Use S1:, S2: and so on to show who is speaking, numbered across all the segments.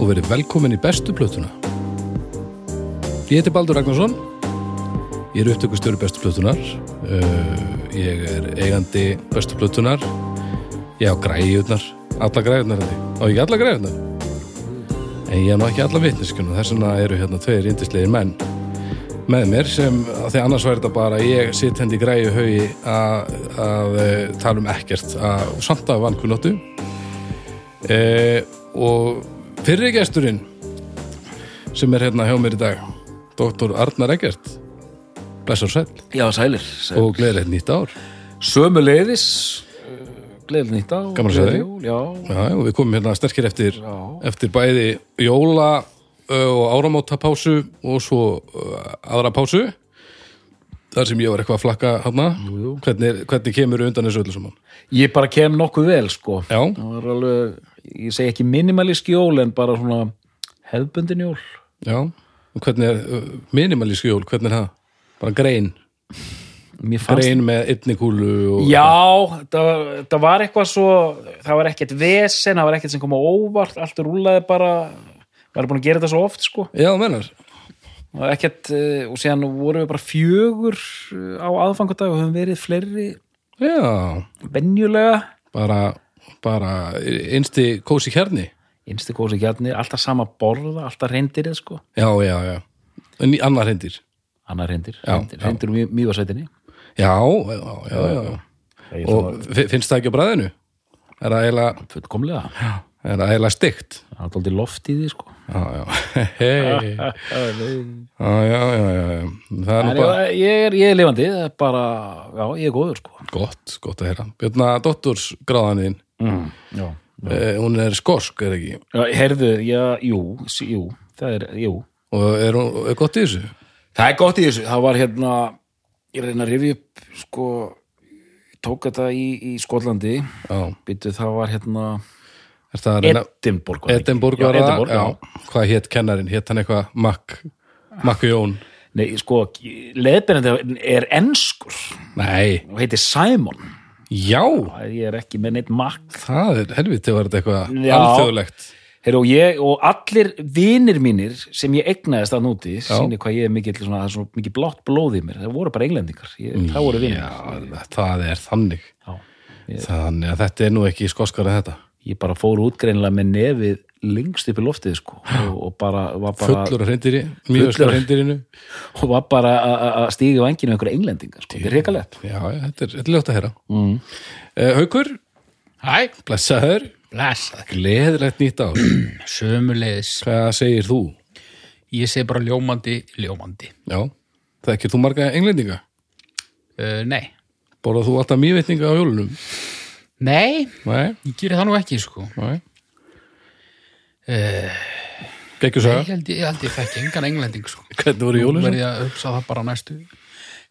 S1: og verið velkomin í bestu plötuna. Ég heiti Baldur Ragnarsson, ég er upptökustjóri bestu plötunar, uh, ég er eigandi bestu plötunar, ég á græjurnar, alla græjurnar held ég, á ekki alla græjurnar. En ég á nú ekki alla vitneskjuna, þess vegna eru hérna tveir yndislegir menn með mér sem, af því annars væri þetta bara ég sitt hendi í græju haugi að eh, tala um ekkert að samt að vankunóttu e, og fyrri gesturinn sem er hérna hjá mér í dag Dr. Arnar Eggert blessar sæll
S2: Já, sælir. sælir.
S1: og gleðilegt nýtt ár
S2: Sömu leiðis, gleðil uh, nýtt á.
S1: Gaman að sjá þig.
S2: Já,
S1: Já, og við komum hérna sterkir eftir,
S2: Já.
S1: eftir bæði jóla ö, og áramótapásu og svo ö, aðra pásu þar sem ég var eitthvað að flakka hana hvernig, hvernig kemur undan þessu öllu saman
S2: ég bara kem nokkuð vel, sko.
S1: Já,
S2: Það var alveg, ég segi ekki minimalísk jól, en bara svona hefbundin jól.
S1: já og hvernig er ö, minimalísk jól, hvernig er það? Bara grein,
S2: Mér fannst...
S1: grein með einni kúlu og
S2: Já, það, það var eitthvað svo, það var ekkert vesen, það var ekkert sem kom á óvart, allt rúlaði bara, var búin að gera þetta svo oft, sko.
S1: Já, þú meinar,
S2: Það var ekkert, eh, og síðan vorum við bara fjögur eh, á aðfangadag og höfum verið fleiri
S1: já
S2: venjulega.
S1: bara, bara einsti kósi kjarni
S2: einstu kósi gjarnir, alltaf sama borða, alltaf reyndir eða sko,
S1: Já, já, já, Ný- annar hendir
S2: annar reyndir,
S1: Já,
S2: reyndir, reyndir um mývarsætinni.
S1: Já, já, já, já, já. og fi- finnst það ekki á bræðinu er það eiginlega
S2: fullkomlega,
S1: er það eiginlega stygt
S2: það er aldrei loft í því sko.
S1: já, já. Hey. já, já, já, já, já. það er
S2: En
S1: nú bara
S2: ég, ég, er, ég er lifandi, það er bara, já, ég er góður sko.
S1: gott, gott að heyra Björna dottursgráðan þín
S2: Mm. Já.
S1: eh, hún er skosk, er ekki
S2: já, herðu, já, jú, s- jú, það er, jú.
S1: og er hún er gott í þessu
S2: Það er gott í þessu, það var hérna, ég reyna að rifja upp sko, ég tók þetta í, í Skotlandi,
S1: já,
S2: byttu það var hérna,
S1: er það að reyna
S2: Edinborg
S1: Edinborg
S2: já,
S1: var það,
S2: Edinborg, já.
S1: já, hvað hétt kennarin hétt hann eitthvað Mac Mac Jón,
S2: Nei, sko, leðbennandi er enskur
S1: nei,
S2: og heitir Simon.
S1: já
S2: Ég er ekki með neitt makk.
S1: það er helviti var þetta eitthvað
S2: Já.
S1: alþjóðlegt
S2: Heru, og, ég, og allir vinir mínir sem ég egnaðist að núti, sýnir hvað ég er mikill, svona, það er svona mikið blátt blóð í mér. Það voru bara englendingar. Ég, það voru vinir.
S1: já, það er þannig
S2: Já.
S1: Þannig að þetta er nú ekki skoskara þetta.
S2: Ég bara fór út greinilega með nefið lengst upp í loftið, sko. Og, og bara, var bara,
S1: Fullur af hreindirri, mjög skar hreindirinu.
S2: og var bara að- að- að stíga í vanginu einhverja englendingar, sko. Þetta er reykalegt.
S1: Já, já, þetta er, þetta er ljótt að herra. Mm. Haukur,
S3: Hæ,
S1: blessaður,
S3: blessað,
S1: gleðilegt nýtt ár.
S3: sömulegis,
S1: Hvað segir þú?
S3: ég segi bara ljómandi, ljómandi.
S1: Já, þekkir þú marga englendinga?
S3: Uh, nei,
S1: Borðað þú alltaf mývetninga á jólunum?
S3: nei,
S1: Nei,
S3: ég gerir það nú ekki, sko.
S1: nei.
S3: Eh,
S1: Gekku svo,
S3: Ég held ég, ég, held ég fekk engan englending, sko.
S1: hvernig voru
S3: Nú
S1: jólun?
S3: verð ég að hugsa það bara næstu.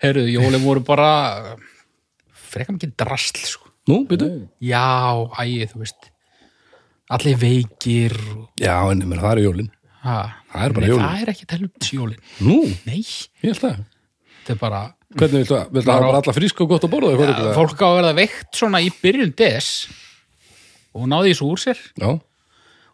S3: Herruðu, jólin voru bara eh, frekar mikið drasl, sko.
S1: Nú, byrju?
S3: Já, ægið, þú veist. Allir veikir. og-
S1: Já, en ég meina, það eru jólun.
S3: Ha,
S1: Það er bara
S3: nei,
S1: jólin.
S3: Það er ekki helvits jólin.
S1: Nú,
S3: Nei,
S1: ég held það.
S3: þetta er bara...
S1: Hvernig viltu að, viltu að hafa bara alla frísk og gott að borða?
S3: Ja,
S1: Já,
S3: fólk á að verða veikt svona í byrjun des og náði þessu úr sér
S1: já.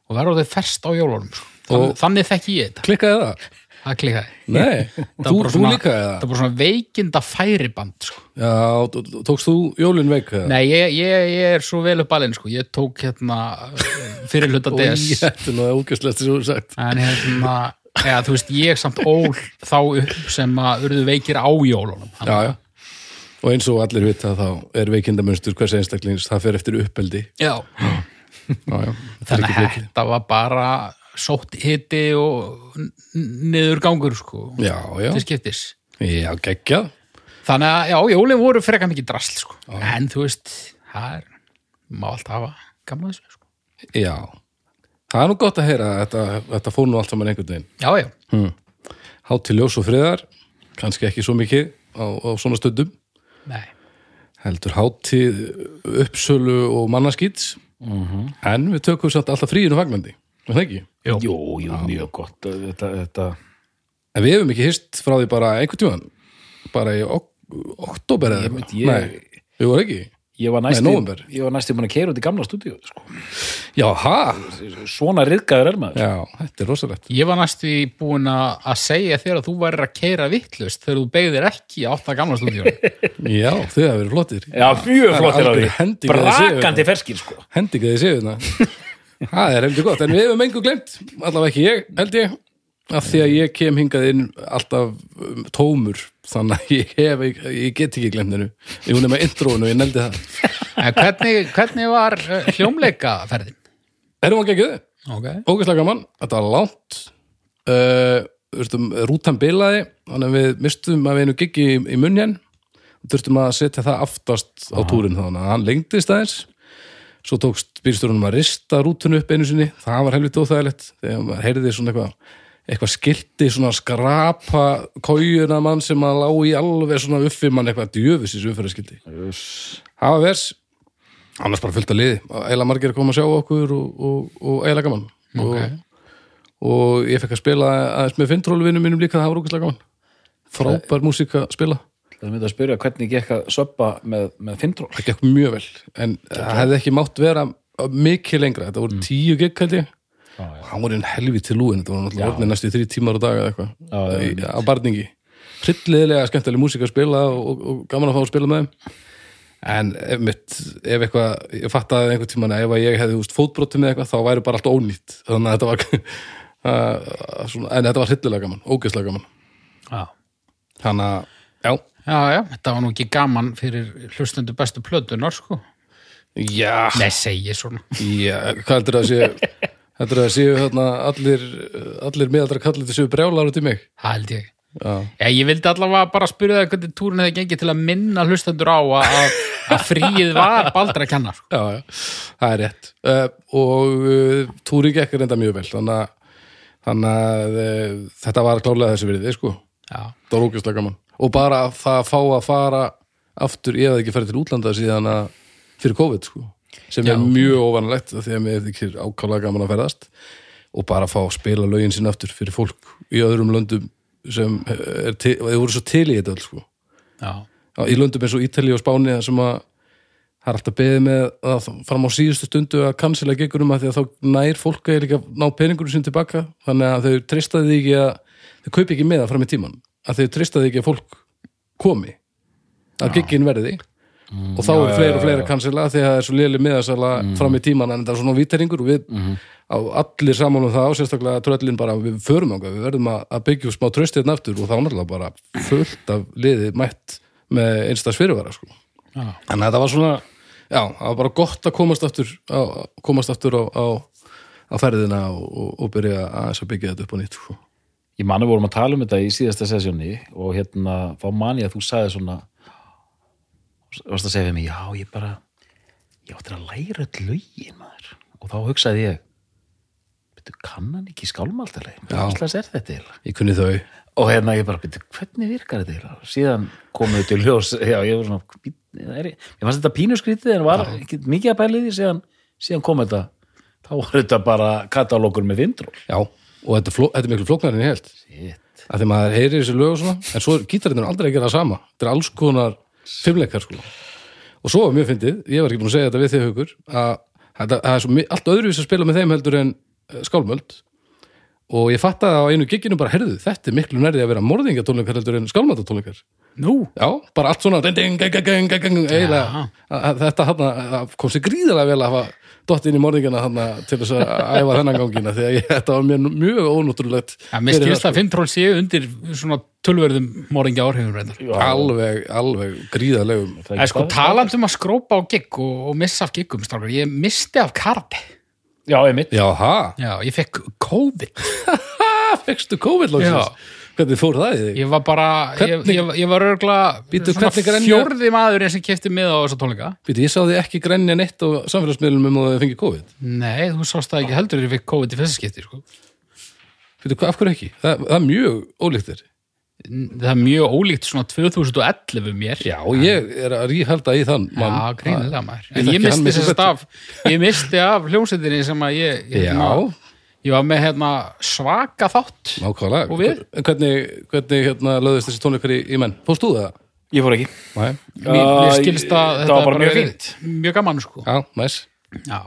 S3: og verður þau ferst á jólunum Þann,
S1: Og-
S3: þannig þekki ég þetta
S1: klikkaði það?
S3: það klikkaði
S1: Nei,
S3: Það
S1: þú,
S3: var bara
S1: þú
S3: svona-
S1: líka eða?
S3: það er bara svona veikinda færiband sko.
S1: Já, t- t- tókst þú jólin veik? eða?
S3: nei, ég, ég, ég er svo vel upp alinn sko. ég tók hérna eh, fyrir hluta
S1: Ó,
S3: des
S1: ég, Þetta er náða úkjöfslega sem þú hefur sagt
S3: en hérna eða, þú veist, ég samt ól þá upp sem að urðu veikir á jólunum
S1: Já, já Og eins og allir vita þá er veikindamunstur hvers einstaklings, það fer eftir uppeldi
S3: já.
S1: Já, já, þetta er
S3: þannig
S1: ekki
S3: að
S1: mikið
S3: þetta var bara sótt hiti og niður gangur sko.
S1: Já, já,
S3: til skiptis
S1: já, geggjað
S3: Þannig að, já, jólin voru frekar mikið drasl, sko. En þú veist, það er, má allt hafa gaman að þessu, sko.
S1: Já, það er nú gott að heyra að þetta, þetta fór nú allt saman einhvern veginn
S3: Já, já,
S1: Hátt til ljós og friðar, kannski ekki svo mikið á, á svona stundum
S3: nei,
S1: heldur hátíð uppsölu og mannaskýts
S2: Mhm.
S1: en við tökum samt alltaf fríinu fagnandi, er það ekki?
S3: jú,
S2: Jú, jú, mjög gott. Þetta, þetta...
S1: En við hefum ekki hýrst frá því bara einhvern tímann, bara í ok oktober eða
S2: Ég veit,
S1: eitthvað.
S2: ég-
S1: Nei, við vorum ekki.
S2: ég var
S1: Nei,
S2: næstu,
S1: nóvember.
S2: ég var næstu búin að keira út í gamla stúdíu sko.
S1: Já, ha?
S2: svona riðgæður er maður
S1: Já, þetta er rosalegt.
S3: Ég var næstu í búin að að segja þér að þú værir að keira vittlust þegar þú beigðir ekki átt að gamla stúdíu.
S1: Já, þau hafa verið flottir.
S2: já, mjög
S1: Það er
S2: flottir á
S1: algjör
S2: því
S1: hending að það séu.
S2: brakandi ferskir sko
S1: Hendi ekki þið séu þetta. hérna. Það er heldur gott, en við hefum engu glemt, allavega ekki ég, held ég, að því að ég kem hingað inn alltaf um, tómur, þannig að ég, hef, ég, ég get ekki glemt hennu. Ég hún er með introinu, ég neldi það.
S3: En hvernig, hvernig var uh, hljómleikaferðin?
S1: Erum að gegja þið?
S3: Ok.
S1: Ógæslega gaman, þetta var langt uh, veistum, Rútan bilaði þannig að við mistum að við einu giggi í, í munn hér þurftum að setja það aftast á túrin þannig að hann lengdist aðeins svo tókst bílstjórunum að rista rútun upp einu sinni, það var helviti óþægilegt þegar maður heyrði svona eitthvað eitthvað skilti svona skrapa kójuna mann sem að lá í alveg svona uppi mann eitthvað djöfisins umferðarskilti hafa vers annars bara fullt að liði, eiginlega margir að koma að sjá okkur og, og, og eiginlega gaman
S3: Ok.
S1: og, og ég fekk að spila aðeins með fintróluvinum mínum líka, það var ógæslega gaman frábær músík að spila
S2: það myndi að spyrja hvernig gekk að söppa með, með fintról
S1: það gekk mjög vel, en það hefði ekki mátt vera mikið lengra, þetta voru tíu gig held ég, og hann voru einn helviti lúin, þetta voru náttúrulega orðin næstu þrjú tímar á dag eða
S2: Já, já,
S1: eitthvað, Í- á barningi hryllilega skemmtileg músík að spila og, og, og gaman að fá að spila með þeim en ef mitt, ef eitthvað ég fattaði einhvern tímann að ef að ég hefði úst fótbrotum með eitthvað, þá væri bara allt ónýtt þannig að þetta var að- að svona, en þetta var hryllilega gaman, ógeðslega gaman
S3: Já.
S1: þannig að, já,
S3: Já, já, þetta var nú ekki gaman fyrir hlustundu bestu plötunar, sko.
S1: já
S3: Nei, segi svona.
S1: Já, hvað heldur það að séu heldur það að séu hérna allir allir miðaldra kallir þessu brjálar út í mig
S3: Það held ég.
S1: Já,
S3: Já, ég vildi allavega bara spyrja það hvernig túrin hefði gengið til að minna hlustundur á að- að, að fríið var baldra að kenna, sko.
S1: já, já, það er rétt uh, og uh, túri gekk reynda mjög vel þannig að, þannig að uh, þetta var klálega þessu virði sko,
S3: Já.
S1: það var ógjörslega gaman og bara að það fá að fara aftur, ég hafði ekki farið til útlanda síðan að fyrir COVID sko sem
S3: Já.
S1: er mjög óvanalegt af því að mér þykir ákvæmlega gaman að ferðast og bara að fá að spila lögin sín aftur fyrir fólk í öðrum löndum sem eh, er til, þau voru svo til í þetta öll sko
S3: Já.
S1: Já, í löndum eins og Ítali og Spáni þar sem að það er alltaf beðið með að fram á síðustu stundu að kansila gegurum að því að þá nær fólk að líka ná peningurum sín tilbaka þannig að þau treystaði því ekki að þau kaupi ekki með það fram í tíman að þau treystaði ekki að fólk komi að geggin verði og þá eru fleira og fleira kansila því að það er svo léli meðasala fram í tíman en þetta er svona víteringur og við á allir saman um það og sérstaklega tröllin bara við förum ánga, við verðum að, að byggja upp smá tröstið aftur og þá náttúrulega bara fullt af liði mætt með einstaks fyrirvara sko.
S3: Já.
S1: en þetta var svona já, það var bara gott að komast aftur á, komast aftur á, á, á ferðina og, og, og byrja að, að byggja þetta upp á nýtt sko.
S2: ég manna vorum að tala um þetta í síðasta sessjóni og hérna, þá man ég að þú sagði svona varst að segja við mig, já, ég bara ég áttir að læra öll lögin maður og þá hugsaði ég betur, kann hann ekki skálmaldaleg
S1: Já.
S2: hverslega er þetta eiginlega?
S1: ég kunni þau
S2: og hérna ég bara, betur, hvernig virkar þetta eiginlega? síðan komuðu til ljós já, ég var svona, "Bíddu, það er, ég fannst þetta pínuskrítið en var ekki mikið að bæli því síðan, síðan kom þetta þá var þetta bara katalókur með vindról
S1: já, og þetta, er fló, þetta er miklu flóknar en ég held
S2: Shit.
S1: að því maður heyrir þessu lög og svona en svo er gítarinn aldrei að gera það sama þetta er alls konar fimmleikar sko og svo er mjög fyndið, ég var ekki búin að segja þetta við þig haukur að þetta það er svo mi- allt öðruvís að spila með þeim heldur en eh, skálmöld og ég fattaði á einu gigginu bara herðu, þetta er miklu nærði að vera morðingatónleikar heldur en skálmöldatónleikar
S3: Nú.
S1: já, bara allt svona ding, ding, gang, gang, gang, gang, gang, eiginlega að- að þetta hann kom sér gríðarlega vel að hafa dott inn í morðingana hann til þess að æfa þennan gangina því að ég, þetta var mér mjög ónútrulegt
S3: Já, mér skilst að Fintról séu undir svona tölverðum morgingja áhrifum reyndar.
S1: alveg, alveg gríðarlegum
S2: Það
S3: Það
S2: ekki
S3: er sko
S2: staðið?
S3: taland um að skrópa á gigg og, og missa af giggum, strákar. Ég misti af karate.
S2: Já, ég mitt.
S1: já, ha,
S3: Já, ég fekk COVID.
S1: fegstu COVID loksins hvernig fór það í þig?
S3: Ég var bara, ég,
S1: Hvernig-
S3: ég, ég var örgla
S1: Bíddu, hvernig grenja-
S3: fjórði maðurinn sem kefti með á þessa tónleika.
S1: Býtu, ég sá þið ekki grænja neitt á samfélagsmiðlum um að þið fengið COVID
S3: Nei, þú sást það ekki heldur ég fekk COVID í fyrsta skipti, sko.
S1: Býtu, af hverju ekki? Það, það er mjög ólíktir
S3: N- Það er mjög ólíkt svona 2011 mér.
S1: Já, ég er að ríhalda í þann
S3: Já,
S1: mann.
S3: grínilega
S1: Ég
S3: maður. En ég
S1: þekki hann
S3: misti
S1: miklu
S3: þess
S1: betur.
S3: af, ég misti af hljómsveitinni sem að ég, ég, hérna-
S1: Já.
S3: ég var með hérna svaka þátt.
S1: Nákvæmlega
S3: Og við?
S1: En Hvernig, hvernig hérna, löðist þessi tónleikar í, í menn? Fórst þú það?
S2: Ég fór ekki.
S1: Næ,
S3: Mér, mér skilst
S2: það var
S3: að þetta
S2: bara mjög
S3: verið Mjög gaman sko
S1: já, næs,
S3: Já,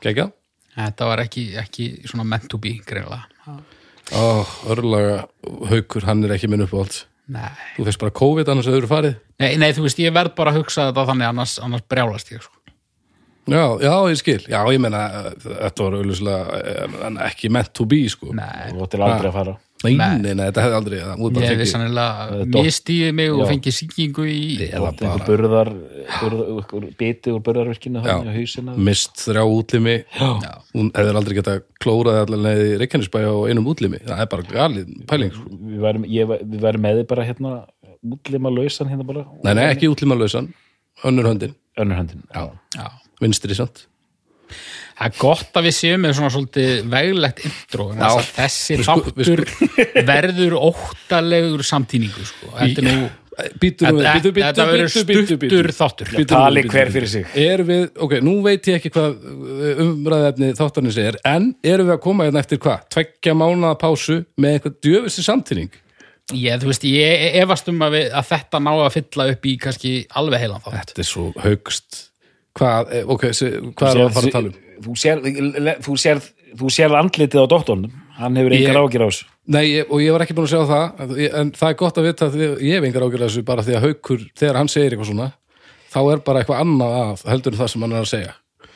S1: geggjað
S3: þetta var ekki, ekki svona meant to be greinlega
S1: Ó, örlaga haukur, hann er ekki minn uppáhalds
S3: Nei
S1: Þú fyrst bara COVID annars hefur farið
S3: Nei, nei, þú veist, ég verð bara að hugsa þetta þannig annars, annars brjálast ég, sko.
S1: Já, já, ég skil, já, ég meina eh, þetta var auðvitað, en ekki meant to be, sko
S3: Nei,
S2: Þú ættir aldrei að fara.
S1: Nei, nei, nei, þetta hefði aldrei það, múið bara
S3: ég
S1: tekið
S3: hefði
S1: Eh,
S3: sannilega
S2: dott-
S3: mistið mig og
S2: Já.
S3: fengið sýkingu í...
S2: Þú
S1: Eða
S2: ættir burðar, burðar, einhver biti úr burðarverkinu þannig á
S1: Já.
S2: hausina.
S1: mist þrjá útlimi
S2: Já.
S1: hún hefði aldrei getað klórað allar leiði Reykjanesbæja á einum útlimi það er bara galið pæling sko.
S2: Við værum, ég, væ- við værum með þið bara hérna útlima lausan hérna bara.
S1: nei, nei, ekki útlimalausan, önnur höndin
S2: Önnur höndin. Já.
S3: Já.
S1: vinstri samt
S3: Það er gott að við séum með svona svolítið veglegt intro, en þess að þessi
S1: Við sko- við
S3: þáttur verður óttalegur samtíningu, sko. Þetta er nú...
S1: býtu, nú við,
S3: Þetta-
S1: býtu, býtu,
S3: þetta verður
S1: býtu, býtu, býtu.
S3: stuttur þáttur.
S1: Býtu nú við,
S2: Tali
S1: býtu
S2: hver
S1: nú við.
S2: fyrir sig.
S1: Er við, ok, nú veit ég ekki hvað umræðefni þáttarnins er en erum við að koma hérna eftir hvað? Tveggja mánaða pásu með eitthvað djöfusti samtíning
S3: Ég, þú veist, ég efast um að, við, að þetta ná að fylla upp í kannski alveg heilan þátt.
S1: Þetta er svo haugst Hvað, eh, ok, se- hvað er að fara að tala um?
S2: Þú sér, þú sér, þú sér andlitið á doktornum. Hann hefur
S1: Ég-
S2: engar ágjur á þessu.
S1: Nei, ég, og ég var ekki búin að segja það en það er gott að vita að ég hef engar ágjörlega þessu bara því að haukur, þegar hann segir eitthvað svona þá er bara eitthvað annað að heldur en það sem hann er að segja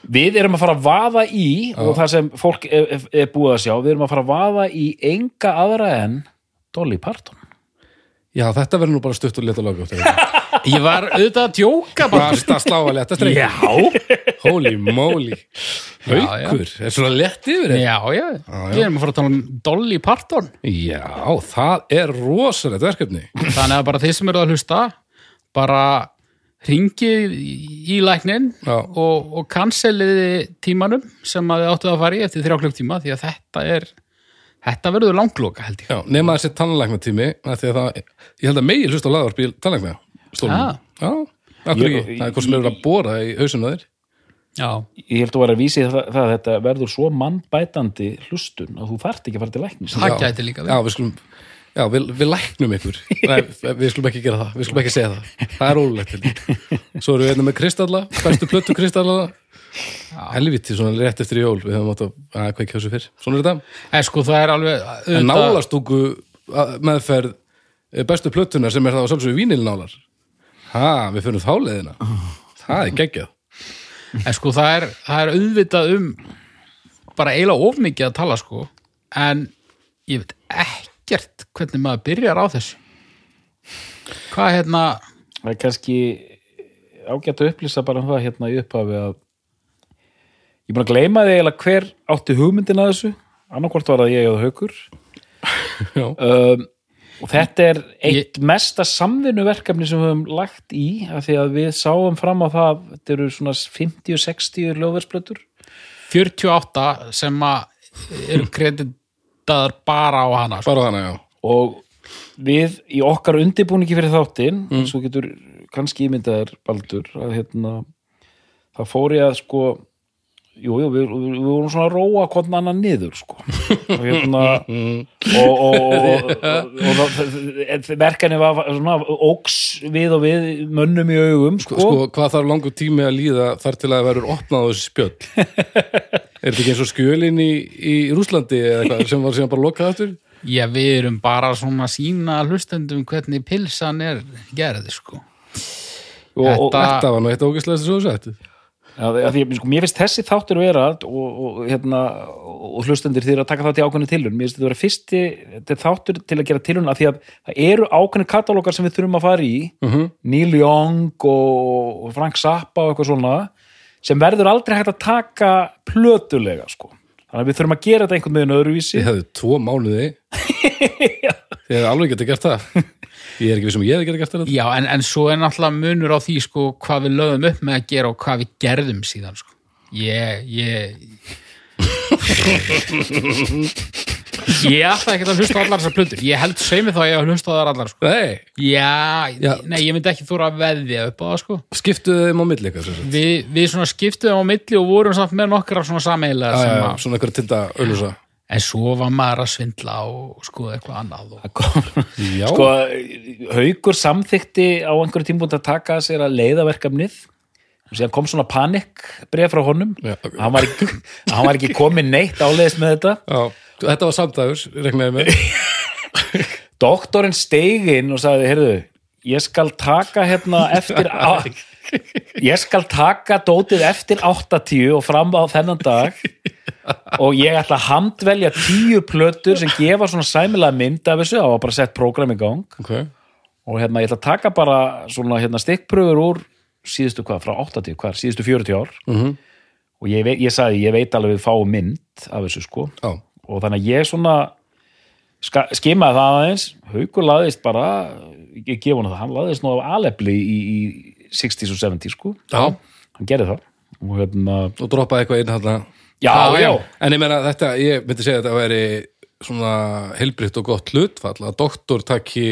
S2: Við erum að fara að vaða í og það sem fólk er, er, er búið að sjá, við erum að fara að vaða í enga aðra en Dolly Parton.
S1: Já, þetta verður nú bara stutt og leta laga út
S3: Ég var auðvitað að djóka bara.
S1: Basta slá að leta streik Holy moly Haukur, er svona lett yfir þetta?
S3: Já, já, við erum að fara að tala um Dolly Parton.
S1: Já, það er rosalegt verkefni
S3: þannig að bara þeir sem eru að hlusta bara ringið í læknin
S1: Já.
S3: og, og canceliði tímanum sem að þið áttu að fara í eftir þrjá klukk tíma því að þetta er þetta verður langloka held ég
S1: Já, nema þessi tannlækna tími því að það, ég held að megi hlust á laðvarp í tannlækna
S3: Já.
S1: Já, akkur
S2: Ég-
S1: ekki Það er hvort sem eru að bóra í hausinu þér
S3: Já,
S2: Ég held að vera að vísi það, það að þetta verður svo mannbætandi hlustun að þú þarft ekki að fara til læknis.
S3: það
S1: Já.
S3: gæti líka
S1: já,
S3: verið
S1: við skulum já, við, við læknum ykkur Nei, við skulum ekki gera það, við skulum ekki segja það það er ólulegt svo erum við einnig með Kristalla, bestu plötu Kristalla helviti, svona rétt eftir jól við höfum átt að, að hvað ekki þessu fyrr svona er þetta,
S3: En sko það er alveg auðvitað-
S1: en nálastúku að- meðferð eh, bestu plötunar sem er það á sjálfsögur vínilnálar ha, við fyrir þá leiðina
S3: Ah.
S1: það er geggjað
S3: En sko það er, það er auðvitað um bara eiginlega of mikið að tala sko en ég veit ekkert hvernig maður byrjar á þessu Hvað hérna
S2: Það er kannski ágætt að upplýsa bara um það hérna í upphafi að ég er búin að gleyma því eiginlega hver átti hugmyndina að þessu, annarkvort var það ég eða haukur.
S1: já,
S2: um, og þetta er eitt mesta samvinnuverkefni sem við höfum lagt í af því að við sáum fram á það þetta eru svona 50-60 lögversplötur
S3: 48 sem að eru kreditaðar bara á hana sko.
S1: bara þannig, já
S2: og við í okkar undirbúningi fyrir þáttinn svo getur kannski ímyndaðir baldur að hérna það fór ég að sko jú, jú, við, við, við vorum svona að róa hvort annan niður sko og hérna og, og, og, og, og, og verkanir var svona óks við og við mönnum í augum sko,
S1: sko, hvað þarf langur tími að líða þar til að það verður opnað á þessi spjöll er þetta ekki eins og skjölin í, í Rúslandi eða eitthvað sem var síðan bara lokað aftur
S3: Já, við erum bara svona að sína hlustendum hvernig pilsan er gerði sko.
S2: og, og,
S3: Þetta-
S1: þetta var nú eitt ógæslega sem svo sættu
S2: Já, af því, að, sko, mér finnst þessi þáttur vera og, og, hérna, og hlustendur þeir að taka þátt í ákveðni tilun mér finnst þetta vera fyrsti þetta er þáttur til að gera tilun af því að það eru ákveðni katalógar sem við þurfum að fara í Neil Young og, og Frank Zappa og eitthvað svona sem verður aldrei hægt að taka plötulega sko. þannig að við þurfum að gera þetta einhvern veginn öðruvísi
S1: ég hefði tvo mánuði ég hefði alveg getið gert það ég er ekki vissum að ég hefði getið gert það
S3: Já, en, en svo er náttúrulega munur á því sko, hvað við lögum upp með að gera og hvað við gerðum síðan sko. Ég, ég Ég ætla ekki að hlusta á allar þessar plöndur Ég held sveimi þá að ég hef hlusta á þar allar sko.
S1: nei,
S3: Já,
S1: Já.
S3: nei, ég myndi ekki þóra að veðja upp á það sko.
S1: skiptuðu þeim um á milli eitthvað sem sagt.
S3: við, við svona skiptum á milli og vorum samt með nokkra svona sameigilega
S1: Já, já,
S3: sem
S1: já,
S3: að,
S1: svona eitthvað tinda auðlúsa
S3: en svo var maður að svindla og skoða eitthvað annað og...
S1: Já,
S2: Sko, haukur samþykti á einhverju tímpúnt að taka sér að leiða verkefnið og síðan kom svona panik bregð frá honum
S1: Já.
S2: hann var, ekki, hann var ekki komin neitt áleiðis með þetta
S1: já, þetta var samdægur, regnaði með.
S2: doktorinn steig inn og sagði, heyrðu ég skal taka hérna eftir á, ég skal taka dótið eftir 80 og fram á þennan dag og ég ætla að handvelja tíu plötur sem gefa svona sæmilega mynd af þessu, það var bara sett prógram í gang
S1: Ok,
S2: og hérna ég ætla að taka bara svona hérna stikkpröfur úr síðustu hvað, frá 80, hvað er, síðustu 40 ár
S1: Mhm.
S2: og ég, veit, ég sagði, ég veit alveg við fáum mynd af þessu sko
S1: já,
S2: og þannig að ég svona ska- skimaði það aðeins, Haukur laðist bara, ég gef hann það hann laðist nú af alefli í, í 60s og 70s sko,
S1: já,
S2: hann gerði það og hérna,
S1: og droppaði eitthvað inn hérna.
S2: já, já, já.
S1: En ég meina þetta, ég myndi segja að þetta væri svona helbriðt og gott hlutfall að doktor taki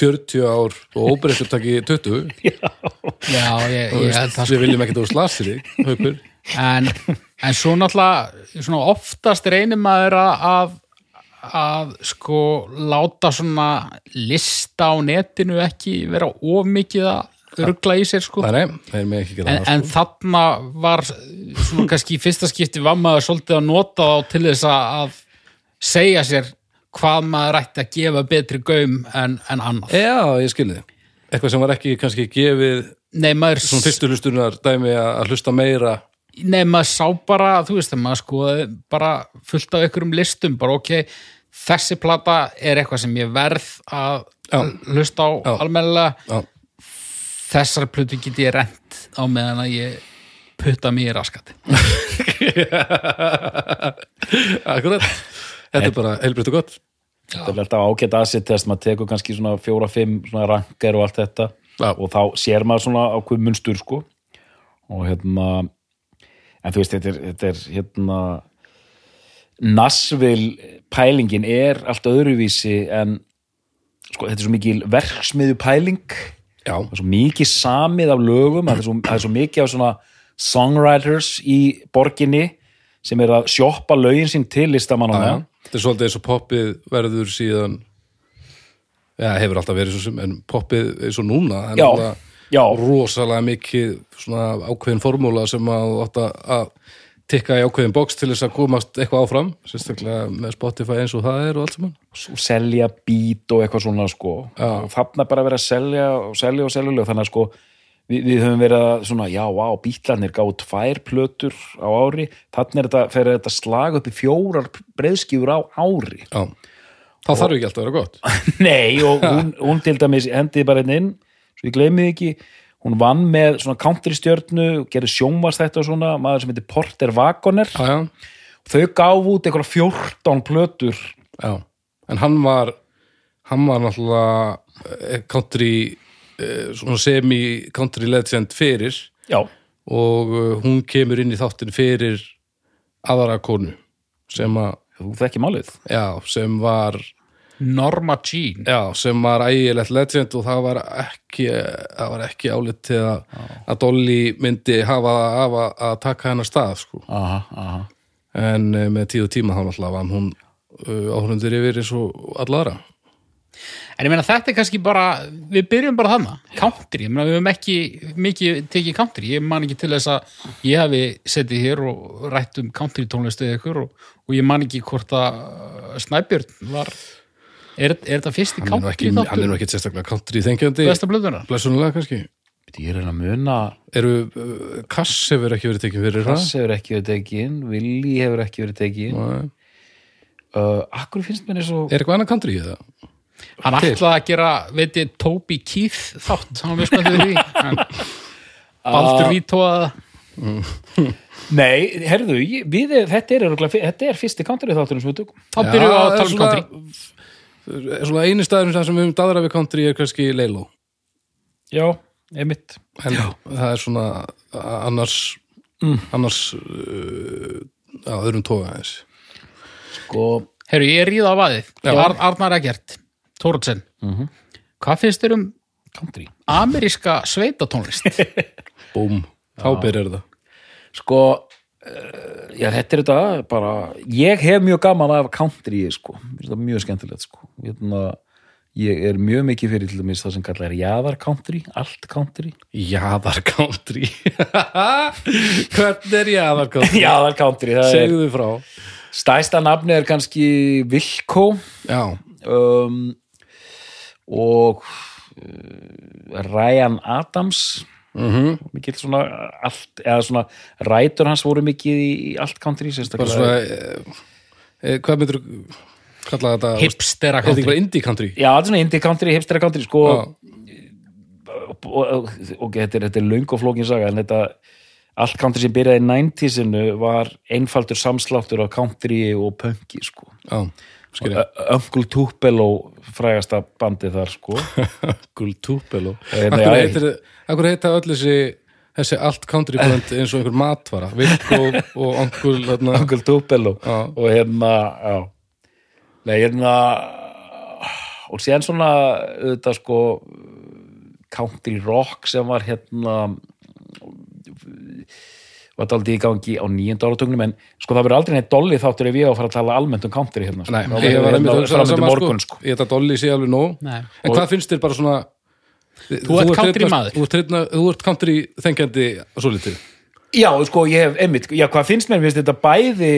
S1: 40 ár og óbreyttur taki 20
S3: já, ég,
S1: Þú
S3: ég held
S1: veist,
S3: það sko.
S1: við viljum ekkert úr slasri haukur,
S3: en, en svo náttúrulega svona oftast reynir maður að, að, að sko láta svona lista á netinu ekki vera of mikið að ruggla í sér sko
S1: það er nei, það er mig ekki geta
S3: en, en þarna var svona kannski í fyrsta skipti var maður svolítið að nota þá til þess að, að segja sér hvað maður ætti að gefa betri gaum en, en annað
S1: Já, ég skilði Eitthvað sem var ekki kannski gefið
S3: Nei, maður
S1: svona fyrstu hlustunar dæmi að að hlusta meira
S3: Nei, maður sá bara, þú veist, maður sko bara fullt af einhverjum listum bara ok, þessi plata er eitthvað sem ég verð að
S1: Já.
S3: hlusta á
S1: Já.
S3: almennilega
S1: Já,
S3: þessar plötu get ég rent á meðan að ég putta mér í raskati
S1: akkurat Þetta er bara helbriðt og gott
S2: þetta er alltaf ágætt asset test maður tekur kannski svona fjóra, fimm svona rankar og allt þetta
S1: Já.
S2: og þá sér maður svona ákveð munstur sko og hérna en þú veist, þetta er, þetta er hérna Nashville pælingin er allt öðruvísi en sko, þetta er svo mikil verksmiðu pæling
S1: Já,
S2: það er svo mikið samið af lögum það er svo, það er svo mikið af svona songwriters í borginni sem er að sjoppa lögin sín til listamannana
S1: já. þetta er svolítið eins og poppið verður síðan Já, hefur alltaf verið svo sem en poppið eins og núna en
S2: Já,
S1: alltaf
S2: já.
S1: rosalega mikið svona ákveðin formúla sem að þú átt að- að tikka í ákveðin box til þess að komast eitthvað áfram sérstaklega með Spotify eins og það er og allt saman
S2: og selja bít og eitthvað svona sko. og þarna bara að vera að selja og selja og selja lög þannig að sko við, við höfum verið að svona, já, vá, bítlarnir gáðu tvær plötur á ári þannig er þetta, fer þetta slag upp í fjórar breiðskjúr á ári
S1: Já, þá þarf ekki alltaf að vera gott
S2: nei, og hún, hún til dæmis hendiði bara einn inn, svo ég gleymi því ekki hún vann með svona countrystjörnu gerði sjónvars þetta og svona maður sem heitir Porter Wagoner
S1: Já, já,
S2: þau gáfu út eitthvað 14 plötur
S1: já En hann var hann var náttúrulega eh, country eh, svona semi-country legend fyrir
S2: já,
S1: og eh, hún kemur inn í þáttin fyrir aðra konu sem að
S2: þú þekki málið
S1: já, sem var
S3: Norma Jean
S1: já, sem var ægilegt legend og það var ekki það var ekki álit til að, að Dolly myndi hafa að, að taka hennar stað sko.
S2: aha, aha
S1: en eh, með tíð og tíma þá náttúrulega var hún uh, áhrundir yfir eins og allara
S3: En ég meina þetta er kannski bara, við byrjum bara þarna, country, ég meina við höfum ekki mikið tekið country, ég man ekki til þess að ég hafi setið hér og rætt um country tónlistu eða ykkur og, og ég man ekki hvort að uh, Snæbjörn var, er, er þetta fyrsti
S1: hann er nú ekki,
S3: country
S1: hann er
S3: þáttur
S1: nú ekki sérstaklega country þengjandi
S3: besta blöðunar?
S1: blessunulega kannski
S2: Ég er að reyna að muna
S1: eru, uh, Kass hefur ekki verið tekin fyrir
S2: Rass hefur ekki verið tekin, Willi hefur ekki verið tekin
S1: það Nei.
S2: uh, Akkur finnst mér eins og
S1: er eitthvað annað country í það?
S3: Hann ætlaði að gera, veit ég, Toby Keith þátt, hann veist hvað þau því, en
S1: Ah.
S3: Baldur Vítóaða,
S2: Nei, herðu, ég, við, þetta, er, örugglega fi- þetta er fyrsti country þátturinn sem við tökum
S3: þá byrjum við á að tala um country.
S1: country svona eini staðurinn þar sem við höfum daðra við country er kannski Leilo
S2: Já, einmitt
S1: en það er svona a- annars
S3: Mm.
S1: annars uh, að öðrum toga eins
S2: sko,
S3: Herru, ég er ríða á vaðið. Ar Arnar Eggert, Tóratsen.
S1: Mhm.
S3: Hvað finnst þér um
S2: Country
S3: ameríska sveitatónlist?
S1: búm, þá byrjar það
S2: Sko, já, þetta er þetta bara, ég hef mjög gaman af country, sko, Mér finnst það mjög skemmtilegt sko, hérna ég er mjög mikið fyrir til dæmis það sem kallar er jaðar country, allt country
S1: Jaðar country Hvern er jaðar country?
S2: jaðar country, það er
S1: Segðu frá
S2: stæsta nafni er kannski Vilko
S1: Já,
S2: um, og uh, Ryan Adams
S1: mhm
S2: mikill svona allt, eða svona rætur hans voru mikið í, í allt country
S1: bara
S2: sérstaklega
S1: svona eh, hvað myndir kalla þetta
S3: Hipstera
S1: er þetta ekki
S3: country.
S1: bara indie country
S2: já, þetta er svona indie country, hipstera country sko,
S1: Já,
S2: og, og, og þetta er, þetta er löng og flókin saga en þetta, allt country sem byrjaði í 90-sinu var einfaldur samsláttur af country og punki sko.
S1: já, skilja
S2: Ö- Uncle Tupelo frægasta bandi þar sko
S1: Gul túpel og
S2: Ég veit
S1: Akkur
S2: það, ég-
S1: heitir, akkur heita öll þessi þessi allt country brand eins og einhver matvara Vilk og, og angul þarna
S2: Uncle Tupelo
S1: Já.
S2: og hérna já. Nei, hérna og síðan svona auðvitað sko country rock sem var hérna var þetta aldrei í gangi á nýjönda áratugnum en sko það verður aldrei neitt dolli þáttur ef ég á að fara að tala almennt um country hérna sko.
S1: Nei,
S2: Þá
S1: ég
S2: verður
S1: var
S2: hérna
S1: einmitt að hugsa um það
S2: framöndu
S1: sama
S2: morgun sko.
S1: Ég þetta dolli sé alveg nóg
S3: Nei.
S1: En hvað finnst þér bara svona Þú,
S3: ert
S1: hreinna-
S3: country maður.
S1: Þú ert, hreinna, þú ert country þengjandi svo litið
S2: Já, sko, ég hef, einmitt, já, hvað finnst mér, finnst þetta bæði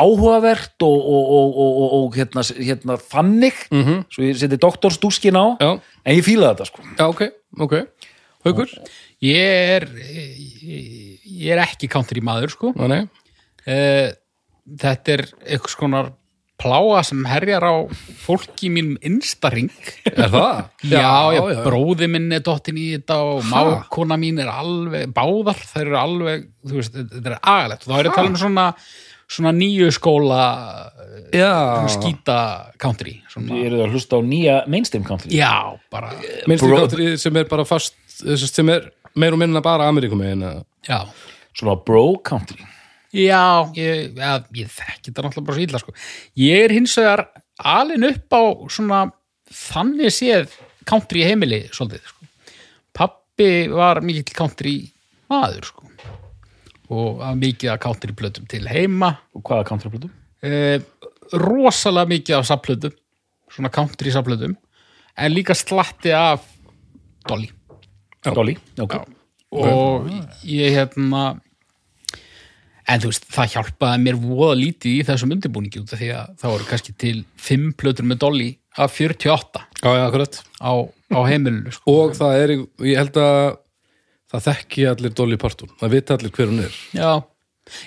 S2: áhugavert og, og, og, og, og, og hérna, hérna þannig, -hmm.
S1: Mhm.
S2: svo ég seti doktorstúskin á,
S1: Já,
S2: en ég fílaði þetta, sko.
S1: já, ok, ok Haukur,
S3: Ég er, ég, ég er ekki country maður, sko.
S1: Ná, nei,
S3: Eh, Þetta er einhvers konar pláa sem herjar á fólki í mínum instaring.
S1: er það?
S3: Já, já, bróði minn er dottin í þetta og mákona mín er alveg, báðar, þær eru alveg, þú veist, þetta er agalegt. Og Þá er ég að tala um svona, svona nýju skóla
S1: Já,
S3: skýta country. Svona,
S2: Ég er að hlusta á nýja mainstream country.
S3: já, bara,
S1: minnst í
S2: Bro-
S1: country sem er bara fast sem sagt, sem er meir og minna bara Ameríkumi en að
S3: já.
S2: Svona bro country.
S3: Já, ég, ja, ég þekki þetta náttúrulega bara svo illa sko. Ég er hins vegar alin upp á svona þannig séð country heimili svolítið sko. Pappi var mikill country maður sko. og það var mikið af country plötum til heima
S2: Og hvaða country plötu?
S3: eh, rosalega mikið af saplötum svona country saplötum en líka slatti af dolly
S2: Dolly. Okay.
S3: og ég hérna en þú veist, það hjálpaði mér voða lítið í þessum undirbúningi út af því að það voru kannski til 5 plötur með dolli af 48
S1: Já, já, akkurat
S3: á, á heimilinu sko.
S1: Og það er, ég held að það þekki allir Dolly Parton það vita allir hver hún er
S3: já.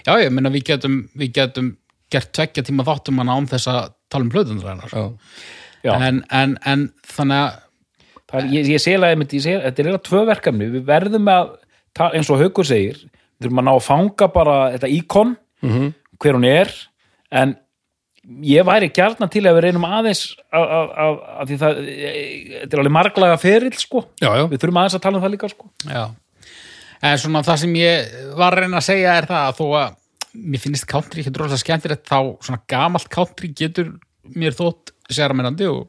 S3: já, ég meina við getum, við getum gert tvekja tíma þáttum hann án þess að tala um plötundur hennar sko.
S1: Já,
S2: Já.
S3: en, en, en þannig að
S2: Það er, ég, ég selaði einmitt, ég selaði, þetta er eiginlega tvö verkefni. Við verðum að, ta- eins og Haukur segir, við þurfum að ná að fanga bara þetta íkon, -hmm. hver hún er, en ég væri gjarnan til að við reynum aðeins að, að, að, að því það, e, þetta er alveg marglaga ferill, sko.
S1: já, já,
S2: Við þurfum aðeins að tala um það líka, sko.
S3: Já. En svona það sem ég var að reyna að segja er það að þó að mér finnst country ekki dróðslega skemmtilegt þá svona gamalt country getur mér þótt sérmennandi og,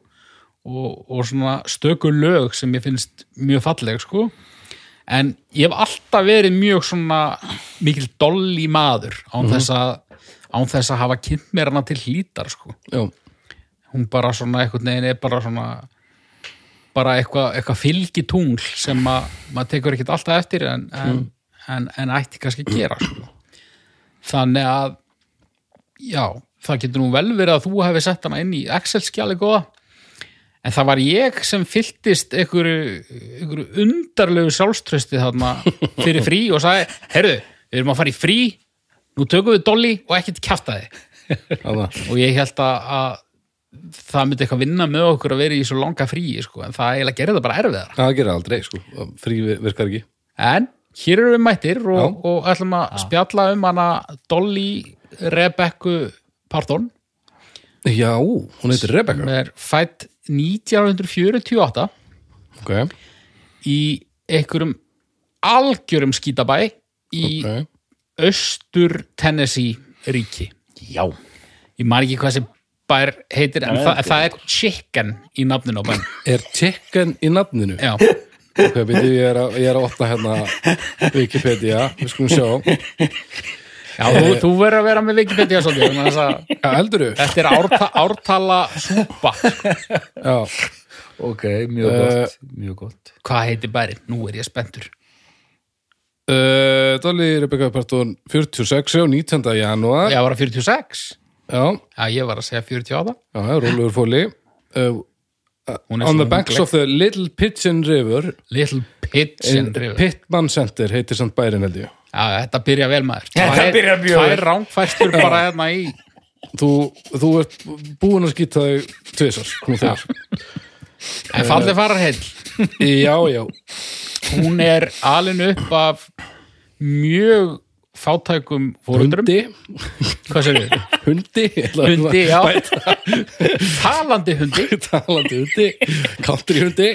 S3: og, og svona stöku lög sem mér finnst mjög falleg sko. En ég hef alltaf verið mjög svona mikil dolli maður án, þess, að, án þess að hafa kynnt mér hana til hlítar sko
S1: já,
S3: hún bara svona eitthvað neginn er bara svona bara eitthvað eitthva fylgitungl sem að maður tekur ekkert alltaf eftir en, en, en, en ætti kannski að gera sko. þannig að já, það getur nú vel verið að þú hefði sett hana inn í Excel-skjali góða en það var ég sem fylltist einhverju, einhverju undarlegu sjálfströsti þarna fyrir frí og sagði, herru, við erum að fara í frí nú tökum við dolli og ekkert kjaftaði
S1: já
S3: og ég held að, að það myndi eitthvað vinna með okkur að vera í svo langa fríi sko, en það eiginlega gerir það bara erfiðara
S1: Það gerir aldrei, sko, frí virkar ekki
S3: en hér eru við mættir og,
S1: Já.
S3: og ætlum að spjalla um hana Dolly Rebecca Parton
S1: Já, hún heitir Rebecca
S3: sem er fætt 1948
S1: Ok,
S3: í einhverjum algjörum skítabæ í
S1: ok
S3: austur Tennessee ríki
S2: Já.
S3: ég man ekki hvað sem bær heitir en
S2: Nei,
S3: það,
S2: þetta
S3: það er chicken í nafninu á bæn
S1: Er chicken í nafninu?
S3: já,
S1: Ok, byrju, ég er að, ég er að opna hérna Wikipedia, við skulum sjá
S3: Já, þú,
S2: Eh.
S3: þú verður að vera með Wikipedia svolítið, vegna þess að
S1: Já, heldur þau?
S3: þetta er árta, ártala súpa.
S1: Já.
S2: ok, mjög gott, mjög gott
S3: Hvað heitir bærin? Nú er ég spenntur.
S1: Uh, Dolly Rebecca Parton 46 á 19. janúar.
S3: Ég var að 46.
S1: Já,
S3: Já, ég var að segja 48.
S1: já, já Rúlur Fóli. Uh,
S3: Hún er
S1: on
S3: svo
S1: the banks
S3: ungleg.
S1: of the Little Pigeon River
S3: Little
S2: Eh,
S3: Pigeon River.
S1: Pittman Center heitir samt bærin held ég.
S3: Já, þetta byrja vel maður.
S2: Þetta
S3: Tvær-
S2: byrjar mjög vel.
S3: Tvær rángfæstur bara hérna í...
S1: Þú, þú ert búin að skýta þau tvisar, nú þegar.
S3: En fallið farar heill.
S1: Já, já,
S3: Hún er alin upp af mjög fátækum fórundrum.
S1: hundi,
S3: Hvað segir við?
S1: hundi, ég ætla að-
S3: Hundi, já. Talandi hundi.
S1: talandi hundi, country hundi.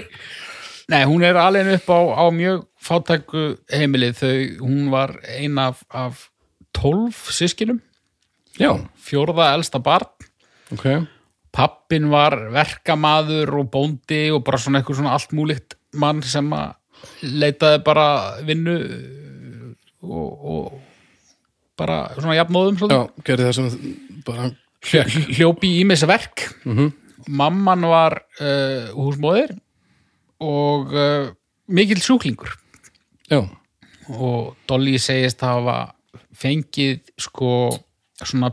S3: Nei, hún er alveg upp á, á mjög fátæku heimilið þau, hún var eina af, af 12 sískinum,
S1: Já,
S3: fjórða elsta barn,
S1: ok,
S3: pappin var verkamaður og bóndi og bara svona eitthvað svona alltmúlikt mann sem að leitaði bara vinnu uh, og, og bara svona jafnóðum
S1: já,
S3: svona.
S1: gerði það sem bara,
S3: Hljó, hljópi í missa verk mamman var uh, húsmóðir og uh, mikill sjúklingur
S1: já,
S3: og Dolly segist hafa fengið sko svona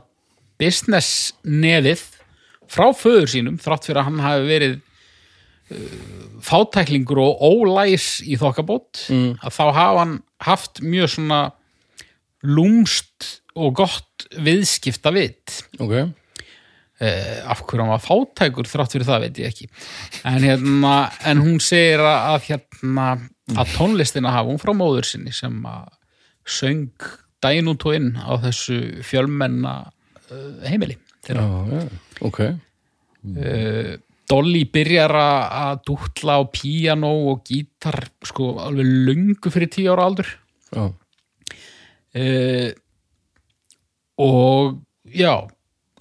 S3: business nefið frá föður sínum þrátt fyrir að hann hafi verið uh, fátæklingur og ólæs í þokkabót að þá hafa hann haft mjög svona lúmst og gott viðskipta vit
S1: ok,
S3: uh, af hverju hann var fátækur þrátt fyrir það veit ég ekki en, hérna, en hún segir að, að, hérna, að tónlistina hafa hún frá móður sinni sem að söng daginn út og inn á þessu fjölmenna uh, heimili þeirra.
S1: já, já, ok,
S3: Uh, Dolly byrjar að að dútla á píanó og gítar sko alveg lungu fyrir tíu ára aldur
S1: já,
S3: uh, og já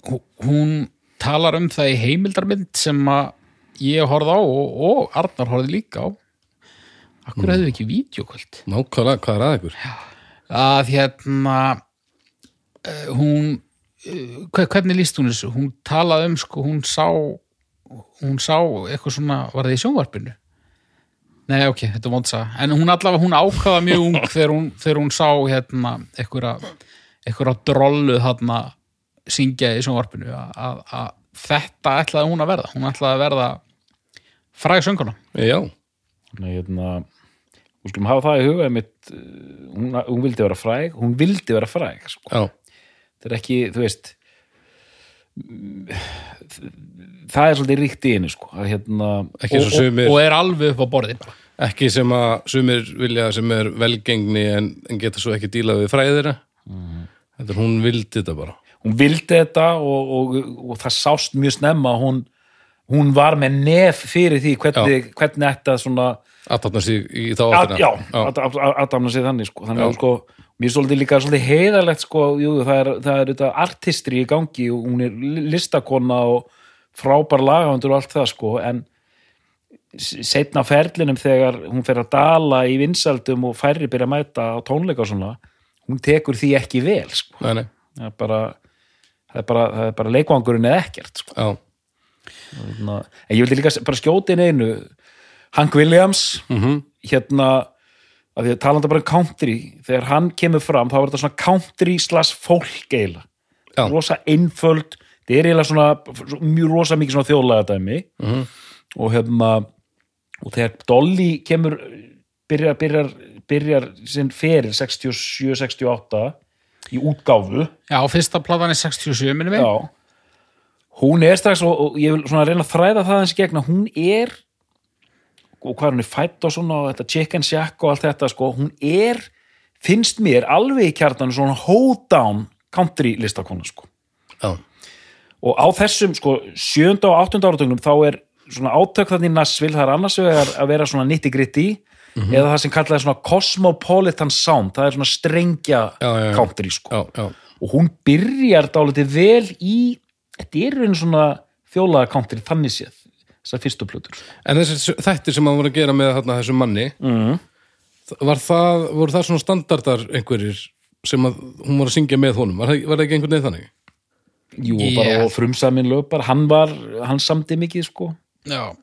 S3: hú- hún talar um það í heimildarmynd sem að ég horfði á og, og Arnar horfði líka á Akkur mm. hefðu ekki vídeokvöld
S1: nákvæmlega, hvað er að ykkur?
S3: að hérna uh, hún uh, hve- hvernig líst hún þessu? Hún talaði um sko, hún sá hún sá eitthvað svona, var það í sjónvarpinu? Nei, ok, þetta er vondsa en hún allavega, hún ákvaða mjög ung þegar hún, þegar hún sá hérna einhverja, einhverja drollu þarna syngja í sjónvarpinu að- að að þetta ætlaði hún að verða hún ætlaði að verða fræg sönguna
S1: Já,
S2: Nei, hérna, hún skulum hafa það í huga mitt, hún, hún vildi vera fræg hún vildi vera fræg sko.
S1: já,
S2: það er ekki, þú veist það er svolítið ríkt í henni sko. að, hérna,
S1: Ekki eins og
S2: og-
S1: sumir.
S3: og er alveg upp á borði bara
S1: ekki sem að sumir vilja sem er velgengni en, en geta svo ekki dílað við fræðina Mm. þetta er hún vildi þetta bara
S2: hún vildi þetta og, og, og það sást mjög snemma að hún, hún var með nef fyrir því hvernig, hvernig þetta svona
S1: aðtapna sig í þá
S2: að,
S1: áttina
S2: já, aðdamna sig þannig sko. þannig að sko, mér er svolítið líka svolítið heiðalegt sko, jú, jú, það er, það er þetta artistri í gangi og hún er li- listakona og frábær lagafundur og allt það sko, en setna ferlinum þegar hún fer að dala í vinsaldum og færri byrja að mæta á tónleika og svona, hún tekur því ekki vel sko.
S1: nei, nei,
S2: það er bara það er bara, það er bara leikvangurinn eða ekkert sko.
S1: já,
S2: Ná, en ég vildi líka s- bara skjóti inn einu Hank Williams
S1: Mhm.
S2: hérna að því að talandi bara um country þegar hann kemur fram þá er þetta svona country slash folk eila
S1: Já.
S2: rosa einföld þetta er eiginlega svona svo- mjög rosa mikið svona þjóðlega dæmi -hmm. og hérna og þegar Dolly kemur byrjar, byrjar, byrjar sinn feril 67-68 í útgáfu
S3: Já, fyrsta platan er 67 minnum við
S2: Já. Hún er strax og, og ég vil svona reyna að þræða það hans gegna, hún er og hvað hún er fætt og svona og þetta chicken shack og allt þetta sko, hún er, finnst mér alveg í kjartan svona hold down country listakona sko
S1: já,
S2: og á þessum sko sjönda og áttunda áratögnum þá er svona átök þannig í Nashville, það er annars vegar að vera svona nitty gritty
S1: Mhm.
S2: eða það sem kallaði svona cosmopolitan sound, það er svona strengja
S1: Já, já, já.
S2: country sko
S1: já, já,
S2: og hún byrjar dálítið vel í þetta er einu svona þjólaða country þannig séð þessar fyrstu plötur sko.
S1: en þessi þættir sem hann var að Mhm. gera með þarna, þessum manni mm. var það, voru það svona standardar einhverjir sem að hún var að syngja með honum var, það- var það ekki einhvern veginn þannig?
S2: Jú, og bara
S3: Ég-
S2: yeah. frumsamin lög bara, hann var, hann samdi mikið sko
S3: Já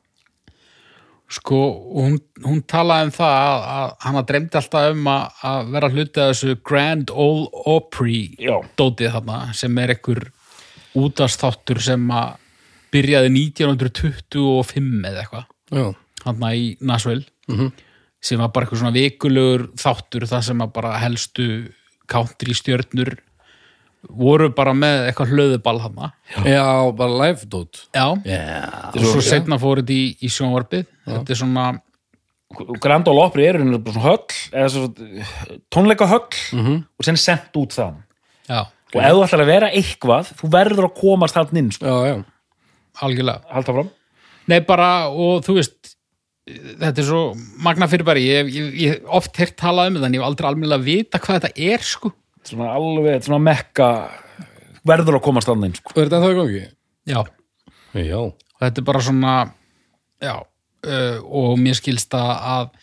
S3: Sko, og hún, hún talaði um það að, að hana dreymdi alltaf um að, að vera hluti af þessu Grand Ole Opry
S2: Já,
S3: dótið þarna sem er ekkur útastáttur sem að byrjaði 1925 eða eitthvað
S1: Já,
S3: þarna í Nashville sem var bara eitthvað svona vikulegur þáttur það sem að bara helstu country stjörnur voru bara með eitthvað hlöðuball þarna
S1: já bara live dot
S3: Já,
S1: Já,
S3: og svo setna fór þetta í, í sjónvarpið þetta er svona
S2: Grand Ole Opry er í rauninni bara svona höll eða svo tónleika höll og sen sent út þann
S3: já,
S2: og ef þú ætlar að vera eitthvað þú verður að komast þann inn sko.
S1: já, já,
S3: algjörlega
S2: Halda fram
S3: nei bara og þú veist þetta er svo magna fyrirbæri ég, ég, ég hef oft heyrt talað um þetta en ég hef aldrei almennilega vita hvað þetta er sko
S2: svona alveg, svona mekka verður að komast þann inn sko.
S1: og er þetta það í gangi?
S3: já,
S1: Já,
S3: þetta er bara svona já, uh, og mér skilst að að,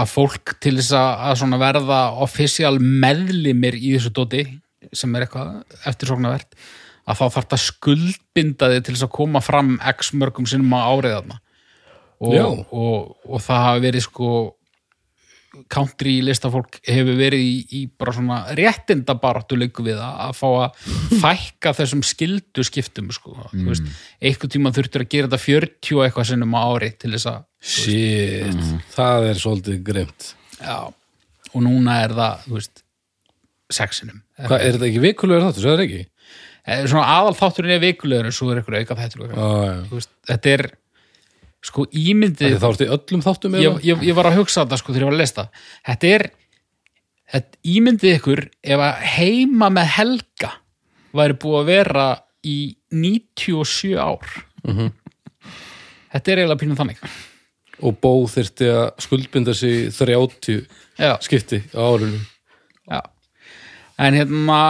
S3: að fólk til þess að, að svona verða offisíal meðlimir í þessu dóti sem er eitthvað eftirsóknarvert að þá þarf það skuldbinda þig til þess að koma fram x mörgum sinnum á árið þarna
S1: Já.
S3: og, og, og það hafi verið sko country listafólk hefur verið í, í bara svona réttinda baráttu leiku við að, að fá að fækka þessum skildu skiptum sko. mm. veist, einhvern tíma þurftur að gera þetta 40 og eitthvað sinnum á ári til þess að
S1: shit það er svolítið grimt
S3: já, og núna er það þú veist, sexinum
S1: Hvað, er þetta ekki vikulegur þáttur, svo er það ekki?
S3: Eh, svona aðal þátturinn er vikulegur en svo er eitthvað auka þættur og
S1: Já,
S3: eitthvað.
S1: já,
S3: Þú veist, þetta er sko
S1: Ætli
S3: ímyndið
S1: þá ertu í öllum þáttum
S3: ég, ég, ég var að hugsa þetta sko þegar ég var að lesta þetta er þetta, ímyndið ykkur ef að heima með helga væri búið að vera í 97 ár þetta er eiginlega pínum þannig
S1: og bó þyrfti að skuldbinda sig 30
S3: já,
S1: skipti á árunum
S3: já. en hérna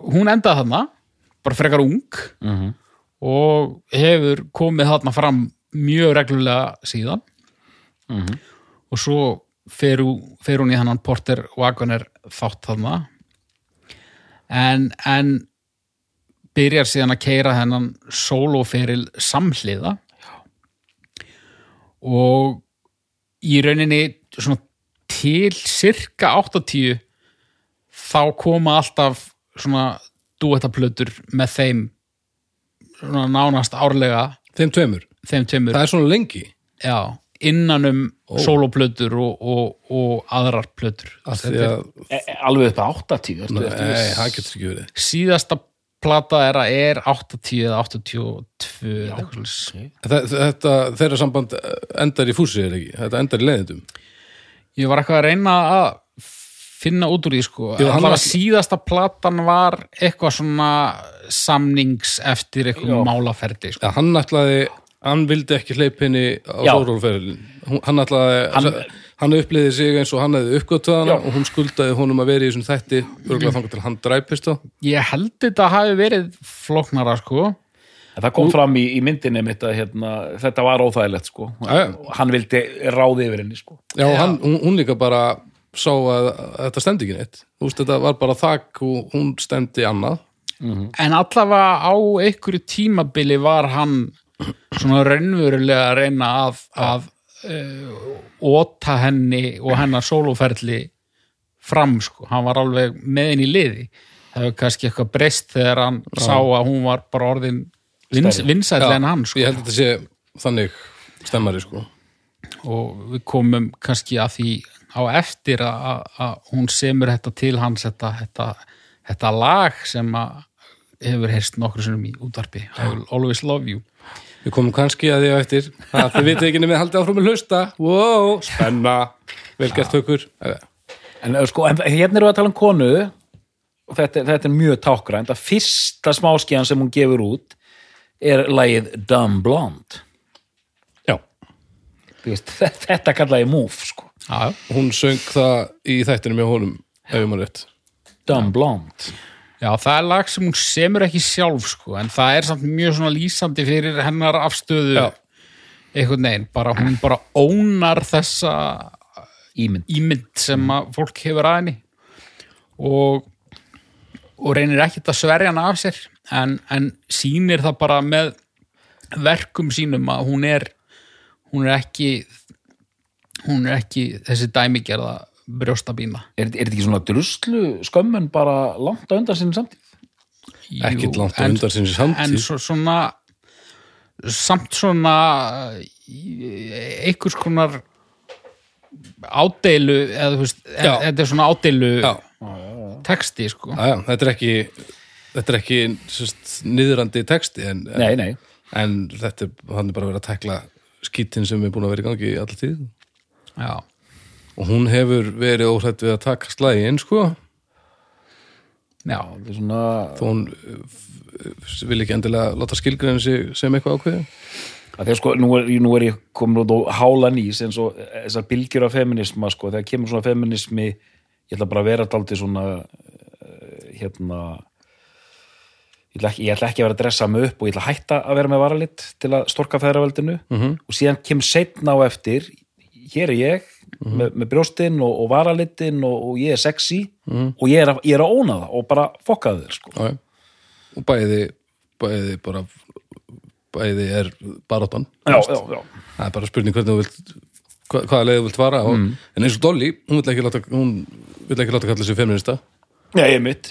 S3: hún endaði þarna bara frekar ung
S2: Mhm.
S3: og hefur komið þarna fram mjög reglulega síðan og svo fer, hún- fer hún í þannan Porter Wagoner þátt þarna en, en byrjar síðan að keira þennan sólóferil samhliða og í rauninni svona til cirka 80 þá koma alltaf svona duettaplötur með þeim svona nánast árlega
S1: þeim tveimur,
S3: þeim tveimur
S1: það er svona lengi
S3: já, innan um soloplötur og, og, og aðrar plötur
S1: af því að,
S2: e, e- alveg upp að 80 ertu,
S1: nei, það getur ekki verið
S3: síðasta plata er að er 80 eða 82 já, okay.
S1: Þe- þetta, þeirra samband endar í fúsi er ekki, þetta endar í leiðindum
S3: ég var eitthvað að reyna að finna út úr því sko
S1: Jú,
S3: Jú,
S1: hann
S3: var...
S1: var-
S3: síðasta platan var eitthvað svona samnings eftir eitthvað málaferdi sko.
S1: ja, hann ætlaði, hann vildi ekki hleyp henni á
S2: Já.
S1: sólrólferðin hann ætlaði,
S2: Hann-
S1: hann, uppleiði sig eins og hann hefði uppgötað hana
S2: Já.
S1: og hún skuldaði honum að vera í þessum þætti örgulega þangar til hann dræpist þá
S3: ég held þetta hafi verið flóknara sko
S2: En það kom fram í, í myndinni mitt að hérna, þetta var óþægilegt sko.
S1: Já, já.
S2: hann vildi ráði yfir henni sko.
S1: Já, og hann, hún, hún líka bara sá að, að þetta stemdi ekki neitt Þú veist, þetta var bara þakk og hún stemdi annað
S3: En allavega á einhverju tímabili var hann svona raunverulega að reyna að, að uh, óta henni og hennar sóluferli fram, sko. Hann var alveg með henni í liði. Það hefur kannski eitthvað breyst þegar hann sá að hún var bara orðin vins,
S2: Stærri.
S3: vinsætli en hann,
S1: Ég
S3: sko.
S1: held að þetta sé þannig stemmari, sko
S3: Og við komum kannski að því á eftir að- að að hún semur þetta til hans, þetta, þetta, þetta lag sem að hefur heyrst nokkru sinnum í útvarpi I will always love you
S1: Við komum kannski að því á eftir Ha, Þið vitið ekki nefnir haldið áfram að hlusta Wow, spenna, vel gert hökur
S2: En, eh, sko, en hérna erum við að tala um konu og þetta, þetta er mjög tákgrænt að fyrsta smáskiðan sem hún gefur út er lagið Dumb Blonde
S1: Já
S2: Þú veist, þetta kallaði Move sko.
S3: Já, já.
S1: Hún söng það í þættinu með honum ef ég maður rétt
S2: Dumb Blonde
S3: já, það er lag sem hún semur ekki sjálf sko, en það er samt mjög svona lýsandi fyrir hennar afstöðu
S1: Já.
S3: einhvern veginn, bara hún bara ónar þessa
S2: Ímynd
S3: ímynd sem að fólk hefur að henni og og reynir ekkert að sverja hana af sér en, en sýnir það bara með verkum sínum að hún er hún er ekki hún er ekki þessi dæmigerða brjóstabíma
S2: Er, er þetta ekki svona druslu skömmun bara langt á undan sinni samtíð?
S3: Jú,
S1: Ekkert langt á
S3: en-
S1: undan sinni samtíð.
S3: en svo, svona samt svona eh, einhvers konar ádeilu eða þú veist, e-
S1: Já.
S3: þetta er svona ádeilu
S1: Já,
S3: texti sko
S1: Ah, já, já, þetta er ekki þetta er ekki sérst, niðrandi texti en, en,
S2: Nei, nei.
S1: en þetta er, hann er bara verið að tekla skítin sem er búin að vera í gangi alltaf tíð
S3: já,
S1: og hún hefur verið óhrætt við að taka slægin sko,
S3: já.
S2: Þetta er svona...
S1: þó hún uh, f- vil ekki endilega láta skilgreinu sig sem eitthvað ákveði
S2: Að þegar sko, nú er, nú er ég komin út á hálan ís eins og þessar bylgjur af feminisma sko, þegar kemur svona feminismi ég ætla bara að vera daldið svona eh, hérna ég ætla, ekki, ég ætla ekki að vera að dressa mig upp og ég ætla að hætta að vera með varalit til að storka feðraveldinu -hmm. og síðan kemur setna á eftir hér er ég með, með brjóstinn og, og varalitin og, og ég er sexy -hmm. og ég er, að, ég er að óna það og bara fokka þér sko.
S1: Já, já. og bæði bæði bara bæði er baráttan
S2: já, já, já,
S1: það er bara spurning hvernig þú vilt hva, hvaða leið þú vilt fara og,
S2: Mm.
S1: en eins og Dolly, hún vil ekki láta hún vil ekki láta kalla sig feminista
S2: já, ég er mitt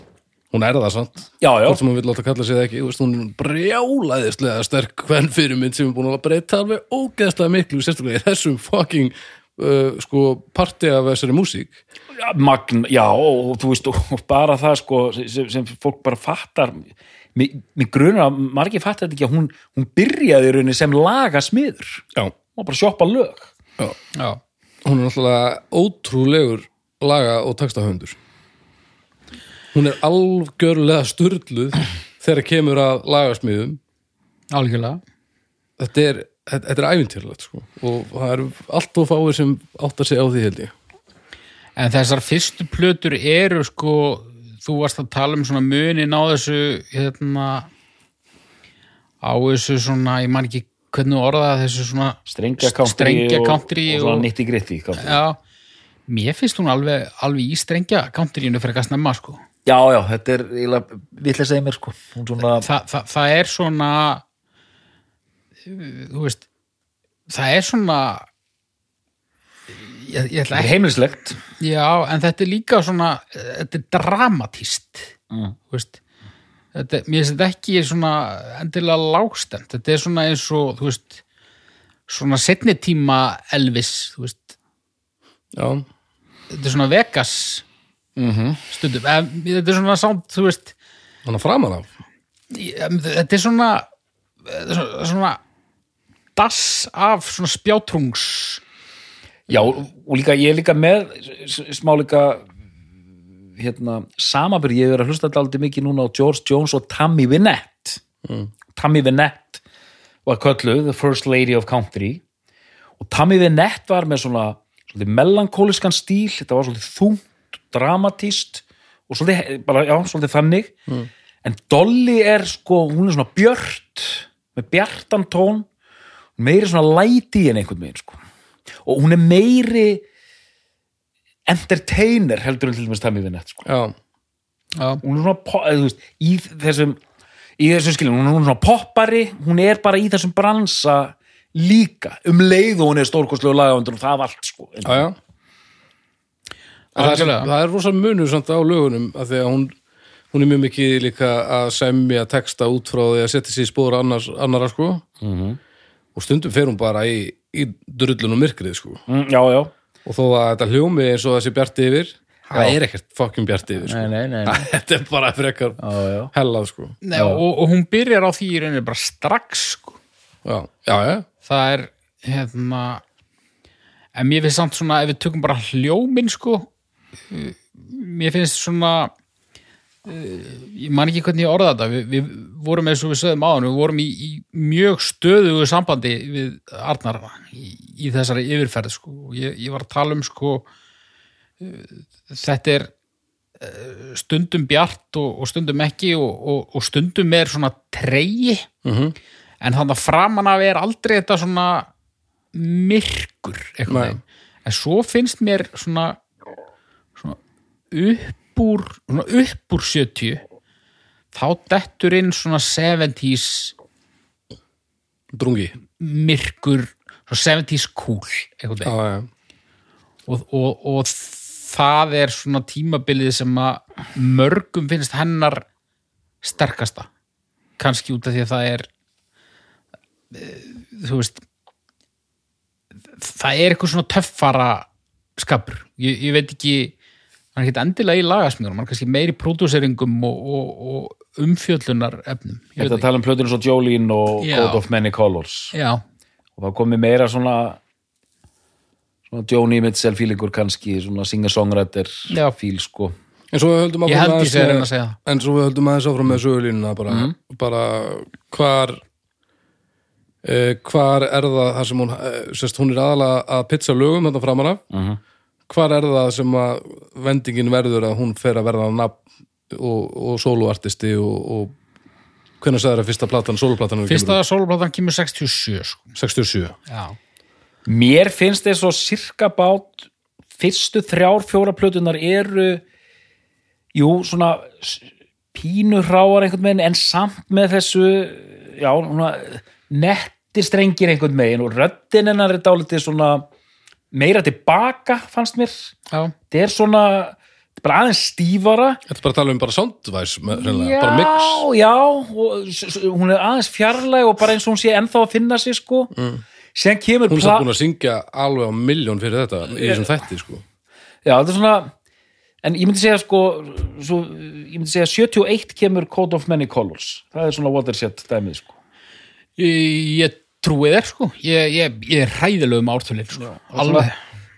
S1: hún er það samt,
S2: já, já,
S1: hvort sem hún vil láta kalla sig það ekki þú veist, hún er brjálaðislega sterk hvern fyrir mynd sem er búin að breyta alveg ógeðslega miklu, sérstaklega í þessum fucking uh, sko parti af þessari músík
S2: Ja, magn, já, og þú veist og bara það sko sem, sem fólk bara fattar mér, mér grunar að margir fattar þetta ekki að hún, hún byrjaði í rauninni sem lagasmiður
S1: já,
S2: og bara sjoppa lög
S1: já.
S3: já.
S1: hún er náttúrulega ótrúlegur laga og textahöndur hún er algjörlega styrluð þegar kemur að lagasmiðum
S3: algjörlega
S1: þetta er, þetta, þetta er ævintýrlegt sko. og það eru allt og fáir sem áttar sig á því held ég
S3: En þessar fyrstu plötur eru sko, þú varst að tala um svona munin á þessu hérna á þessu svona, ég man ekki hvernig orðaði þessu svona
S2: strengja country,
S3: strengja
S2: og,
S3: country
S2: og,
S3: og-
S2: svona nýtti gritti country.
S3: Já, mér finnst hún alveg, alveg í strengja countryinu frekar snemma sko.
S2: já, já, þetta er eiginlega vitlega segir mér sko hún svona,
S3: Þa, það, það er svona uh, þú veist það er svona ég, ég ætla
S2: þetta
S3: ekki
S2: er heimilislegt
S3: Já, en þetta er líka svona, þetta er dramatíst,
S2: Mm.
S3: þú veist, þetta, mér finnst þetta ekki svona endilega lágstend, þetta er svona eins og, þú veist, svona setni tíma Elvis, þú veist,
S1: já,
S3: þetta er svona Vegas stundum, en, þetta er svona samt, þú veist,
S1: hann er framan af
S3: ég- em, þetta er svona, þetta er svona, svona dass af svona spjátrungs,
S2: já, og líka, ég er líka með s- s- smá líka hérna, samabur, ég er að hlusta aldrei mikið núna á George Jones og Tammy Wynette Tammy Wynette var kölluð The First Lady of Country og Tammy Wynette var með svona svolítið melankóliskan stíl þetta var svolítið þungt, dramatíst og svolítið, he- bara, já, svolítið þannig en Dolly er sko hún er svona björt með bjartan tón meiri svona læti en einhvern veginn sko og hún er meiri entertainer heldur en til dæmis Tammy Wynette sko
S1: já,
S3: já,
S2: hún er svona po- eða, þú veist, í þessum í þessum skilin, hún er svona poppari hún er bara í þessum bransa líka, um leið og hún er stórkostlegu lagafundur og það var allt sko
S1: já, já. En Það, er,
S3: Algjörlega.
S1: það er rosa munur samt á lögunum að því að hún, hún er mjög mikið líka að semja texta út frá því að setja sér í spóra annars, annara sko -hmm. og stundum fer hún bara í, í drullun og myrkrið sko
S2: Mm, já, já,
S1: og þó að þetta hljómi eins og þessi bjart yfir það er ekkert fucking bjart yfir sko.
S2: nei, nei, nei, nei.
S1: þetta er bara frekar
S2: Já, já.
S1: hellað sko
S3: Nei, og, og hún byrjar á því í rauninni bara strax, sko.
S1: já, já, já,
S3: það er hérna en mér finnst samt svona ef við tökum bara hljómin sko uh, mér finnst svona uh, ég man ekki hvernig ég orða þetta við, við vorum eins og við sögðum áðan við vorum í, í mjög stöðugu sambandi við Arnar í, í þessari yfirferð sko Og ég, ég var að tala um sko uh, þetta er uh, stundum bjart og, og stundum ekki og, og, og stundum er svona tregi en þannig að framan af er aldrei þetta svona myrkur einhvern
S1: Nei.
S3: veginn en svo finnst mér svona, svona upp úr svona upp úr 70 þá dettur inn svona 70s
S1: drungi
S3: myrkur svona 70s cool einhvern veginn
S1: já, já.
S3: og, og, og það er svona tímabilið sem að mörgum finnst hennar sterkasta kannski út af því að það er eh, þú veist það er eitthvað svona töffara skapur, ég, ég veit ekki hann er ekki endilega í lagasmíðunum hann er kannski meiri pródúseringum og, og, og umfjöllunar efnum
S2: Ég veit að tala um plötunum svo Jolene og
S3: Já.
S2: Code of Many Colors
S3: já,
S2: og það komi meira svona svona Joni Mitchell fílingur kannski, svona singer-songwriter
S3: Já.
S2: fíl sko
S1: En svo við höldum
S3: Ég held ég
S1: aðeins
S3: sé að reyna
S1: með-
S3: að segja Mhm. það.
S1: En svo við höldum aðeins áfram með sögulínuna bara, bara hvar uh, hvar er það þar sem hún, uh, sérst, hún er aðalega að pizza lögum þetta framan af mm
S3: Mhm.
S1: hvar er það sem að vendingin verður að hún fer að verða nafn og, og soloartisti og, og hvernig sagði það fyrsta platan, soloplatan
S3: fyrsta sólplatan kemur 67 sko.
S1: 67
S3: já,
S2: Mér finnst þess svo sirka bát fyrstu þrjár fjóra plötunar eru jú, svona s- pínu hráar einhvern veginn en samt með þessu já, svona netti strengir einhvern veginn og röddin hennar er dálítið svona meira tilbaka fannst mér
S3: já,
S2: þetta er svona þetta er bara aðeins stífara
S1: Þetta er bara að tala um bara soundvæs
S2: já,
S1: bara mix
S2: já og, s- s- hún er aðeins fjarlæg og bara eins og hún sé ennþá að finna sig sko mm. síðan kemur
S1: Hún er
S2: pla-
S1: samt búin að syngja alveg á miljón fyrir þetta í þessum þætti sko
S2: Já, þetta er svona en ég myndi segja sko svo, ég myndi segja 71 kemur Code of Many Colors það er svona watershed dæmið sko
S3: Ég, ég trúi þér sko ég, ég, ég er hræðilegu með ártölin sko. alveg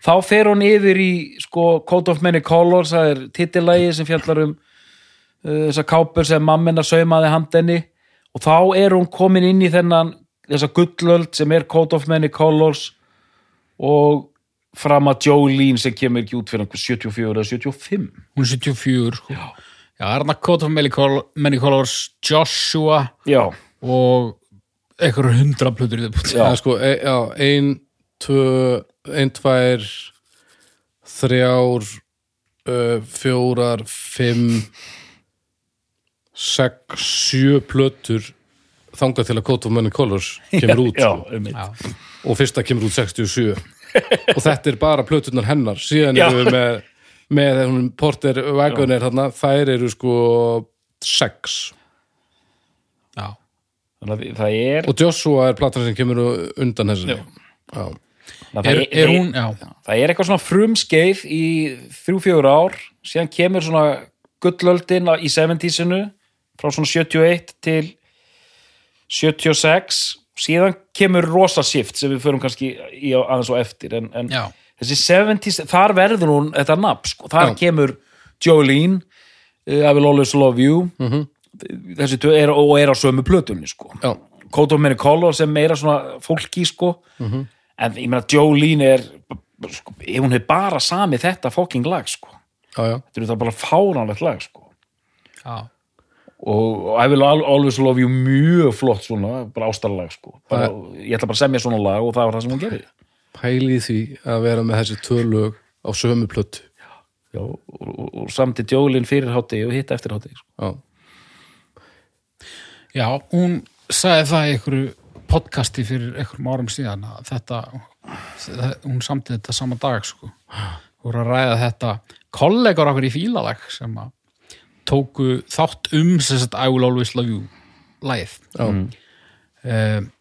S2: þá fer hún yfir í sko Code of Many Colors það er titillagi sem fjallar um uh, þessa kápur sem mammina saumaði handinni og þá er hún komin inn í þennan þessa gullöld sem er Code of Many Colors og fram að Jolene sem kemur ekki út fyrir einhver 74 eða 75
S3: hún er 74 sko. já, Arna Kota Many Colors Joshua
S2: já,
S3: og einhverjum hundra plötur í þetta
S1: Það er sko, e, já, ein, tvö, ein, tvær, þrjár, uh, fjórar, fimm, sex, sjö plötur þangað til að Code of Money Colors kemur út
S2: já,
S1: sko.
S2: um mitt
S1: og fyrsta kemur út 67 og þetta er bara plöturnar hennar síðan
S2: Já.
S1: eru við með, með hún Porter Wagoner þarna, þær eru sko sex
S3: já.
S2: þannig að það er
S1: og Joshua er platan sem kemur undan þessu Já.
S2: Ná,
S3: Er, er hún, já,
S2: það er eitthvað svona frumskeið í þrjú, fjögur ár síðan kemur svona gullöldin á- í 70-sinu frá svona 71 til 76 síðan kemur rosa shift sem við förum kannski í á- aðeins og eftir en, en
S3: Já.
S2: þessi 70s, þar verður hún þetta nafn, sko, þar
S1: Já.
S2: kemur Jolene, uh, I will always love you
S3: Mhm.
S2: þessi tvö er, og er á sömu plötunni, sko
S1: Já.
S2: Code of Many Colors er meira svona fólki sko
S3: Mhm.
S2: en ég meina Jolene er sko, ef hún hefur bara samið þetta fucking lag sko
S1: Já, já.
S2: þetta er það bara fáránlegt lag sko
S3: já.
S2: og, og I will al- always love you mjög flott svona, bara ástarlag sko bara, ég ætla bara að semja svona lag og það var það sem hún gerði
S1: pæli í því að vera með þessi tvö lög á sömu plötu
S2: Já, og, og, og samti Jolene fyrir hátegi og hitt eftir hátegi sko.
S1: já,
S3: já hún sagði það í einhverju podcasti fyrir einhverjum árum síðan að þetta, það- hún samtið þetta sama dag sko, hún voru að ræða þetta kollegar okkur í fílalag sem að tóku þátt um sem sagt I will always love you lagið Mm.
S1: já,
S3: um,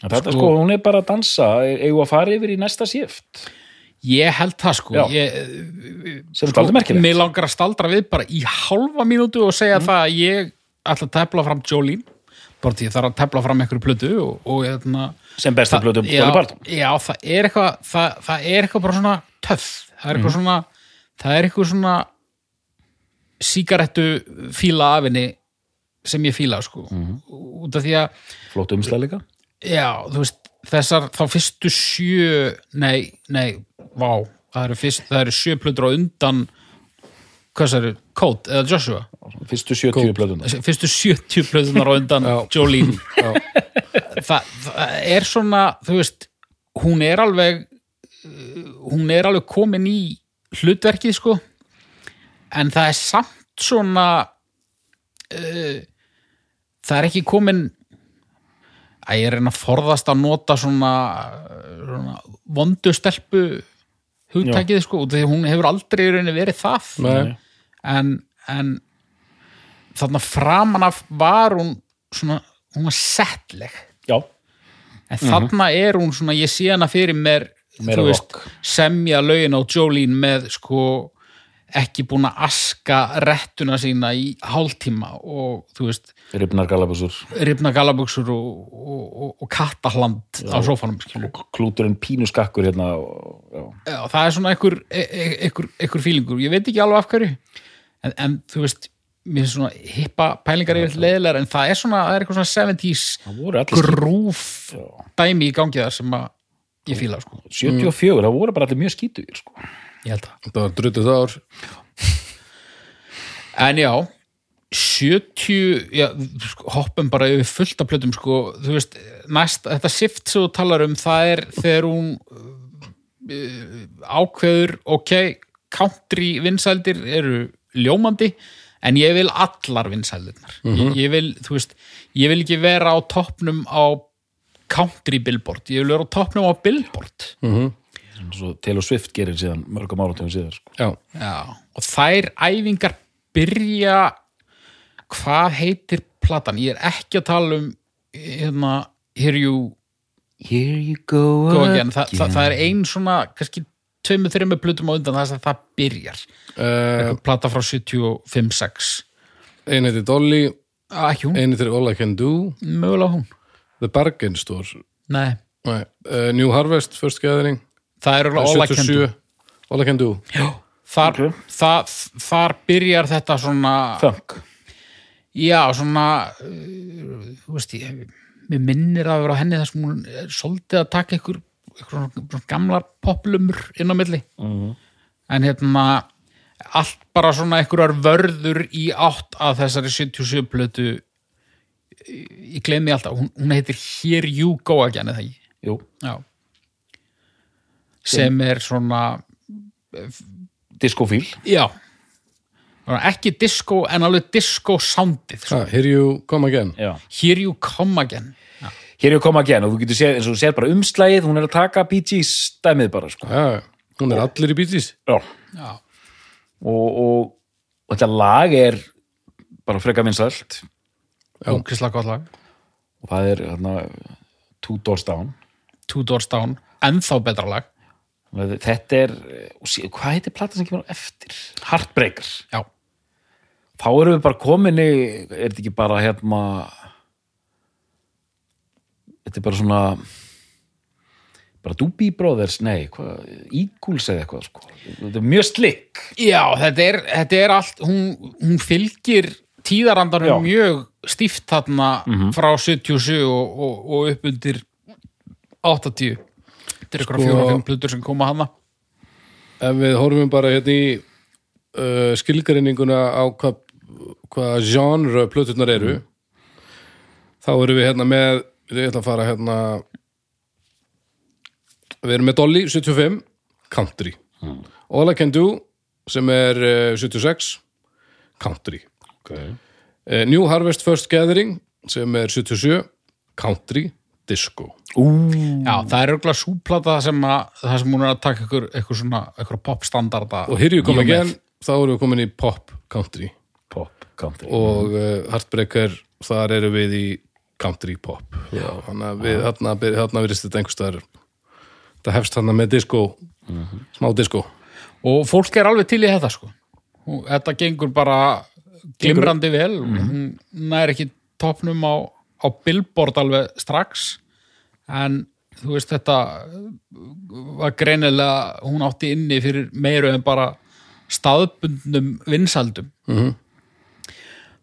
S2: En þetta
S3: Sko-
S2: sko, hún er bara að dansa eigum að fara yfir í næsta síft
S3: Ég held það sko
S2: Já.
S3: ég,
S2: sem er
S3: sko,
S2: aldrei merkilegt Mm.
S3: Mér langar að staldra við bara í halva mínútu og segja það að ég ætla að tefla fram Jolene bara því ég þarf að tefla fram einhverju plötu og, og hérna
S2: sem besta blötu
S3: já,
S2: Dolly Parton
S3: já, það er eitthvað það, það er eitthvað bara svona töff það er eitthvað svona það er eitthvað svona sígarettu fíla afinni sem ég fíla sko út af því að
S2: flott umslæð líka
S3: Já, þú veist, þessar þá fyrstu sjö, nei, nei, vá, það eru, fyrst, það eru sjö plötur á undan, hvað það eru, Colt eða Joshua,
S2: fyrstu 70 blötu
S3: fyrstu 70 plötunar á undan Jolene.
S1: já,
S3: Þa, það er svona, þú veist, hún er alveg, uh, hún er alveg komin í hlutverkið, sko, en það er samt svona, uh, það er ekki komin að ég er að reyna að forðast að nota svona, eh, svona vondustelpu hugtækið sko, út af því að hún hefur aldrei í rauninni verið það
S1: Nei.
S3: en, en þarna framan af var hún svona, hún var settleg
S2: já,
S3: en þarna er hún svona, ég sé hana fyrir mér
S2: Meira
S3: þú semja lögin á Jolene með sko ekki búin að aska rettuna sína í hálftíma og þú veist,
S2: ripnar galabúsur
S3: rifna galabuxur og, og, og, og kattahland á sófanum skilur.
S2: klúturinn pínuskakkur hérna og, já.
S3: Já, það er svona einhver, e- e- einhver, einhver fílingur, ég veit ekki alveg af hverju en, en þú veist mér finnst svona hippa pælingar yfir leðilegar en það er svona, það er eitthvað svona 70s
S2: það voru allir
S3: grúf dæmi í gangi þar sem að ég fíla sko,
S2: 74, það voru bara allir mjög skítugir sko.
S3: ég held það
S1: Það var druttuð ár
S3: en já, 70 já, sko, hoppum bara yfir fullt af plötum sko, þú veist, næst þetta shift sem þú talar um, það er þegar hún uh, ákveður, ok country vinsældir eru ljómandi, en ég vil allar vinsældirnar, ég, ég vil þú veist, ég vil ekki vera á toppnum á country billboard ég vil vera á toppnum á billboard
S2: svo Taylor Swift gerir síðan mörgum áratöfum síðar sko.
S1: Já,
S3: Já, og þær æfingar byrja hvað heitir platan? Ég er ekki að tala um hérna, here you
S2: Here you go,
S3: go again Þa, það, það er ein svona, kannski tveimur, þreimur plutum á undan þess að það byrjar
S1: uh,
S3: plata frá 75-6
S1: einu til Dolly
S3: ekki hún,
S1: einu til All I Can Do
S3: Eh, mögulega hún
S1: The Bargain Store
S3: Nei,
S1: Nei, uh, New Harvest, First Gathering
S3: það er örugglega all I can do
S1: 77, All I Can Do
S3: Þar,
S2: Ok.
S3: það, þar byrjar þetta svona
S2: Funk
S3: Já, svona uh, þú veist ég mér minnir að vera á henni þar sem hún er svolítið að taka ykkur, ykkur svona- svona gamlar poplumur inn á milli en hérna allt bara svona einhverjar vörður í átt að þessari 77 plötu ég gleymi alltaf, hún, hún heitir Here You Go Again eða ekki
S2: Jú,
S3: Já. sem er svona
S2: diskofíl
S3: já Svona ekki disco en alveg disco soundið
S1: ah, Here You Come Again
S2: Já.
S3: Here You Come Again
S2: Here you come again og þú getur séð, eins og þú séð bara umslægið hún er að taka BG stæmið bara sko.
S1: Já, hún er allir í bítlis
S2: Já.
S3: Já,
S2: og, og, og þetta lag er bara freka vinsælt
S3: ókislega gott lag
S2: og það er hérna, Two Doors Down
S3: Two Doors Down, ennþá betra lag
S2: Þannig að þetta er, og sé, hvað heitir platan sem kemur á eftir? Heartbreaker
S3: Já,
S2: þá erum við bara komin í, er þetta ekki bara hérna þetta er bara svona bara Doobie Brothers, nei, hvað, Eagles eða eitthvað, sko. Þetta er mjög slikk.
S3: Já þetta, er, þetta er allt hún, hún fylgir
S2: Já.
S3: tíðarandarum mjög stíft þarna
S1: Mhm.
S3: frá 77 og, og, og upp undir 80 Þetta er ykkur
S1: Sko-
S3: fjóra og fimm plötur sem koma hana
S1: Ef við horfum bara hérna í uh, skilgreininguna á hvað hva genre plöturnar eru þá erum við hérna með við ætla að fara hérna við erum með Dolly 75 Country All I Can Do sem er uh, 76 Country
S2: Okay.
S1: uh, New Harvest First Gathering sem er 77 Country Disco
S3: Já,
S1: Mm.
S3: það er örgulega súplata sem, að, það sem hún er að taka ykkur, ykkur, svona, ykkur popstandarda
S1: og hér ég kom
S3: Nýjum
S1: again þá erum við komin í Pop Country
S2: Pop, country.
S1: og uh, Heartbreaker þar eru við í country pop Já, þannig að við þarna, byr- þarna virðist þetta einhvers staðar það hefst þarna með disco smá disco
S3: og fólk er alveg til í þetta sko Og þetta gengur bara glimrandi vel hún er ekki topnum á, á billboard alveg strax en þú veist þetta var greinilega hún átti inni fyrir meiru en bara staðbundnum vinsaldum -hmm.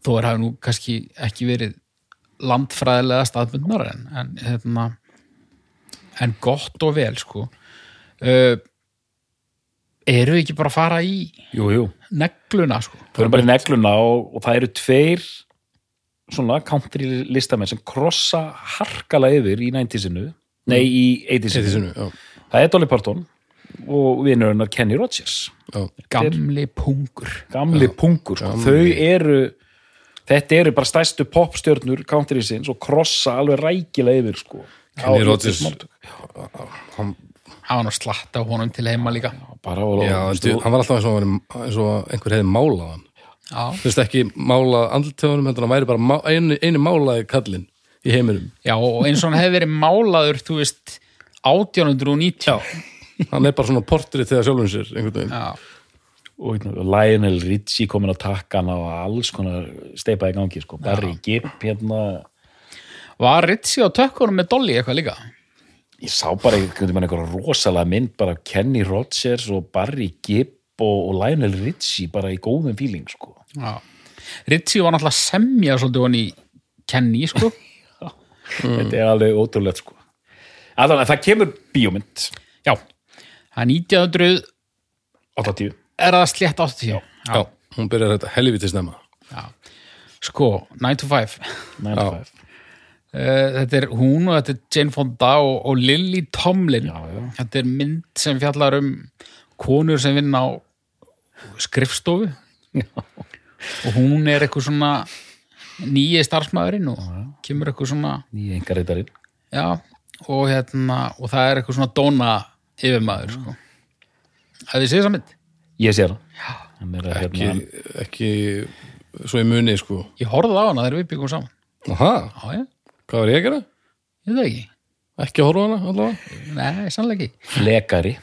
S3: þó er hafi nú kannski ekki verið landfræðilega staðbundnar en, en hérna en gott og vel sko uh, eru við ekki bara að fara í
S2: Jú, jú.
S3: negluna sko
S2: Við erum bara í negluna og, og það eru tveir svona country listamenn sem krossa harkala yfir í 90-sinu, nei, í 80-sinu.
S1: sinu, já,
S2: Það er Dolly Parton og vinur hennar Kenny Rogers.
S1: já.
S3: gamli pungur
S2: Gamli pungur, sko. Þau eru þetta eru bara stærstu popstjörnur countrysins og krossa alveg rækilega yfir sko
S1: Kenny
S2: Á-
S1: Rogers.
S2: máltök.
S1: hann,
S3: hafa nú slatt á honum til heima líka
S2: bara og
S1: já, en þú- hann var alltaf eins og, hann væri- eins og einhver hefði málað hann
S3: já,
S1: þú veist ekki málað andlutöfunum heldur hann væri bara má, einu, einu málaði kallinn í heiminum
S3: já og eins og hann hefði verið málaður þú veist 1890 já.
S1: hann er bara svona portrið þegar sjálfum sér einhvern veginn
S3: Já.
S2: og hérna, Lionel Richie komin að taka hann og alls konar steipa í gangi sko, Barry Gibb hérna
S3: var Ritsi á tökkunum með Dolly eitthvað líka
S2: ég sá bara einhvern veginn einhver rosalega mynd bara af Kenny Rogers og Barry Gibb og, og Lionel Richie bara í góðum fíling sko
S3: já. Ritsi var náttúrulega að semja svolítið hann í Kenny sko
S2: þetta er alveg ótrúlegt sko allan að það kemur bíómynd
S3: já, það er 1900
S2: 80
S3: er það slétt 80 já.
S1: já, hún byrjar þetta helviti snemma
S3: sko, 9 to 5
S2: 95
S3: Eh, þetta er hún og þetta er Jane Fonda og, og Lily Tomlin
S2: Já, já.
S3: þetta er mynd sem fjallar um konur sem vinna á skrifstofu og hún er eitthvað svona nýji starfsmæðurinn og kemur eitthvað svona
S2: nýja engareitarinn
S3: já, og, hérna, og það er eitthvað svona dóna yfirmaður sko. að þið séð þessa mynd
S2: ég sér hann hann er að
S1: ekki,
S2: hérna
S1: ekki svo í muni sko
S3: ég horfði á hana þegar við byggum saman
S1: Aha,
S3: já, já,
S1: hvað var ég að gera?
S3: ég veit það ekki
S1: ekki að horfa á hana allavega
S3: nei, sannlega ekki
S2: flekari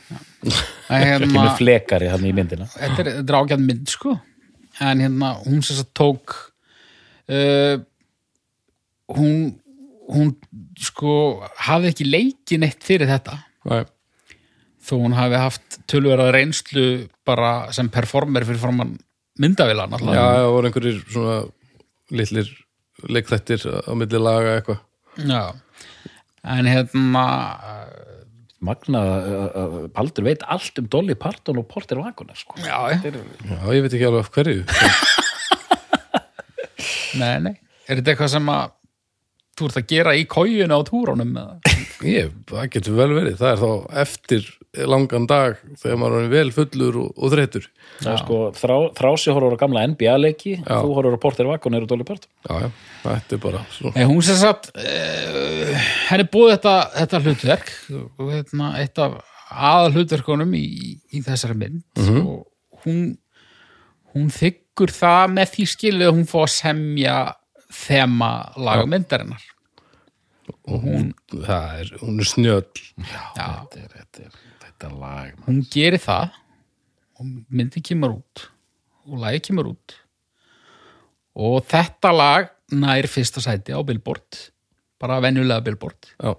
S3: En hérna-
S2: kemur flekari hann í myndina
S3: þetta er, þetta er ágæð mynd sko en hérna hún sem sagt tók uh, hún hún sko hafði ekki leikin eitt fyrir þetta
S1: Nei,
S3: þó hún hafi haft tölverað reynslu bara sem performer fyrir forman myndavila
S1: já,
S3: náttúrulega
S1: það voru einhverjir svona litlir leikþættir á milli laga eitthvað
S3: Já. en hérna
S2: Magna, uh, uh, Paldur veit allt um Dolly Parton og Porter Wagoner sko.
S3: já, já,
S1: já, ég veit ekki alveg af hverju
S3: nei, nei er þetta eitthvað sem að þú ert að gera í kójuna á túrunum eða?
S1: Ég, það getur vel verið, það er þá eftir langan dag þegar maður er orðinn vel fullur og, og þreytur
S2: Það er sko, þrá, Þrási horfur á gamla NBA-leiki þú horfur á Porter Wagoner og Dolly Parton
S1: Já, já, þetta er bara svona
S3: Nei, hún sem sagt uh, henni búið þetta, þetta hlutverk og hérna, eitt af aða hlutverkunum í, í þessari mynd og hún hún þykkur það með því skilið að hún fór að semja þema laga myndarinnar
S1: og hún, það er, hún er snjöll
S3: Já,
S2: þetta er, þetta er, þetta er lag maður.
S3: hún gerir það og myndin kemur út og lagi kemur út og þetta lag nær fyrsta sæti á Billboard bara venjulega Billboard
S1: Já,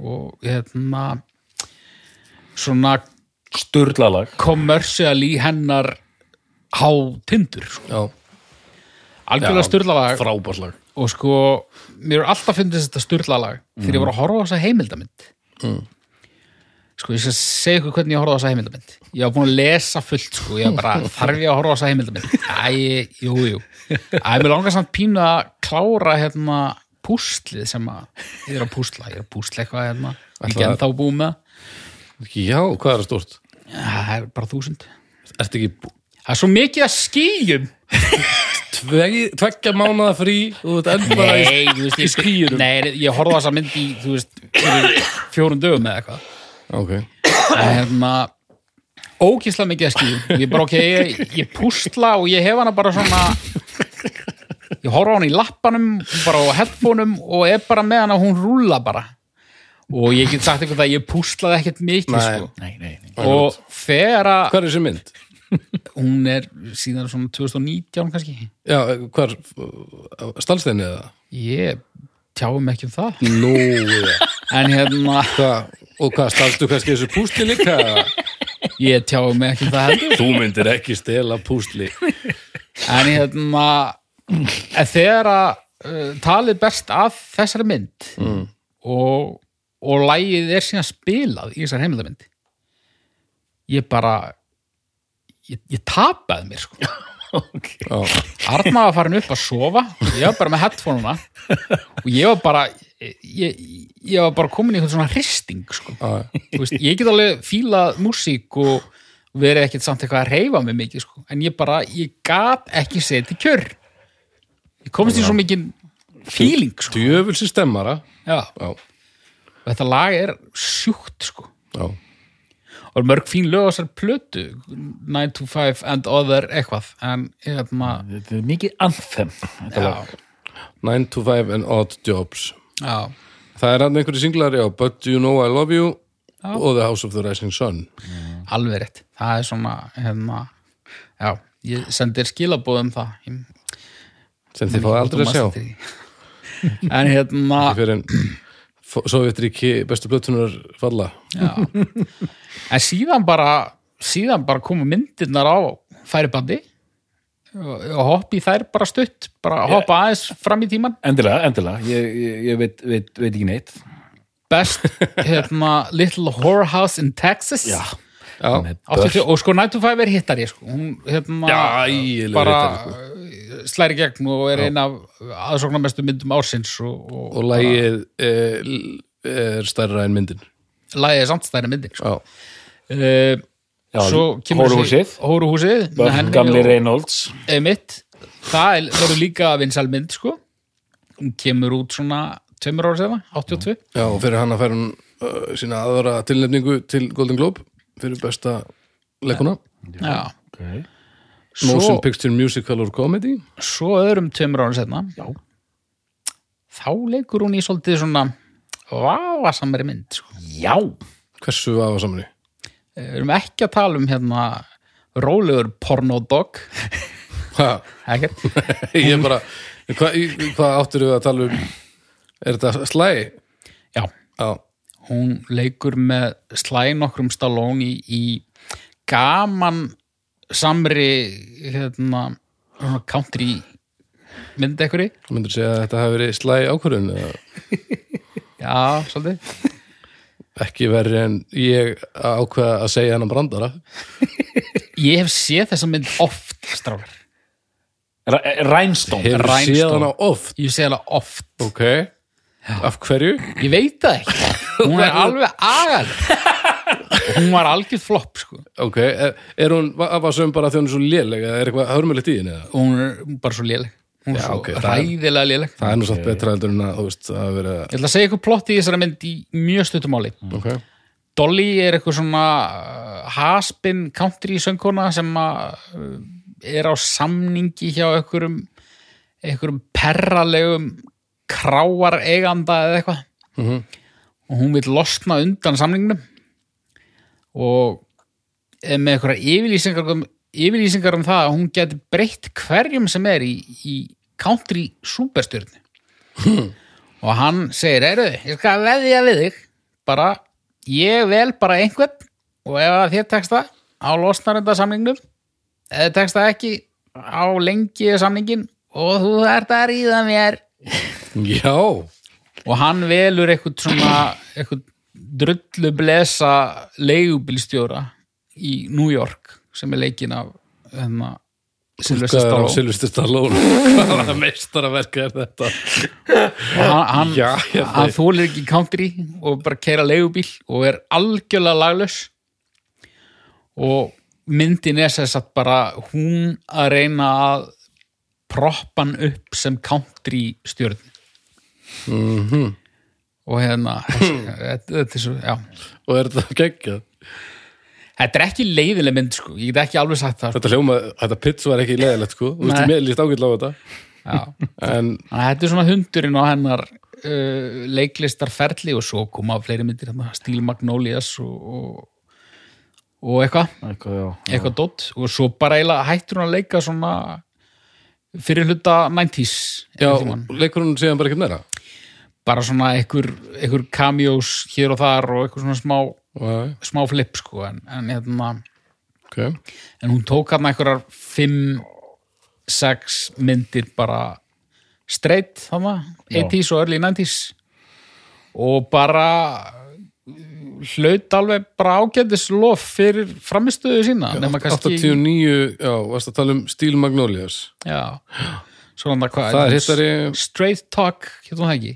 S3: og hérna svona
S2: Sturla lag
S3: kommersiali hennar há tindur sko.
S1: já,
S3: algjörlega styrlalag
S1: frábærslag
S3: og sko, mér er alltaf fyndist þetta styrlalag þegar ég var að horfa á þessa heimildamind sko, ég skal segja ykkur hvernig ég horfa á þessa heimildamind ég var búin að lesa fullt sko, ég var bara þarf ég að horfa á þessa heimildamind æ, jú, jú æ, mér langar samt pínu að klára hérna púslið sem að ég er að púsla, ég er að púsla eitthvað hérna ekki
S1: Ætlaðu-
S3: ennþá búið með það.
S1: Já, hvað er það stórt?
S3: það er bara þúsund
S1: Ertu ekki bú-
S3: það er svo mikið að skýjum
S1: tvegi, tveggja mánaða frí og þetta endur bara í
S3: Nei, þú veist, ég skýrum Nei, ég horfði á þessa mynd í, þú veist, fyrir fjórun dögum eða eitthvað
S1: Ok,
S3: En hérna, ókísla mikið að skýrum Ég bara, ok, ég, ég púsla og ég hef hana bara svona Ég horfa á hana í lappanum, bara á headphoneum og er bara með hana, hún rúla bara Og ég get sagt eitthvað að ég púslaði ekkert mikið,
S1: Nei.
S3: sko
S2: nei, nei, nei.
S3: Og þegar að
S1: hvað er þessi mynd?
S3: hún er síðan svona 2019 kannski
S1: Já, hvað er, stálsteinni eða?
S3: Ég tjáum ekki um það
S1: Nú, já.
S3: En hérna
S1: hvað, og hvað, stálstu kannski þessu púsli líka?
S3: Ég tjáum mig ekki um það heldur
S1: Þú myndir ekki stela púsli
S3: En hérna en Þegar að uh, talið berst af þessari mynd og, og lægið er síðan spilað í þessari heimildamynd Ég bara ég, ég tapaði mér sko
S1: Já,
S3: Arna var farin upp að sofa ég var bara með headphoneuna og ég var bara ég, ég var bara komin í einhvern svona hristing sko.
S1: já,
S3: Þú veist, ég get alveg fílað músík og verið ekkert samt eitthvað að reyfa mig mikið sko. en ég bara, ég gat ekki setið kjör ég komst í svo mikið feeling sko.
S1: Djöfulsi stemmara
S3: já,
S1: Já,
S3: og þetta lag er sjúkt sko
S1: já,
S3: og mörg fín lög á þessar plötu 9 to 5 and other eitthvað en hérna,
S2: Þetta er mikið anthem þetta
S3: já,
S2: lag.
S1: 9 to 5 and odd jobs
S3: já
S1: Það er hann einhverju singlar, já, But Do You Know I Love You og The House of the Rising Sun
S3: alveg rétt, það er svona hérna, já, ég sendir skilabóð um það ég,
S1: sem þið fáið aldrei að sjá
S3: Þú manst eftir því. en hérna
S1: fyrir en Sovjetríki bestu blötunar falla
S3: en síðan bara síðan bara komu myndirnar á færibandi og, og hoppi þær bara stutt bara hoppa aðeins fram í tíman
S2: Endilega, endilega, ég, ég, ég veit, veit, veit ekki neitt
S3: best hérna Little Whorehouse in Texas
S2: Já,
S1: Já,
S3: 84, og sko 95 er hittari sko. hún hérna
S1: Já, ægilegur
S3: bara
S1: hittari, sko.
S3: eh, slær í gegn og er ein af aðsóknarmestu myndum ársins og, og,
S1: og lægið er, er stærra en myndin
S3: og lagið er samt stærri myndin sko.
S1: Já,
S3: uh,
S2: Já,
S3: svo kemur
S2: Hóruhúsið.
S3: hóruhúsið með
S2: Börn
S3: henni
S2: gamli
S3: og-
S2: Reynolds
S3: einmitt, það er- verður líka vinsæl mynd sko hún kemur út svona tveimur ára sefna, 82
S1: já og fyrir hann að færa hún uh, sína aðra tilnefningu til Golden Globe fyrir besta leikuna
S3: já,
S2: okay.
S1: Motion
S3: svo,
S1: Picture Musical or Comedy
S3: svo öðrum tveimur ára sefna
S2: Já,
S3: þá leikur hún í svolítið svona vafasamari mynd sko. Eh,
S2: já
S1: Hversu afa samanri?
S3: við erum ekki að tala um hérna rólegur pornodog
S1: Ha,
S3: ekkert,
S1: ég er bara hva, í- Hvað áttur við að tala um? Er þetta slæ?
S3: já
S1: Já,
S3: hún leikur með slæ nokkrum Stallone í, í gaman samri hérna svona country mynd ekkert
S1: þú myndir segja að þetta hafi verið slæ ákvörðun eða
S3: Já, svolítið.
S1: ekki verri en ég að ákveða að segja hennan brandara
S3: Ég hef séð þessa mynd oft, strákar.
S2: R- Rhinestone
S1: Hefur
S3: Rhinestone.
S1: séð hana oft
S3: Ég hef séð hana oft.
S1: Ok, af hverju?
S3: Ég veit það ekki. Hún er alveg agal. Hún var algjörð flopp, sko.
S1: Ok, er, er hún afasum bara því hún er svo léleg eða er eitthvað hörmulegt í henni eða?
S3: Hún er bara svo léleg. Hún er
S1: Já,
S3: svo
S1: ok, það er-
S3: ræðilega léleg.
S1: Það er nú satt betra heldur en að, þú veist, að vera
S3: Ég ætla að segja ykkur plotti í þessari mynd í mjög stuttumáli.
S1: Ok,
S3: Dolly er eitthvað svona uh, haspin country söngkona sem að, uh, er á samningi hjá einhverjum einhverjum perralegum kráar eiganda eða eitthvað
S1: Mhm.
S3: og hún vil losna undan samningnum og er með einhverja yfirlýsingar um, yfirlýsingar um það að hún geti breytt hverjum sem er í, í country superstjörni og hann segir, eru, ég skal veðja við þig bara, ég vel bara einhvern og ef að þér tekst það á losnarenda samningnum ef þér tekst það ekki á lengi samningin og þú ert að ríða mér
S1: já
S3: og hann velur eitthvað svona eitthvað drullu blesa leigubílstjóra í New York sem er leikin af hérna, Sylvester
S1: Hvað er á
S3: Stallone
S1: Silvestur Stallone? Hvaða meistaraverk er þetta?
S3: og hann, hann,
S1: Já, ég
S3: hann þólir ekki country og bara keira leigubíl og er algjörlega laglaus og myndin er sess að bara hún að reyna að proppa hann upp sem country stjörn
S1: Mhm.
S3: og hérna þetta, þetta, er svo, já.
S1: Og er þetta geggjað?
S3: þetta er ekki leiðileg mynd sko, ég get ekki alveg sagt það sko.
S1: Þetta hljóma, þetta pits var ekki leðilegt sko Þú veist,
S3: Nei.
S1: mér líst ágætla á þetta
S3: Já.
S1: En
S3: Þannig að Þetta er svona hundurinn á hennar uh, leiklistarferli og svo koma fleiri myndir hérna, Stíl Magnolias og, og, og eitthvað,
S2: Eitthvað, já
S3: eitthvað dótt og svo bara eiginlega hættur hún að leika svona fyrir hluta 90s
S1: já,
S3: einhvern tímann.
S1: leikur hún síðan bara ekki meira
S3: bara svona einhver, einhver cameos hér og þar og eitthvað svona smá,
S1: Nei,
S3: smá flip sko en, en, hérna,
S1: Ok,
S3: en hún tók hann einhverjar 5 6 myndir bara straight þarna, 80s og early 90s og bara uh, hlaut alveg bara ágætis lof fyrir framistöðu sína nema kannski
S1: 89, já, varst að tala um Stíl Magnolias
S3: já, svona hvað
S1: Það er hittari,
S3: straight talk, hérna það ekki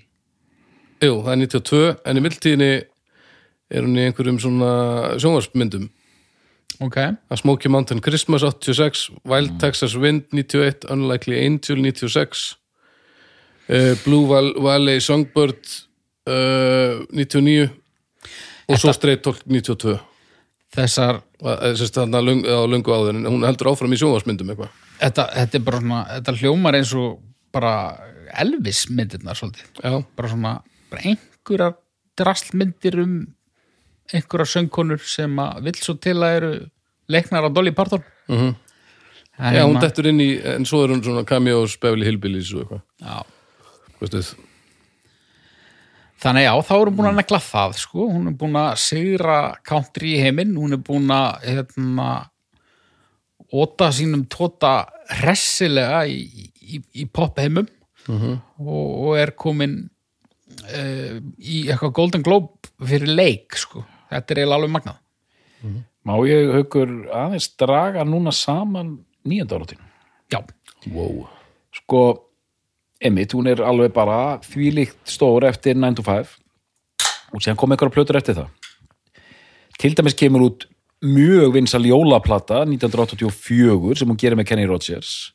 S1: jú, það er 92 En í mildtíðinni er hún í einhverjum svona sjónvarsmyndum
S3: ok,
S1: A Smoky Mountain Christmas 86 Wild Texas Wind 91 Unlikely Angel 96 uh, Blue Val- Valley Songbird uh, 99 og svo Straight Talk 92
S3: Þessar,
S1: sérst þarna lung, á lungu áður en hún heldur áfram í sjónvarsmyndum eitthvað
S3: þetta, þetta er bara svona, þetta hljómar eins og bara Elvis myndirnar svolítið.
S1: já,
S3: Bara svona, bara einhverjar drastlmyndir um einhverjar söngkonur sem að vill svo til að eru leiknar á Dolly Parton. Mm -hmm.
S1: Mhm. já hún dettur inn í en svo er hún svona cameos Beverly Hillbillies og eitthvað,
S3: Já,
S1: veistu
S3: Þannig já, þá er hún búin að negla það, sko. Hún er búin að sigra country í heiminn, hún er búin að, hérna, óta sínum tóta hressilega í, í, í popheimum Mhm. og, og er komin uh, í eitthvað Golden Globe fyrir leik, sko. Þetta er eiginlega alveg magnað.
S2: Má ég haukur aðeins draga núna saman nýjönda áratinu?
S3: Já,
S1: wow.
S2: Sko, Emmitt, hún er alveg bara þvílíkt stór eftir 9 to 5 og séðan kom einhverja plötur eftir það. Til dæmis kemur út mjög vinsal jólaplata 1984 sem hún gerir með Kenny Rogers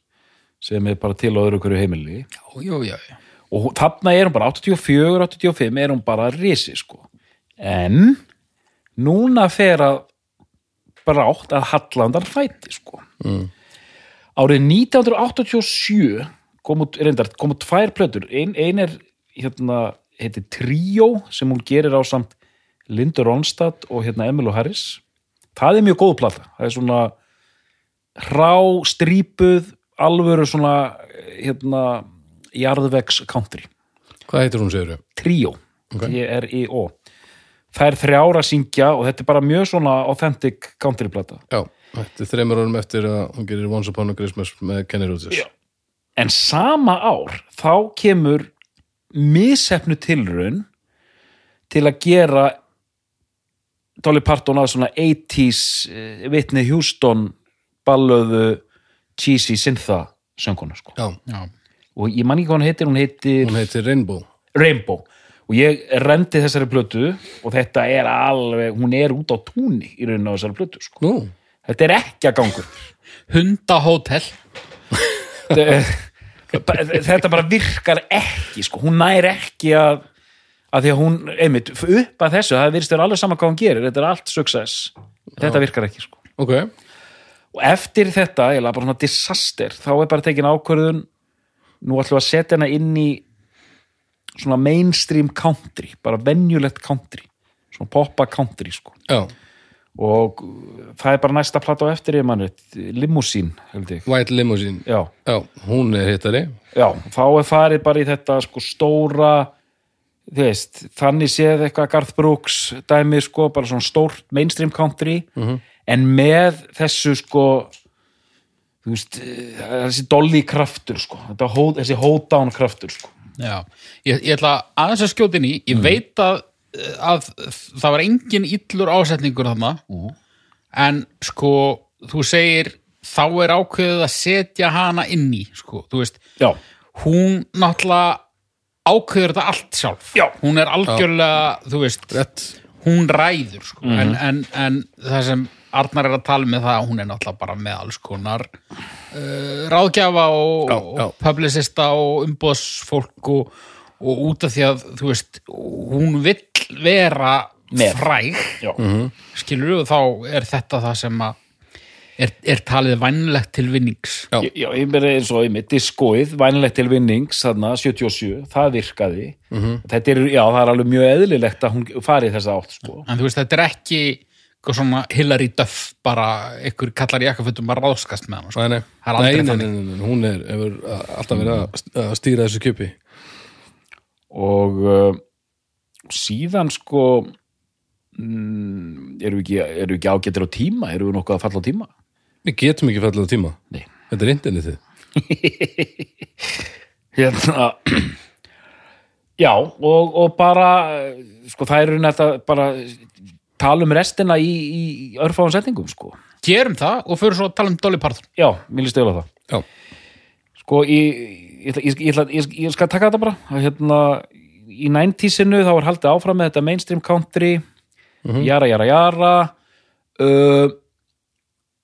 S2: sem er bara til á öðru hverju heimili
S3: já, já, já. já.
S2: og hún- þarna er hún bara 84, 85 er hún bara risi sko en núna fer að brátt að hallandar fæti sko árið 1987 kom út, reyndar, kom út tvær plötur ein, ein er hérna heiti Trio sem hún gerir á samt Lindur Ronstad og hérna Emil og Harris það er mjög góð plata það er svona hrá, strípuð alvöru svona hérna jarðvegs country
S1: hvað heitir hún segir
S2: Trio,
S1: Ok.
S2: T-R-I-O það er þrjára syngja og þetta er bara mjög svona authentic countryplata
S1: já, þetta er þreymur árum eftir að hún gerir Once Upon a Christmas með Kenny Rogers
S2: Já. en sama ár þá kemur missefnu tilraun til að gera Dolly Parton að svona 80s eh, vitni Houston ballöðu cheesy syntha sönguna sko
S1: já,
S3: já.
S2: og ég man ekki hvað hún heitir, hún heitir
S1: hún heitir Rainbow
S2: Rainbow og ég rendi þessari plötu og þetta er alveg, hún er út á túni í rauninu á þessari plötu sko
S1: nú,
S2: þetta er ekki að gangur
S3: Hundahótel.
S2: Þe- þetta bara virkar ekki sko. hún nær ekki að að því að hún, einmitt, upp að þessu það virðist þér alveg saman hvað hún gerir, þetta er allt success þetta virkar ekki sko.
S1: ok
S2: og eftir þetta, ég bara svona disaster þá er bara tekin ákvörðun nú ætlum við að setja hana inn í svona mainstream country bara venjulegt country svona poppa country sko
S1: já,
S2: og uh, það er bara næsta plata á eftir ég mann limousine held ég
S1: White Limousine
S2: já,
S1: já, hún er hittari
S2: Já, þá er farið bara í þetta sko stóra þú veist, þannig séð eitthvað Garth Brooks dæmi sko, bara svona stórt mainstream country, en með þessu sko þú veist, eh, þessi dolly kraftur sko, þetta hold, þessi hold down kraftur sko.
S3: Já, ég, ég ætla aðeins að skjóta inn í, ég veit að, að það var engin illur ásetningur þarna, en sko, þú segir, þá er ákveðið að setja hana inn í, sko, þú veist,
S2: Já,
S3: hún náttúrulega ákveður þetta allt sjálf.
S2: Já.
S3: Hún er algjörlega, þú veist,
S1: rétt
S3: hún ræður, sko,
S2: Mhm.
S3: en, en, en það sem Arnar er að tala með það, hún er náttúrulega bara með alls konar uh, ráðgjafa og,
S1: Já, já.
S3: og publicista og umbóðsfólk og, og út af því að þú veist, hún vill vera
S2: Með.
S3: fræg
S2: já,
S3: skilur og þá er þetta það sem að er, er talið vænlegt til vinnings
S1: Já.
S2: Ég- já ég verið eins og einmitt, diskóið, vænilegt til vinnings þarna, 77, það virkaði þetta er, já, það er alveg mjög eðlilegt að hún farið þessa átt sko.
S3: en þú veist, þetta er ekki eitthvað svona Hillary Duff bara einhver kallar í ekkafötum að ráðskast með hann
S1: Nei, nei.
S3: Það er aldrei
S1: nei, nei,
S3: þannig.
S1: nei, nei, nei, hún er, hefur alltaf verið að st- að stýra þessu kjöpi
S2: og uh, síðan sko mm, erum við ekki, erum við ekki ágættir á tíma erum við nokkuð að falla á tíma
S1: Við getum ekki fallið á tíma
S2: Nei.
S1: Þetta er internetið
S2: hérna já og, og bara eh, sko það er raun þetta bara tala um restina í, í í örfáum setningum sko
S3: gerum það og fyrir svo að tala um Dolly Parton
S2: já, mér líst eða það
S1: Já,
S2: sko ég, ég, ætla- ég, ég, ætla- ég, ég skal taka þetta bara Að hérna, í 90-sinu þá er haldið áfram með þetta
S1: Mhm.
S2: mainstream country jara jara jara uh,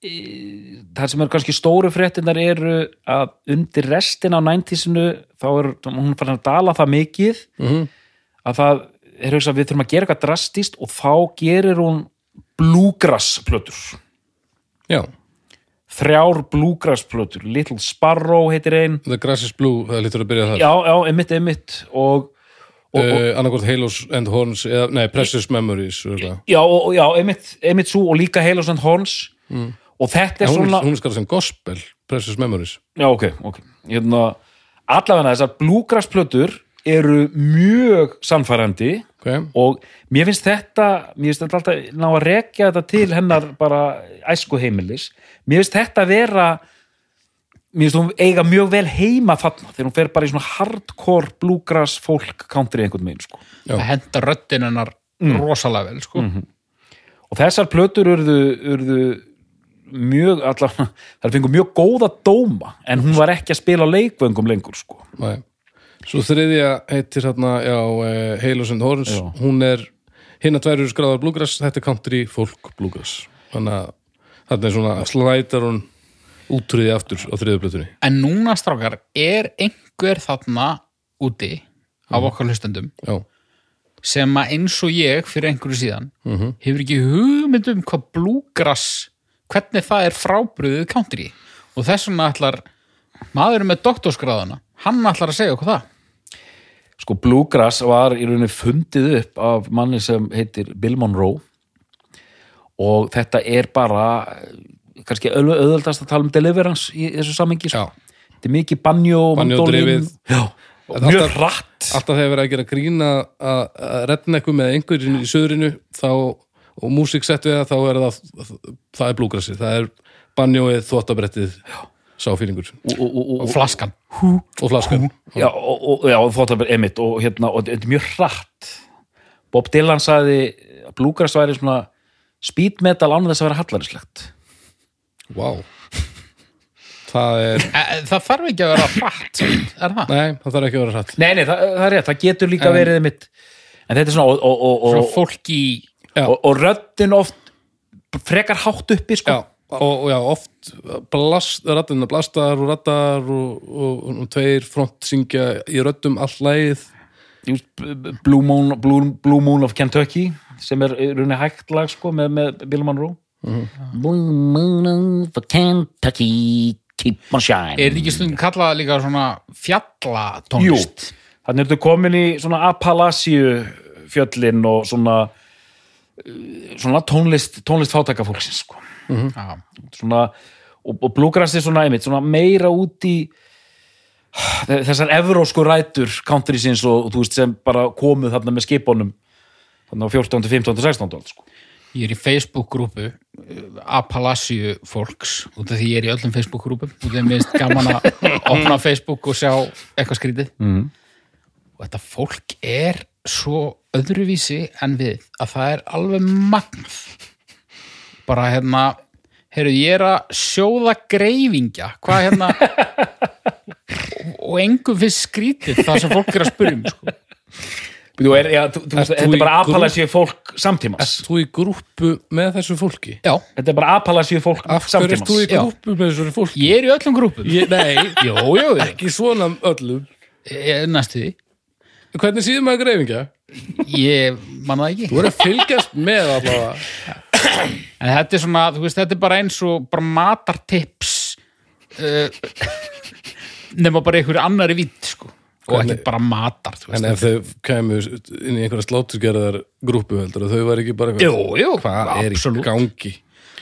S2: það sem er kannski stóru fréttinnar eru að undir restin á 90-sinu þá er hún farin að dala það mikið
S1: Mhm.
S2: að það er hugsa við þurfum að gera eitthvað drastist og þá gerir hún bluegrass plötur
S1: Já,
S2: þrjár bluegrass plötur Little Sparrow heitir ein
S1: The Grass is Blue, það lítur að byrja það.
S2: já, já, einmitt, einmitt og, og, og
S1: Uh, annarkort Halos and Horns eða, nei, Precious Memories örugglega.
S2: já, og, og- já, einmitt, einmitt svo og líka Halos and Horns og þetta er
S1: Mm. hún,
S2: svona
S1: er- hún er skar sem gospel Precious Memories
S2: Já, ok, ok. Hérna, allavega þessar blúgrasplötur eru mjög sannfærandi
S1: okay.
S2: og mér finnst þetta, mér finnst þetta alltaf ná að rekja þetta til hennar bara æsku heimilis. Mér finnst þetta vera, mér finnst hún eiga mjög vel heima þarna þegar hún fer bara í svona hardcore blúgras fólk country einhvern veginn, sko.
S1: Já. Mm. Mhm.
S3: það henda röddin hennar rosalega vel sko.
S2: Og þessar plötur urðu, urðu mjög, allavega, þær fengu mjög góða dóma en hún var ekki að spila á leikvöngum lengur, sko.
S1: Nei. Svo þriðja heitir hérna, já, eh, Halos and Horns
S2: Já.
S1: hún er, hinn að tværur skráðar bluegrass þetta er country folk bluegrass þannig að þarna er svona slætar hún útrýði aftur á þriðju blötunni
S3: en núna strákar er einhver þarna úti
S1: Mhm.
S3: af okkar hlustendum
S1: já,
S3: sem að eins og ég fyrir einhverju síðan
S1: Mhm.
S3: hefur ekki hugmynd um hvað blúgrass hvernig það er frábriðið country og þess vegna ætlar maðurinn með doktorsgráðana hann ætlar að segja okkur það
S2: sko Bluegrass var í rauninni fundið upp af manni sem heitir Bill Monroe og þetta er bara eh, kannski öll- auðveldast að tala um deliverance í þessu samengi sko. þetta er mikið banjó,
S1: Banjó
S2: mandólin,
S1: drifið.
S2: já, og
S1: Þetta
S2: mjög
S1: alltaf-
S2: hratt
S1: alltaf þegar verið að gera grína að að redna eitthvað með einhverjum í söðrinu þá, og músík sett við það þá er það, það er bluegrassi það er banjóið, þvottabrettið sáfýringur
S2: og, og, og,
S3: og
S2: og,
S3: flaskan
S1: og flaskan
S2: já, og, og, já, og þóttabir emitt og, hérna, og þetta er mjög hratt Bob Dylan sagði að Bluegrass væri svona speed metal án þess að vera hallarislegt
S1: Vá Það er,
S3: e, það þarf ekki að vera hratt er það?
S1: nei, það þarf ekki að vera hratt
S2: nei, nei, það, það er rétt, það getur líka verið emitt en þetta er svona og, og, og,
S3: Svo
S2: og,
S3: fólk í
S1: Já.
S2: og, og röddin oft frekar hátt uppi sko.
S1: Já, og, og já, oft blast, rattina blastar og rattar og, og, og tveir front syngja í röddum all lagið
S2: Þú veist, B- B- Blue, Moon, Blue, Blue Moon of Kentucky sem er í rauninni hægt lag sko, með, með Bill Monroe
S1: Mhm.
S2: Blue Moon of Kentucky keep on
S3: er
S2: shine
S3: þetta ekki stundum kallað líka svona fjallatónlist
S2: þannig Eh, ertu komin í svona Appalachíu fjöllin og svona eh, svona tónlist tónlist fátaka fólksins sko.
S3: Já.
S2: svona, og, og bluegrass er svona einmitt, svona meira út í þessar evrósku rætur country sinns og, og þú veist sem bara komu þarna með skipunum þarna á 14. 15. 16. öld sko.
S3: ég er í Facebook-grúpu Appalachíu fólks út af því ég er í öllum Facebook-grúpum út af því minnst gaman að opna Facebook og sjá eitthvað skrítið mm. og þetta fólk er svo öðruvísi en við að það er alveg magnað bara hérna heyrðu ég er að sjóða greifingja hvað hérna og- og engum finnst skrítið það sem fólk er að spyrja um sko.
S2: Þú er, já, þú, þú,
S1: Ert
S2: veist,
S1: þú
S2: þetta
S1: í
S2: er bara
S1: grú-
S2: apalasíu fólk samtímas
S1: Þú í grúppu með þessu fólki
S3: já,
S2: þetta er bara apalasíu fólk
S1: Af hverju
S2: samtímas
S1: ert þú í
S3: Já.
S1: grúppu með þessu fólki?
S3: ég er í öllum grúpum
S1: Ég, nei,
S3: Jó, jó, jó.
S1: ekki svona öllum
S3: Ég- Eh, næstu því
S1: Hvernig síðum maður greifingja?
S3: Ég manna það
S1: Þú
S3: ekki.
S1: er að fylgjast með allavega
S3: En þetta er svona, þú veist, þetta er bara eins og bara matartips uh, nema bara einhverju annari vitt, sko. Og
S1: Hvernig-
S3: ekki bara matar, þú
S1: En
S3: veist.
S1: ef þau kæmu inn í einhverja sláturgerðar grúppu heldur að þau var ekki bara
S3: Jú, jú,
S1: hvað er í
S3: absolutt.
S1: gangi?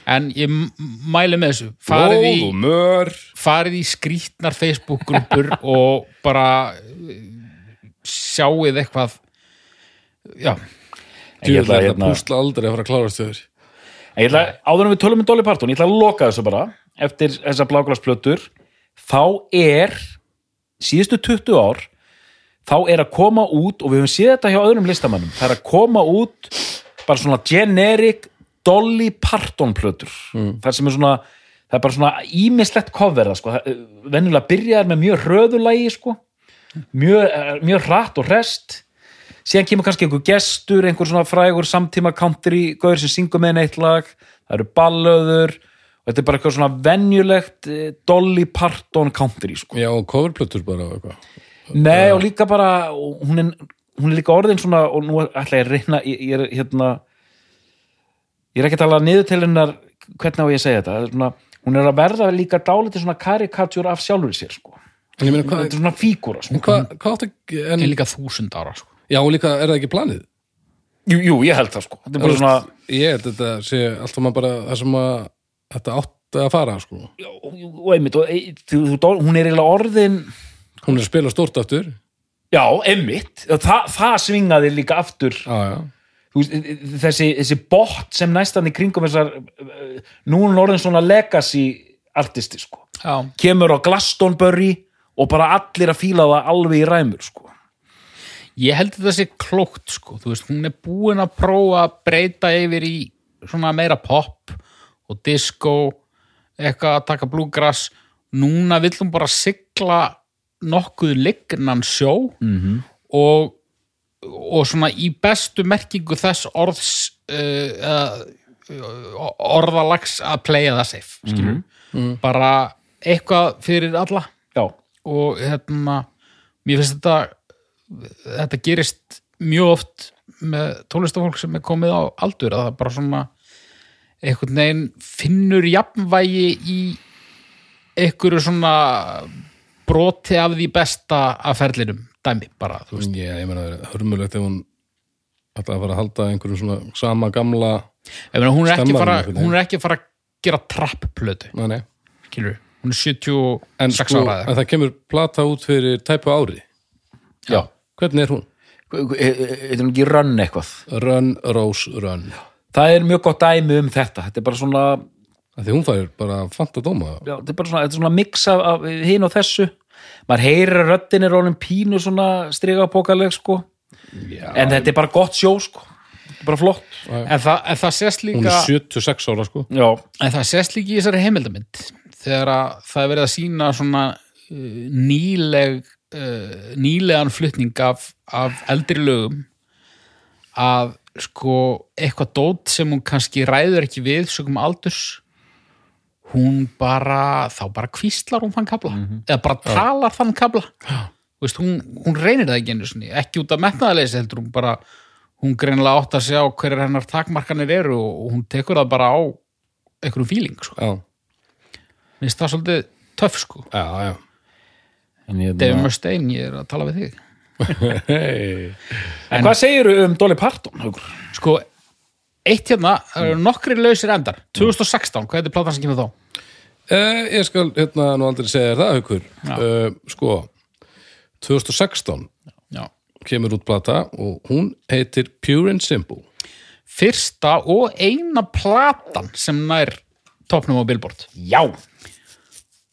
S3: En ég m- mæli með þessu. Farið í,
S1: Blóð og mör
S3: farið í skrítnar Facebook-grúpur og bara eh, sjáið eitthvað Já,
S2: Ég
S1: Ég
S2: ætla
S1: ætla
S2: að,
S1: að
S2: hérna-
S1: púsla aldrei að fara að klárast þau þér.
S2: En ég ætla, áður en við tölum um Dolly Parton, ég ætla að loka þessu bara eftir þessa bláglasplötur þá er síðustu 20 ár þá er að koma út, og við höfum séð þetta hjá öðrum listamannum, það er að koma út bara svona generic Dolly Parton plötur þar sem er svona, það er bara svona ímislegt coverða, sko, Það, eh, venjulega byrjaðar með mjög röðulægi, sko mjög, eh, mjög hratt og rest síðan kemur kannski einhver gestur einhver svona frægur samtíma country gaur sem syngur með henni eitt lag það eru ballöður og þetta er bara eitthvað svona venjulegt eh, Dolly Parton country sko.
S1: Já, og coverplötur bara og eitthvað.
S2: Nei, og líka bara og hún er, hún er líka orðin svona og nú ætla ég að reyna ég, ég er hérna ég er ekki að tala niður til hennar hvernig á ég að segja þetta, þetta er svona, hún er að verða líka dálítið svona karikatjur af sjálfur sér sko.
S1: En ég meina,
S2: þetta er
S1: hvað
S2: svona fígúra sko.
S1: hva, hva átt að... En,
S3: en líka þúsund ára sko.
S1: já, og líka, er það ekki planið?
S2: jú, jú, ég held það sko þetta er bara svona,
S1: Ég held þetta sé alltaf maður bara það sem að þetta átt að fara, sko.
S2: og, og einmitt og, e, þú, þú, dál- hún er eiginlega orðin
S1: Hún er að spila stórt aftur.
S2: já, einmitt, Þa, það svingaði líka aftur
S1: Já, já.
S2: Þú veist, e, e, þessi, þessi bot sem næstan í kringum þessar e, nú er hún orðin svona legacy artisti sko
S3: já,
S2: kemur á Glastonbury og bara allir að fíla það alveg í ræmur sko.
S3: ég held að þetta sé klókt sko, þú veist, hún er búin að prófa að breyta yfir í svona meira pop og disco eitthvað að taka bluegrass núna vill hún bara sigla nokkuð lignan sjó -hmm. og og svona í bestu merkingu þess orðs uh, uh, orðalags að playa það safe mm -hmm. bara eitthvað fyrir alla
S2: Já,
S3: og hérna mér finnst þetta þetta gerist mjög oft með tólestafólk sem er komið á aldur að það bara svona einhvern veginn finnur jafnvægi í einhverju svona broti af því besta að ferlinum dæmi bara, þú veist
S1: Ég, ég meina, það er hörmulegt ef hún ætlaði að fara að halda einhverjum svona sama gamla...
S3: Ég meina, hún, er ekki
S1: Stemma hún
S3: fara,
S1: einhvern veginn.
S3: hún er ekki að fara að gera trappplötu,
S1: Nei, nei.
S3: skilur hún er 76
S1: En, sko,
S3: ára
S1: en
S3: eða
S1: það kemur plata út fyrir tæpu ári.
S2: já.
S1: Hvernig er hún?
S2: e- Þetta er nú ekki rönn eitthvað.
S1: Run, Rose, Run.
S2: Það er mjög gott dæmi um þetta. Þetta er bara svona,
S1: Af Því hún færir bara fanta dóma.
S2: já, þetta er bara svona, þetta er svona mix af, af hinn og þessu. Maður heyrir að röddin er orðin pínu svona strigapókaleg sko.
S1: Já.
S2: En þetta er bara gott sjó sko. Þetta er bara flott.
S3: en það, en það sést
S1: Hún
S3: líka
S1: er 76 ára, sko.
S2: Já,
S3: En það sést líka í þessari heimildamind þegar að það er verið að sína svona uh, nýleg uh, nýlegan flutning af, af eldri lögum að sko eitthvað dót sem hún kannski ræður ekki við sögum aldurs hún bara, þá bara kvíslar hún þann kabla, eða bara talar þann kabla Þú veist, hún, hún reynir það ekki einu sinni, ekki út af metnaðarleysi heldur hún bara, hún greinilega átt að sjá hverjar hennar takmarkanir eru og og hún tekur það bara á einhverjum fíling, sko.
S1: Já,
S3: Mér finnst það svolítið töff, sko.
S1: já, já.
S2: en hérna- ég...
S3: David Mustaine, ég er að tala við þig.
S1: Hey.
S2: En hvað segirðu um Dolly Parton? Haukur?
S3: Sko, eitt hérna, það eru nokkri lausir endar. 2016, hvað heitir platan sem kemur þá?
S1: Eh, ég skal hérna nú aldrei segja þér það, Haukur. Eh, sko, 2016
S3: Já.
S1: kemur út plata og hún heitir Pure and Simple.
S3: Fyrsta og eina platan sem nær topnum á Billboard.
S2: Já.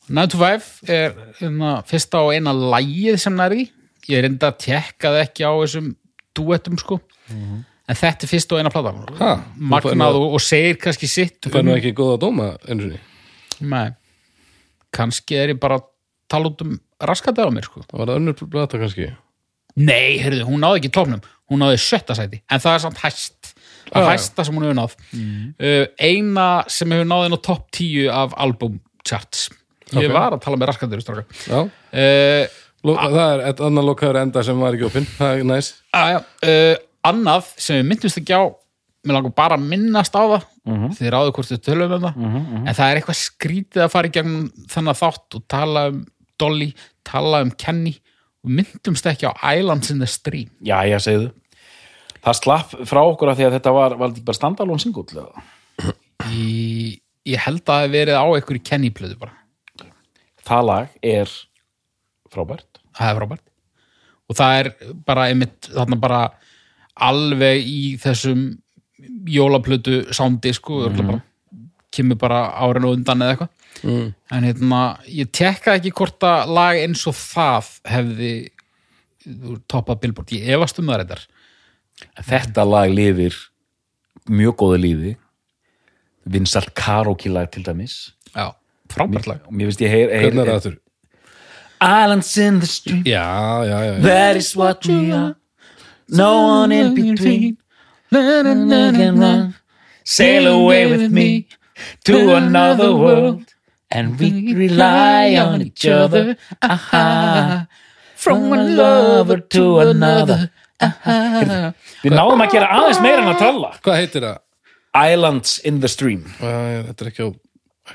S3: 9 to 5 er hérna, fyrsta og eina lægið sem nær í. Ég reynda að tekka það ekki á þessum duettum, sko. En þetta er fyrsta og eina platan.
S1: Ha, þú fær
S3: Magnað
S1: nú-
S3: og, og segir kannski sitt
S1: Það er nú ekki góða dóma, einu sinni.
S3: Nei, kannski er ég bara að tala út um raskatið á mér sko.
S1: Það var það önnur plata kannski.
S3: Nei, heyrðu, hún náði ekki tóknum, hún náði sjötta sæti, en það er samt hæst það
S1: Já, Mm.
S3: er
S1: já.
S3: hæsta sem hún hefur náð uh, eina sem hefur náðin á topp 10 af album charts ég
S1: Ok.
S3: var að tala með raskatið stráka
S1: Já.
S3: uh,
S1: Lo, það er eitt annan lokaður enda sem var ekki opinn. Það er næs.
S3: Aja, uh, annað sem við myndumst ekki á mér langar bara að minnast á það uh -huh. þið ráðu hvort þið tölum um það en það er eitthvað skrítið að fara í gegnum þannig þátt og tala um Dolly, tala um Kenny og myndumst ekki á Islands in the Stream
S2: Já, ég segirðu. Það slapp frá okkur af því að þetta var, var þetta ekki bara standalón singull.
S3: í, ég held að það hafi verið á einhverju Kenny plöðu bara,
S2: Það lag er frábært.
S3: það er frábært og það er bara einmitt þarna bara alveg í þessum jólaplötu sándi sko, mm bara, kemur bara árin og undan eða eitthvað
S1: Mm.
S3: En hérna, ég tekka ekki hvort að lag eins og það hefði toppað Billboard. Ég efast um það reyndar.
S2: þetta lag lifir mjög góðu lífi vinsalt karaoke-lag til dæmis
S3: Já, frábært lag.
S2: og mér finnst ég heyr,
S3: Eh,
S1: Hvernig er
S2: heyr
S1: það þurr?
S2: Islands in the stream
S1: Já, já, já. já.
S2: that is what we are no one in between
S3: Na, na, na, na, na.
S2: sail away with me to another world and we rely on each other aha
S3: From one lover to another
S2: Heyrðu, Við náðum að gera aðeins meira en að tralla
S1: Hvað heitir það?
S2: Islands in the Stream
S1: Æ, þetta er ekki á,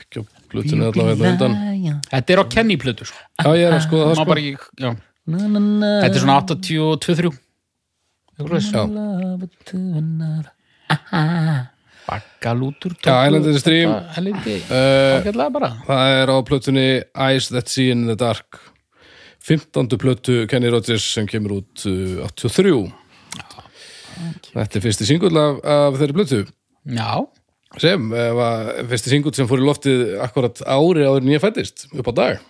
S1: ekki á plötunni allavega hérna undan.
S3: Þetta er á Kenny plötu sko.
S1: Já, ég er að skoða það
S3: Má
S1: sko.
S3: bara ekki, já. Þetta er svona 82-3
S1: Já,
S3: Bakkalútur
S1: já Islandin Stream.
S3: Helviti,
S1: Uh,
S3: ágætlega bara
S1: það er á plötunni Eyes That See In The Dark. 15. plötu Kenny Rogers sem kemur út uh, 83. Þetta er fyrsti singull af, af þeirri plötu.
S3: Já,
S1: sem eh, var fyrsti singull sem fór í loftið akkurat ári áður en ég fættist upp á dag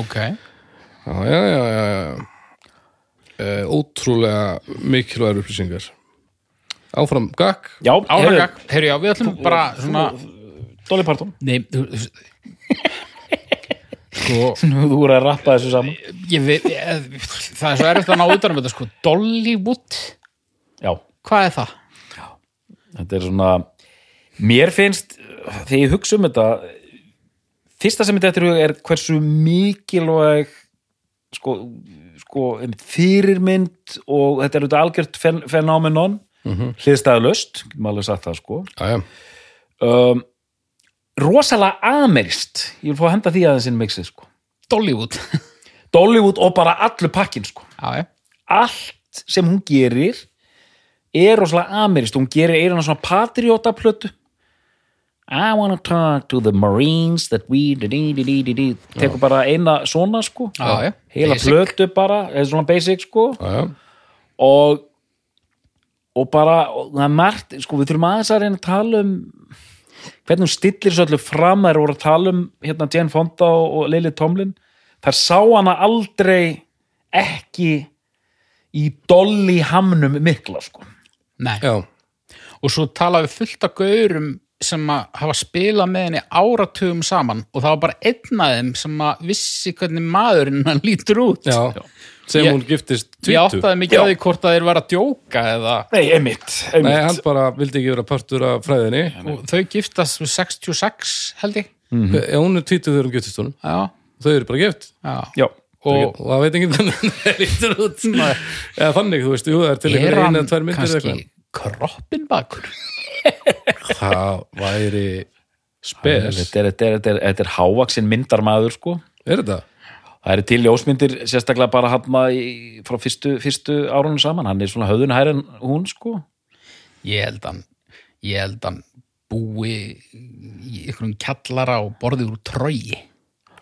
S3: ok
S1: já, já, já, já, já. E, ótrúlega mikilvægur upplýsingar áfram gakk
S2: Já, heyrðu,
S3: Áhagak, heyrðu já, við ætlum bara svona
S2: Dolly Parton
S3: Nei, þú þú- Sko
S2: Nú þú voru að rappa þessu saman
S3: ég, veit- ég, Það er svo erfitt að ná utanum þetta sko Dollywood,
S2: Já,
S3: hvað er það?
S2: þetta er svona Mér finnst, þegar ég hugsa um þetta Fyrsta sem þetta er hug er hversu mikilvæg sko, sko einmitt fyrirmynd og þetta er auðvitað algjört fen fenómenon mm -hmm. hliðstæðlöst, getum alveg sagt það sko
S1: já, já.
S2: um, rosalega amerist ég vil fá að henda því aðeins inn í mixið sko
S3: Dollywood
S2: Dollywood og bara allur pakkin sko
S3: Já, já,
S2: allt sem hún gerir er rosalega amerist hún gerir eirinn svona patriótaplötu I wanna talk to the marines that we di, di, di, di, di, di. tekur bara eina svona sko
S3: Já, já.
S2: heila
S3: Basic.
S2: plötu bara, eða svona basic sko
S1: já, já.
S2: og og bara, og það er margt sko, við þurfum aðeins að reyna að tala um hvernig hún stillir svo allir fram þær voru að tala um hérna Jane Fonda og, og Lily Tomlin þar sá hana aldrei ekki í dolli hamnum mikla sko
S3: nei
S1: já.
S3: og svo talaði við fullt af gaurum sem að hafa spilað með henni áratugum saman og það var bara einn af þeim sem að vissi hvernig maðurinn hann lítur út
S1: já. sem
S3: Ég-
S1: hún giftist
S3: ég
S1: tvítu
S3: áttaði mikið á því hvort að þeir var að djóka eða
S2: Nei, einmitt,
S1: Nei,
S2: einmitt.
S1: hann bara vildi ekki vera partur af fræðinni
S3: og þau giftast við 66 held ég
S1: mm -hmm. hún er tvítu þegar hún giftist honum
S3: já,
S1: þau eru bara gift
S3: já.
S2: Já,
S1: og,
S3: og
S1: það veit enginn hvernig það lítur út eða þannig, þú veist, jú, það er til
S3: er
S1: einhverja eina
S3: hann
S1: eða tvær myndir eða
S3: kannski kroppin bakur
S1: eitthvað það
S2: þetta
S1: væri
S2: er,
S1: spes
S2: þetta er, þetta er, þetta er hávaksin myndarmaður sko
S1: Er þetta?
S2: Það eru til ljósmyndir sérstaklega bara hann frá fyrstu, fyrstu árunum saman hann er svona höfðun hær en hún sko
S3: ég held hann ég held hann búi í einhverjum kjallara og borði úr trói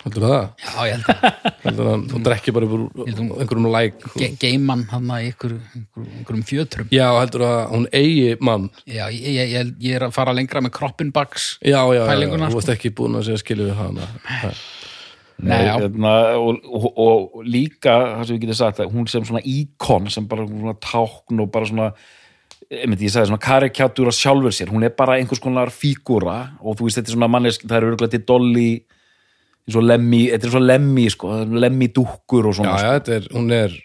S1: Heldur það?
S3: já, ég held hann
S1: Heldur hann, þú drekkir bara úr einhverjum læk
S3: Ge geiman hann að ykkur, ykkur, ykkurum fjötrum
S1: Já, heldur að hún eigi mann
S3: já, ég, ég, ég, ég er að fara lengra með kroppin baks
S1: Já, já, já, já,
S3: Pælinguna,
S1: þú
S3: sko.
S1: varst ekki búin að segja skilju við hana Nei.
S3: Nei, já.
S2: Þarna, hérna, og, og, og líka það sem við getum sagt að hún sem svona íkon sem bara svona tákn og bara svona einmitt, ég sagði svona karikatúra sjálfur sér hún er bara einhvers konar fígúra og þú veist þetta er svona mannesk það er örgulega til dolli eins og lemmi, þetta er svo lemmi sko, lemmi dúkkur og
S1: Já,
S2: svona
S1: já, þetta er, hún er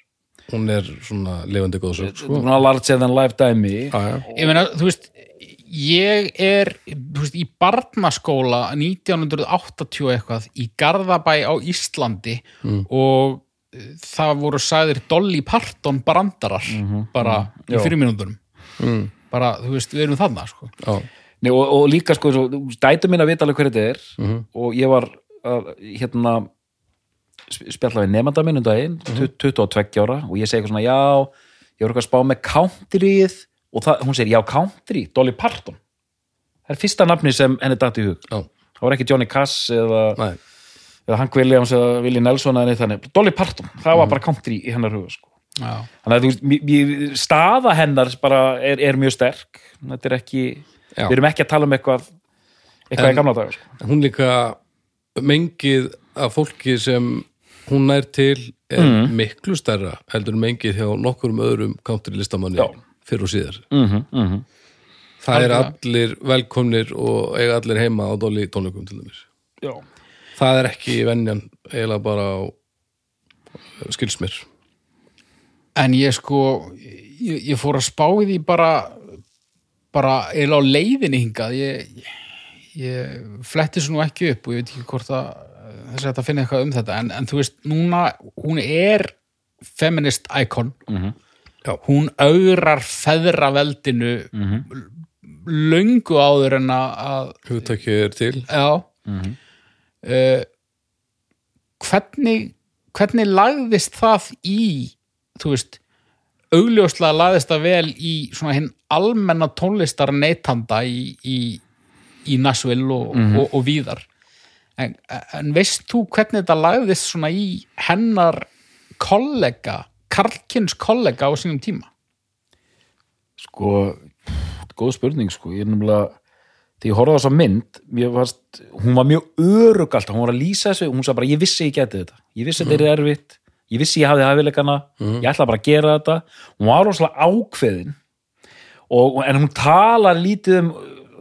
S1: hún er svona lifandi góðsög sko.
S2: svona large than life dæmi
S1: Já, já,
S3: ég meina, þú veist ég er, þú veist, í barnaskóla 1980 eitthvað í Garðabæ á Íslandi og eh, það voru sagðir Dolly Parton brandarar bara í
S2: Já.
S3: fyrirminúndunum bara, þú veist, við erum þarna sko.
S1: já,
S2: Nei, og, og líka sko, svo, dætu mín að vita alveg hver þetta er og ég var að, hérna sp- spjalla við nefnda minn um daginn, mm 22 ára og ég segi eitthvað svona, já ég var eitthvað að spá með countrið og það, hún segir, já, country, Dolly Parton það er fyrsta nafni sem henni datt í hug
S1: já,
S2: það var ekki Johnny Cass eða,
S1: nei
S2: eða Hank Williams eða Willie Nelson eða neitt þannig, Dolly Parton, það var bara country í hennar huga sko
S3: já,
S2: þannig að þú veist, mér- mér- staða hennar bara er, er mjög sterk þetta er ekki,
S1: Já.
S2: við erum ekki að tala um eitthvað eitthvað í gamla dagar sko.
S1: Hún líka mengið af fólki sem hún nær til er miklu stærra heldur en mengið hjá nokkurum öðrum country listamanni
S2: Já.
S1: fyrr og síðar mm -hmm, Það er allir velkomnir og eiga allir heima á dolli tónleikum til dæmis
S2: Já.
S1: Það er ekki venjan eiginlega bara á eh, skilsmir
S3: en ég sko ég, ég fór að spá í því bara bara eða á leiðinni hingað ég, ég, ég fletti svo nú ekki upp og ég veit ekki hvort að þess að þetta finna eitthvað um þetta en, en þú veist, núna, hún er feminist icon
S1: Já.
S3: hún auðrar feðraveldinu mm löngu áður en að- að
S1: hugtækið er til
S3: já uh, hvernig hvernig lagðist það í þú veist augljóslega lagðist það vel í svona hinn almenna tónlistar neytanda í, í, í Nashville og, og, og víðar en, en veist þú hvernig þetta lagðist svona í hennar kollega, karlkins kollega á sínum tíma
S2: Sko, pff, góð spurning sko, ég er nefnilega þegar ég horfði á þessa mynd, mér varst hún var mjög örug alltaf, hún var að lýsa þessu hún sagði bara, ég vissi ég geti þetta, ég vissi þetta er erfitt ég vissi ég hafði hæfileikana ég ætla bara að gera þetta hún var rosalega ákveðin og, en hún talar lítið um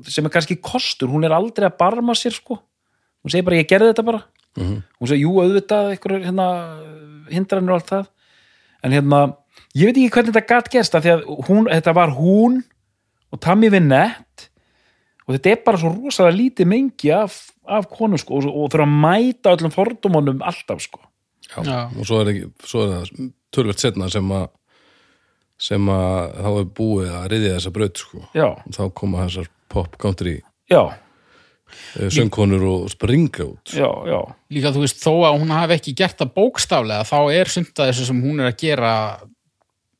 S2: sem er kannski kostur, hún er aldrei að barma sér sko, hún segir bara, ég gerði þetta bara hún segir, jú, auðvitað einhverjur hérna, hindranir og allt það en hérna, ég veit ekki hvernig þetta gatt gerst af því að hún, þetta var hún og Tammy Vinette og þetta er bara svo rosalega lítið mengi af, af konum sko og, og þurfa að mæta öllum fordómanum alltaf sko
S3: Já.
S1: og svo er, ekki, svo er það tölvert setna sem að sem að þá er búið að riðja þessa braut sko.
S2: já,
S1: þá koma þessar pop country
S2: já,
S1: eh, söngkonur og springa út
S2: já, já
S3: líka þú veist þó að hún hafi ekki gert það bókstaflega þá er sumt að þessu sem hún er að gera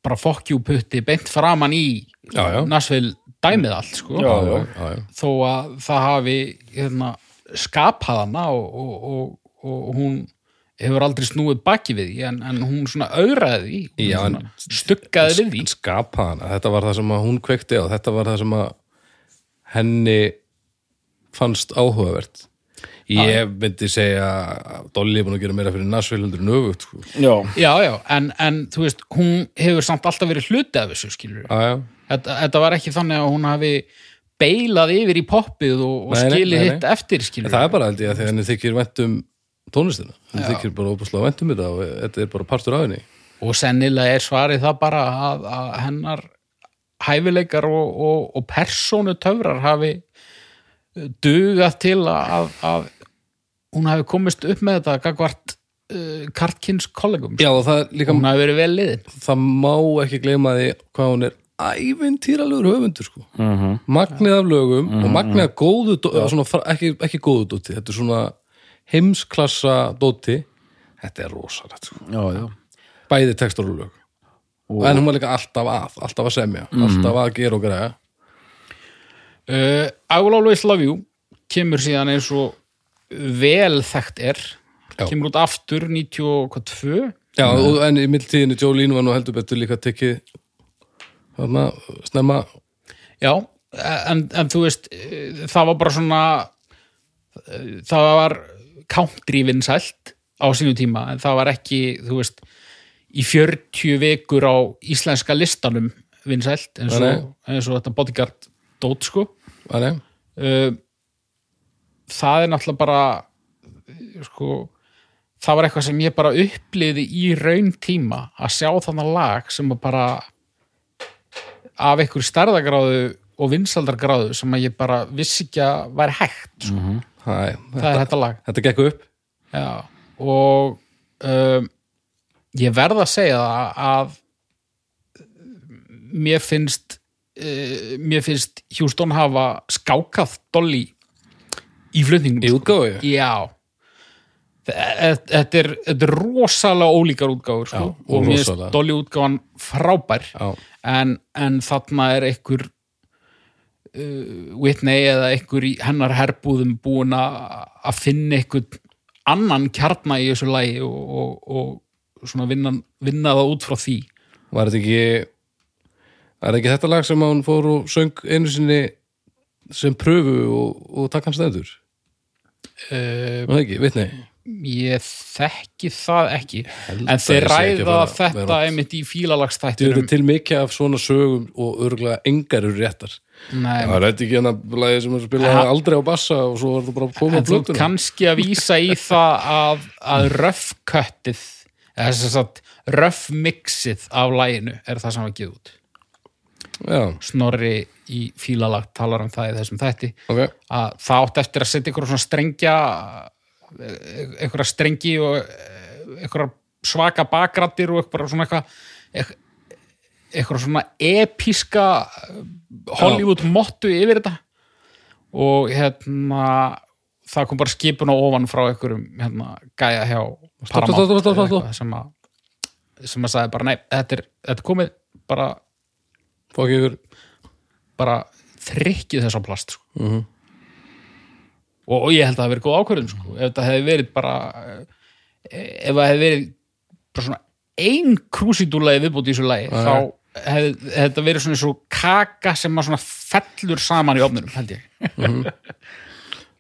S3: bara fokkjúputti beint framan í
S1: Já, já.
S3: Nashville dæmið allt sko
S2: Já.
S1: já, já, já.
S3: þó að það hafi hérna, skapað hana og, og, og, og hún hefur aldrei snúið baki við því en, en hún svona auðraði því hún
S1: Já, en-
S3: svona stuggaði við því
S1: En skapa hana, þetta var það sem að hún kveikti á þetta var það sem að henni fannst áhugavert ég myndi segja að Dolly er búin að gera meira fyrir Nashville heldur nöfugt sko.
S2: já,
S3: já, já, en, en þú veist hún hefur samt alltaf verið hluti af þessu
S1: já,
S3: skilur
S1: já,
S3: þetta, þetta var ekki þannig að hún hafi beilað yfir í poppið og, og
S1: Nei, nei,
S3: skilið
S1: nei, nei.
S3: hitt eftir
S1: en
S3: skilur
S1: það er bara held ég að því að henni þykir vænt um tónlistina, henni þykir bara óbúslega vænt um þetta og þetta er bara partur af henni
S3: og sennilega er svarið það bara að, að hennar hæfileikar og, og, og persónu töfrar hafi dugað til að, að hún hafi komist upp með þetta gagvart uh, kartkins kollegum
S1: já og það er líka,
S3: hún hafi verið vel liðin
S1: það má ekki gleyma því hvað hún er ævintýralegur höfundur sko magnið af lögum og magnið af góðu dó- eða svona, fra- ekki, ekki góðu dóti, þetta er svona heimsklassa dóti þetta er rosalegt sko.
S2: já, já.
S1: bæði textur og Mhm. lög en hún var líka alltaf að, alltaf að semja alltaf að gera og greiða
S3: uh, I will always love you kemur síðan eins og vel þekkt er
S1: Já.
S3: kemur út aftur 92
S1: já, og, en í mildtíðinu Jolene var nú heldur betur líka tekið þarna, snemma
S3: Já, en, en þú veist eh, það var bara svona eh, það var country vinsælt á sínu tíma en það var ekki, þú veist í 40 vikur á íslenska listanum vinsælt eins
S1: Nei, nei.
S3: og, eins og þetta bodyguard dót sko
S1: að nei,
S3: Eh, það er náttúrulega bara eh, sko það var eitthvað sem ég bara upplýði í raun tíma að sjá þannig lag sem að bara af einhver stærðagráðu og vinsaldargráðu sem að ég bara vissi ekki að væri hægt sko.
S1: hæ,
S3: það
S1: þetta,
S3: er þetta lag
S1: þetta gekk upp
S3: Já, og um, ég verð að segja það að mér finnst uh, mér finnst Hjústón hafa skákað Dolly í flutningum.
S1: í útgáfu
S3: Sko. Já. Þe- e- Þetta er, þetta er rosalega ólíkar útgáfur sko.
S1: Já, og
S3: og mér finnst
S1: rosalega.
S3: Dolly útgáfan frábær
S1: já,
S3: en, en þarna er einhver uh, Whitney eða einhver í hennar herbúðum búin að að finna einhvern annan kjarna í þessu lagi og, og, og svona vinna, vinna það út frá því
S1: var þetta ekki var þetta ekki þetta lag sem hún fór og söng einu sinni sem pröfu og, og takk hans stendur
S3: uh,
S1: var það ekki, vitni
S3: ég þekki það ekki
S1: Held
S3: en
S1: að
S3: þeir
S1: ég sé ekki að
S3: ræða
S1: fara að
S3: þetta
S1: vera-
S3: einmitt í
S1: Þetta eru
S3: fílalagstættinum
S1: til mikið af svona sögum og örgulega engar eru réttar.
S3: Nei,
S1: Það er þetta ekki hann að blæði sem er spilað
S3: Aha.
S1: aldrei á bassa og svo var það bara að koma á
S3: en þú ert
S1: blötuna.
S3: kannski að vísa í það að, að röfköttið eða þess að röfmixið af læginu er það sem var gefið út
S1: Já,
S3: Snorri í fílalag talar um það í þessum þætti
S1: Ok.
S3: að það átt eftir að setja einhverja svona strengja eh, einhverja strengi og eh, einhverja svaka bakrættir og einhverja svona eitthvað eit- einhverja svona episka eh, Hollywood mottu yfir þetta og hérna það kom bara skipun á ofan frá einhverjum hérna, gæja hjá
S1: stopp,
S3: Paramount
S1: stopp, stopp, stopp,
S3: eða
S1: stopp.
S3: eitthvað sem að sem að sagði bara nei, þetta er, þetta er komið bara,
S1: Fokk yfir.
S3: bara þrykkið þess á plast sko. og, og ég held að það hafi verið góð ákvörðun sko. ef það hefði verið bara eh, ef það hefði verið bara svona ein krúsidúlaði viðbúti í þessu lagi
S1: Já, já.
S3: þá hefði hefði þetta verið svona svo kaka sem maður svona fellur saman í ofnunum held ég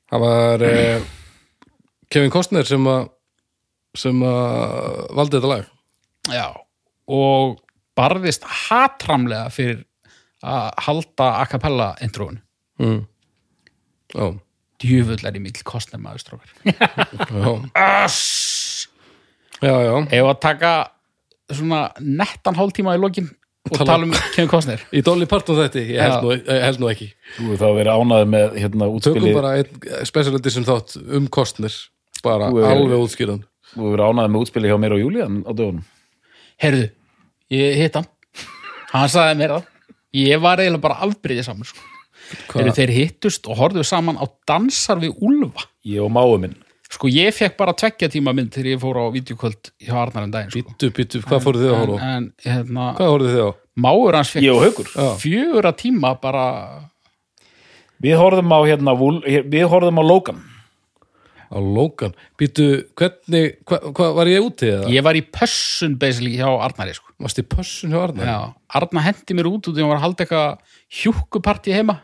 S1: Það var eh, Kevin Costner sem að sem að valdi þetta lag.
S3: Já, og barðist hatramlega fyrir að halda a cappella introun
S1: Mm. Já.
S3: djöfull er í mill kostnir maður strókar
S1: Já.
S3: Ass!
S1: Já, já.
S3: Ef að taka svona nettan hálftíma í lokin og
S1: Tala-
S3: tala um Kevin Costner
S1: Í Dolly Parton þetta, ég held,
S3: Já.
S1: nú, ég held nú ekki.
S2: Þú hefur þá verið ánæður með hérna
S1: Tökum
S2: útspili
S1: bara einn special edition þátt um Costner, bara
S2: Þú er-
S1: alveg útskýran.
S2: Þú hefur verið ánæður með útspili hjá mér og Júlían á dögunum
S3: Herðu, ég hitt hann hann sagði mér það ég var eiginlega bara afbyrðið saman sko. Eru þeir hittust og horfðu saman á dansar við Úlfa
S2: Ég og máu minn
S3: sko ég fekk bara tvekja tíma mynd þegar ég fór á videokvöld hjá Arnar en daginn sko.
S1: Býttu, býttu, hvað fóruð þið að
S3: en,
S1: horfa? á?
S3: en hérna,
S1: Hvað fóruð þið á?
S3: máur hans
S2: Ég og
S3: fekk
S2: Haukur
S1: Já.
S3: fjögurra tíma bara
S2: Við horfðum á hérna Vúl- Við horfðum á Logan
S1: Á Logan. Býttu, hvernig, hvað hva, var ég úti eða?
S3: ég var í pössun basically hjá Arnari sko.
S1: Varst í pössun hjá Arnar?
S3: Já, Arna hendi mér út út og hann var að halda eitthvað hjúkkuparti heima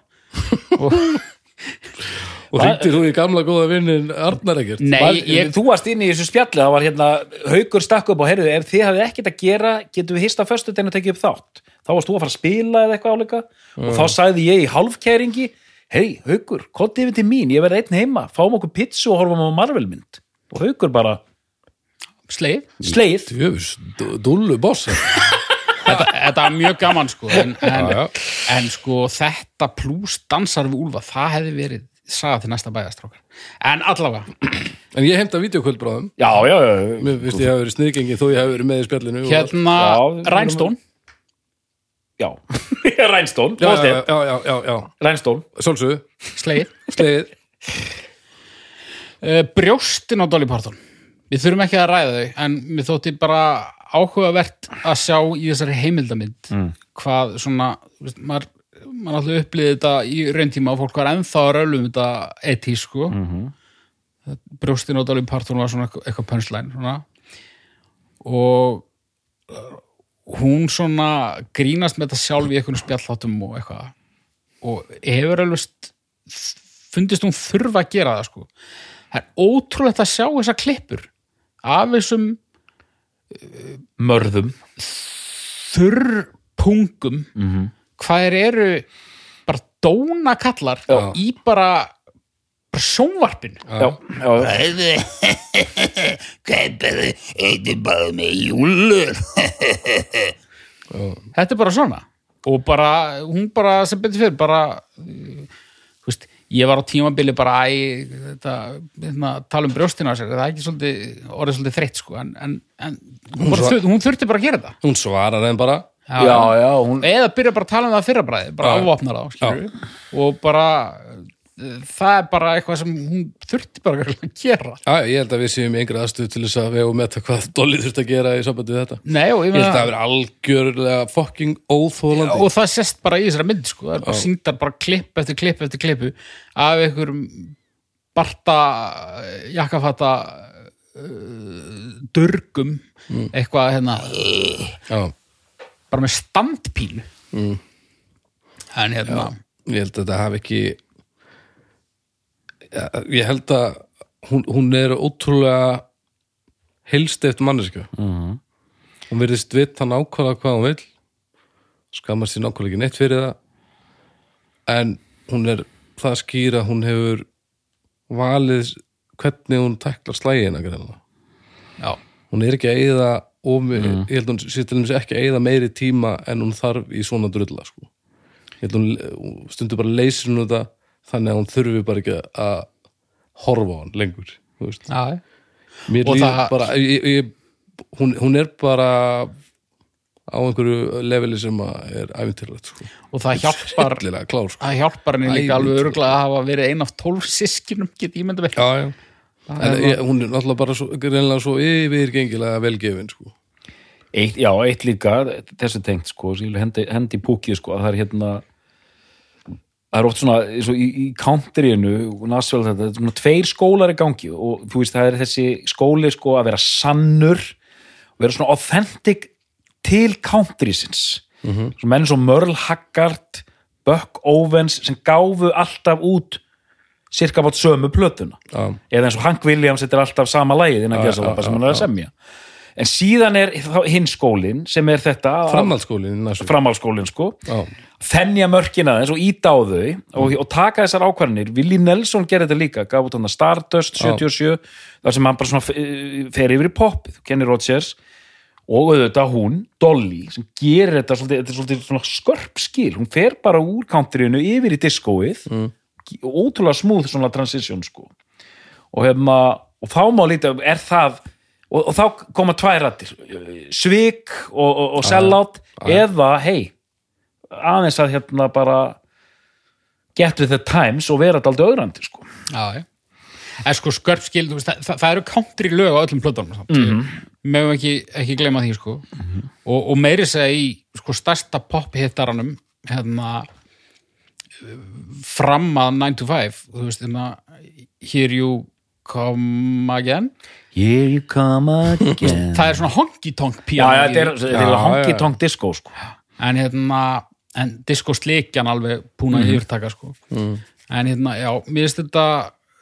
S3: og
S1: Og hringdir þú í gamla góða vinnin Arnar ekkert?
S3: nei,
S2: Var-
S3: ég,
S2: Þú varst inn í þessu spjalli, það var hérna haukur stakk upp og heyrðu, ef þið hafið ekkert að gera getum við hýst á föstu og tekið upp þátt þá varst þú að fara að spila eða eitthvað áleika og þá sagði ég í hálfkæringi hei, haukur, kontið yfir til mín, ég verð einn heima fáum okkur pizzu og horfum á Marvelmynd og haukur bara,
S3: sleið
S2: sleið
S1: Jöfus, dúllu boss.
S3: þetta, þetta var mjög gaman sko en, en,
S1: Já, já.
S3: en sko þetta plus dansar við Úlfa, það hefði verið saga til næsta bæðastrákar en allavega,
S1: En ég heimta videokvöld bráðum.
S2: Já, já, já,
S1: Mér finnst ég hafa verið sniðgengið þó ég hafa verið með í spjallinu. og allt.
S3: hérna
S2: Já,
S3: Rænstón
S2: já Rænstón,
S1: Já, já,
S2: Rænstón,
S1: já, já, já, já.
S2: Rænstón
S1: Sólsöðu,
S3: sleið
S1: slegið.
S3: Eh, brjóstin á Dolly Parton við þurfum ekki að ræða þau en mér þótti bara áhugavert að sjá í þessari heimildamind hvað svona þú veist, maður, maður alltaf upplýði þetta í rauntíma og fólk var ennþá að rölu um þetta eti sko brjóstin á Dolly Parton var svona eitthvað- eitthvað punchline svona. og eh, hún svona grínast með þetta sjálf í einhvern spjallhátum og eitthvað og hefur alveg fundist hún þurfa að gera það sko það er ótrúlegt að sjá þessa klippur af þessum eh,
S2: Mörðum
S3: þurrpungum -hmm. hvað er eru bara dóna kallar í bara, bara sjónvarpinu
S2: Já, já,
S3: Kaupið eitthvað bara með júlur Þetta er bara svona og bara, hún bara sem betur fyrir bara uh, þú veist, ég var á tímabili bara æ, þetta, þetta, tala um brjóstina á sér það er ekki svolítið, orðið svolítið þreytt sko, en, en, en hún, bara,
S1: svar-
S3: þur, hún þurfti bara að gera það
S1: Hún svarar þeim bara.
S2: já, já hún,
S3: eða byrja bara að tala um það fyrra bræði bara
S1: Já.
S3: ávopnar þá, skilur og bara, uh, það er bara eitthvað sem hún þurfti bara að gera
S1: Já, ég held að við séum í yngri aðstöðu til þess að vega og metta hvað Dolly þurft að gera í sambandi við þetta.
S3: Nei, og ég
S1: Ég held
S3: meina-
S1: að það hafi verið algjörlega fucking óþólandi.
S3: og það sést bara í þessari mynd sko. það er bara síndar bara klipp eftir klipp eftir klippu af einhverjum barta eh, jakkafata uh, dörgum eitthvað hérna
S1: Já,
S3: bara með standpínu mm. en hérna
S1: ég held að þetta hafi ekki Já, ég held að hún, hún er ótrúlega heilsteft manneska -hmm. hún verðist vitt hann ákvæða hvað hún vil skamar sér nákvæða ekki neitt fyrir það en hún er það skýr að hún hefur valið hvernig hún teklar slægina greinlega
S3: já.
S1: hún er ekki að eyða Mm. of, ég held að hún sér til þess ekki að eyða meiri tíma en hún þarf í svona drulla sko. ég held hún hún stundur bara leysir hún þetta þannig að hún þurfi bara ekki að horfa á hann lengur þú veist.
S3: já,
S1: mér
S3: Og
S1: líður
S3: það-
S1: bara ég, ég, hún, hún er bara á einhverju leveli sem að er æfintilrætt sko.
S3: og það hjálpar
S1: allilega klár sko.
S3: það hjálpar henni líka
S1: Æ,
S3: alveg
S1: veit.
S3: örgulega að hafa verið ein af tólf sískinum get ég myndi vel
S1: já, já. en ég, hún er náttúrulega bara svo, greinlega svo yfirgengilega velgefin sko.
S2: Eitt, já, eitt líka, þessu tengt sko, sem ég vil hendi, hendi í púkið sko, að það er hérna það er oft svona, eins og í, í countryinu og Nashville þetta, þetta er svona tveir skólar í gangi og þú veist, það er þessi skóli sko að vera sannur vera svona authentic til countrysins mm -hmm. svo menn svo Merle Haggard Buck Owens sem gáfu alltf út cirka bát sömu plötuna
S1: Já.
S2: eða eins og Hank Williams þetta er alltaf sama lagið innan
S1: Já,
S2: gæsalappa
S1: já,
S2: sem
S1: já,
S2: hann er að
S1: já.
S2: semja en síðan er þá hinn skólinn sem er þetta að-
S1: framhaldsskólin næstu
S2: framhaldsskólinn sko
S1: Já.
S2: þennja mörkin aðeins og íta á þau og, og taka þessar ákvarðinir Willi Nelson gerði þetta líka, gaf út hann að Stardust 77, þar sem hann bara svona eh, fer yfir í poppið, Kenny Rogers og auðvitað hún, Dolly sem gerir þetta svolítið, þetta er svolítið svona skörp skil, hún fer bara úr countryinu yfir í diskóið mm. ótrúlega smúð svona transition sko og, hefna, og þá má líta er það, og, og þá koma tværættir svik og, og, og sellout eða hei aðeins að hérna bara get with the times og vera þetta aldrei öðrandi sko.
S3: Já, já. En sko skörpskil, þú veist, það, það, það eru country lög á öllum plötunum samt. Mm
S2: Mhm.
S3: -hmm. Megum ekki, ekki gleyma því, sko. og, og meiri segja í sko, stærsta pophittaranum, hérna, fram að 9 to 5, þú veist, hérna, here you come again.
S2: Here you come again
S3: Það er svona honky-tonk
S2: Já,
S3: píanó
S2: já,
S3: í
S2: þetta er,
S3: því.
S2: þetta er
S1: Já,
S2: honky tonk disco sko.
S3: en hérna en disco slikjan alveg púna mm. yfirtaka sko en hérna, já, mér finnst þetta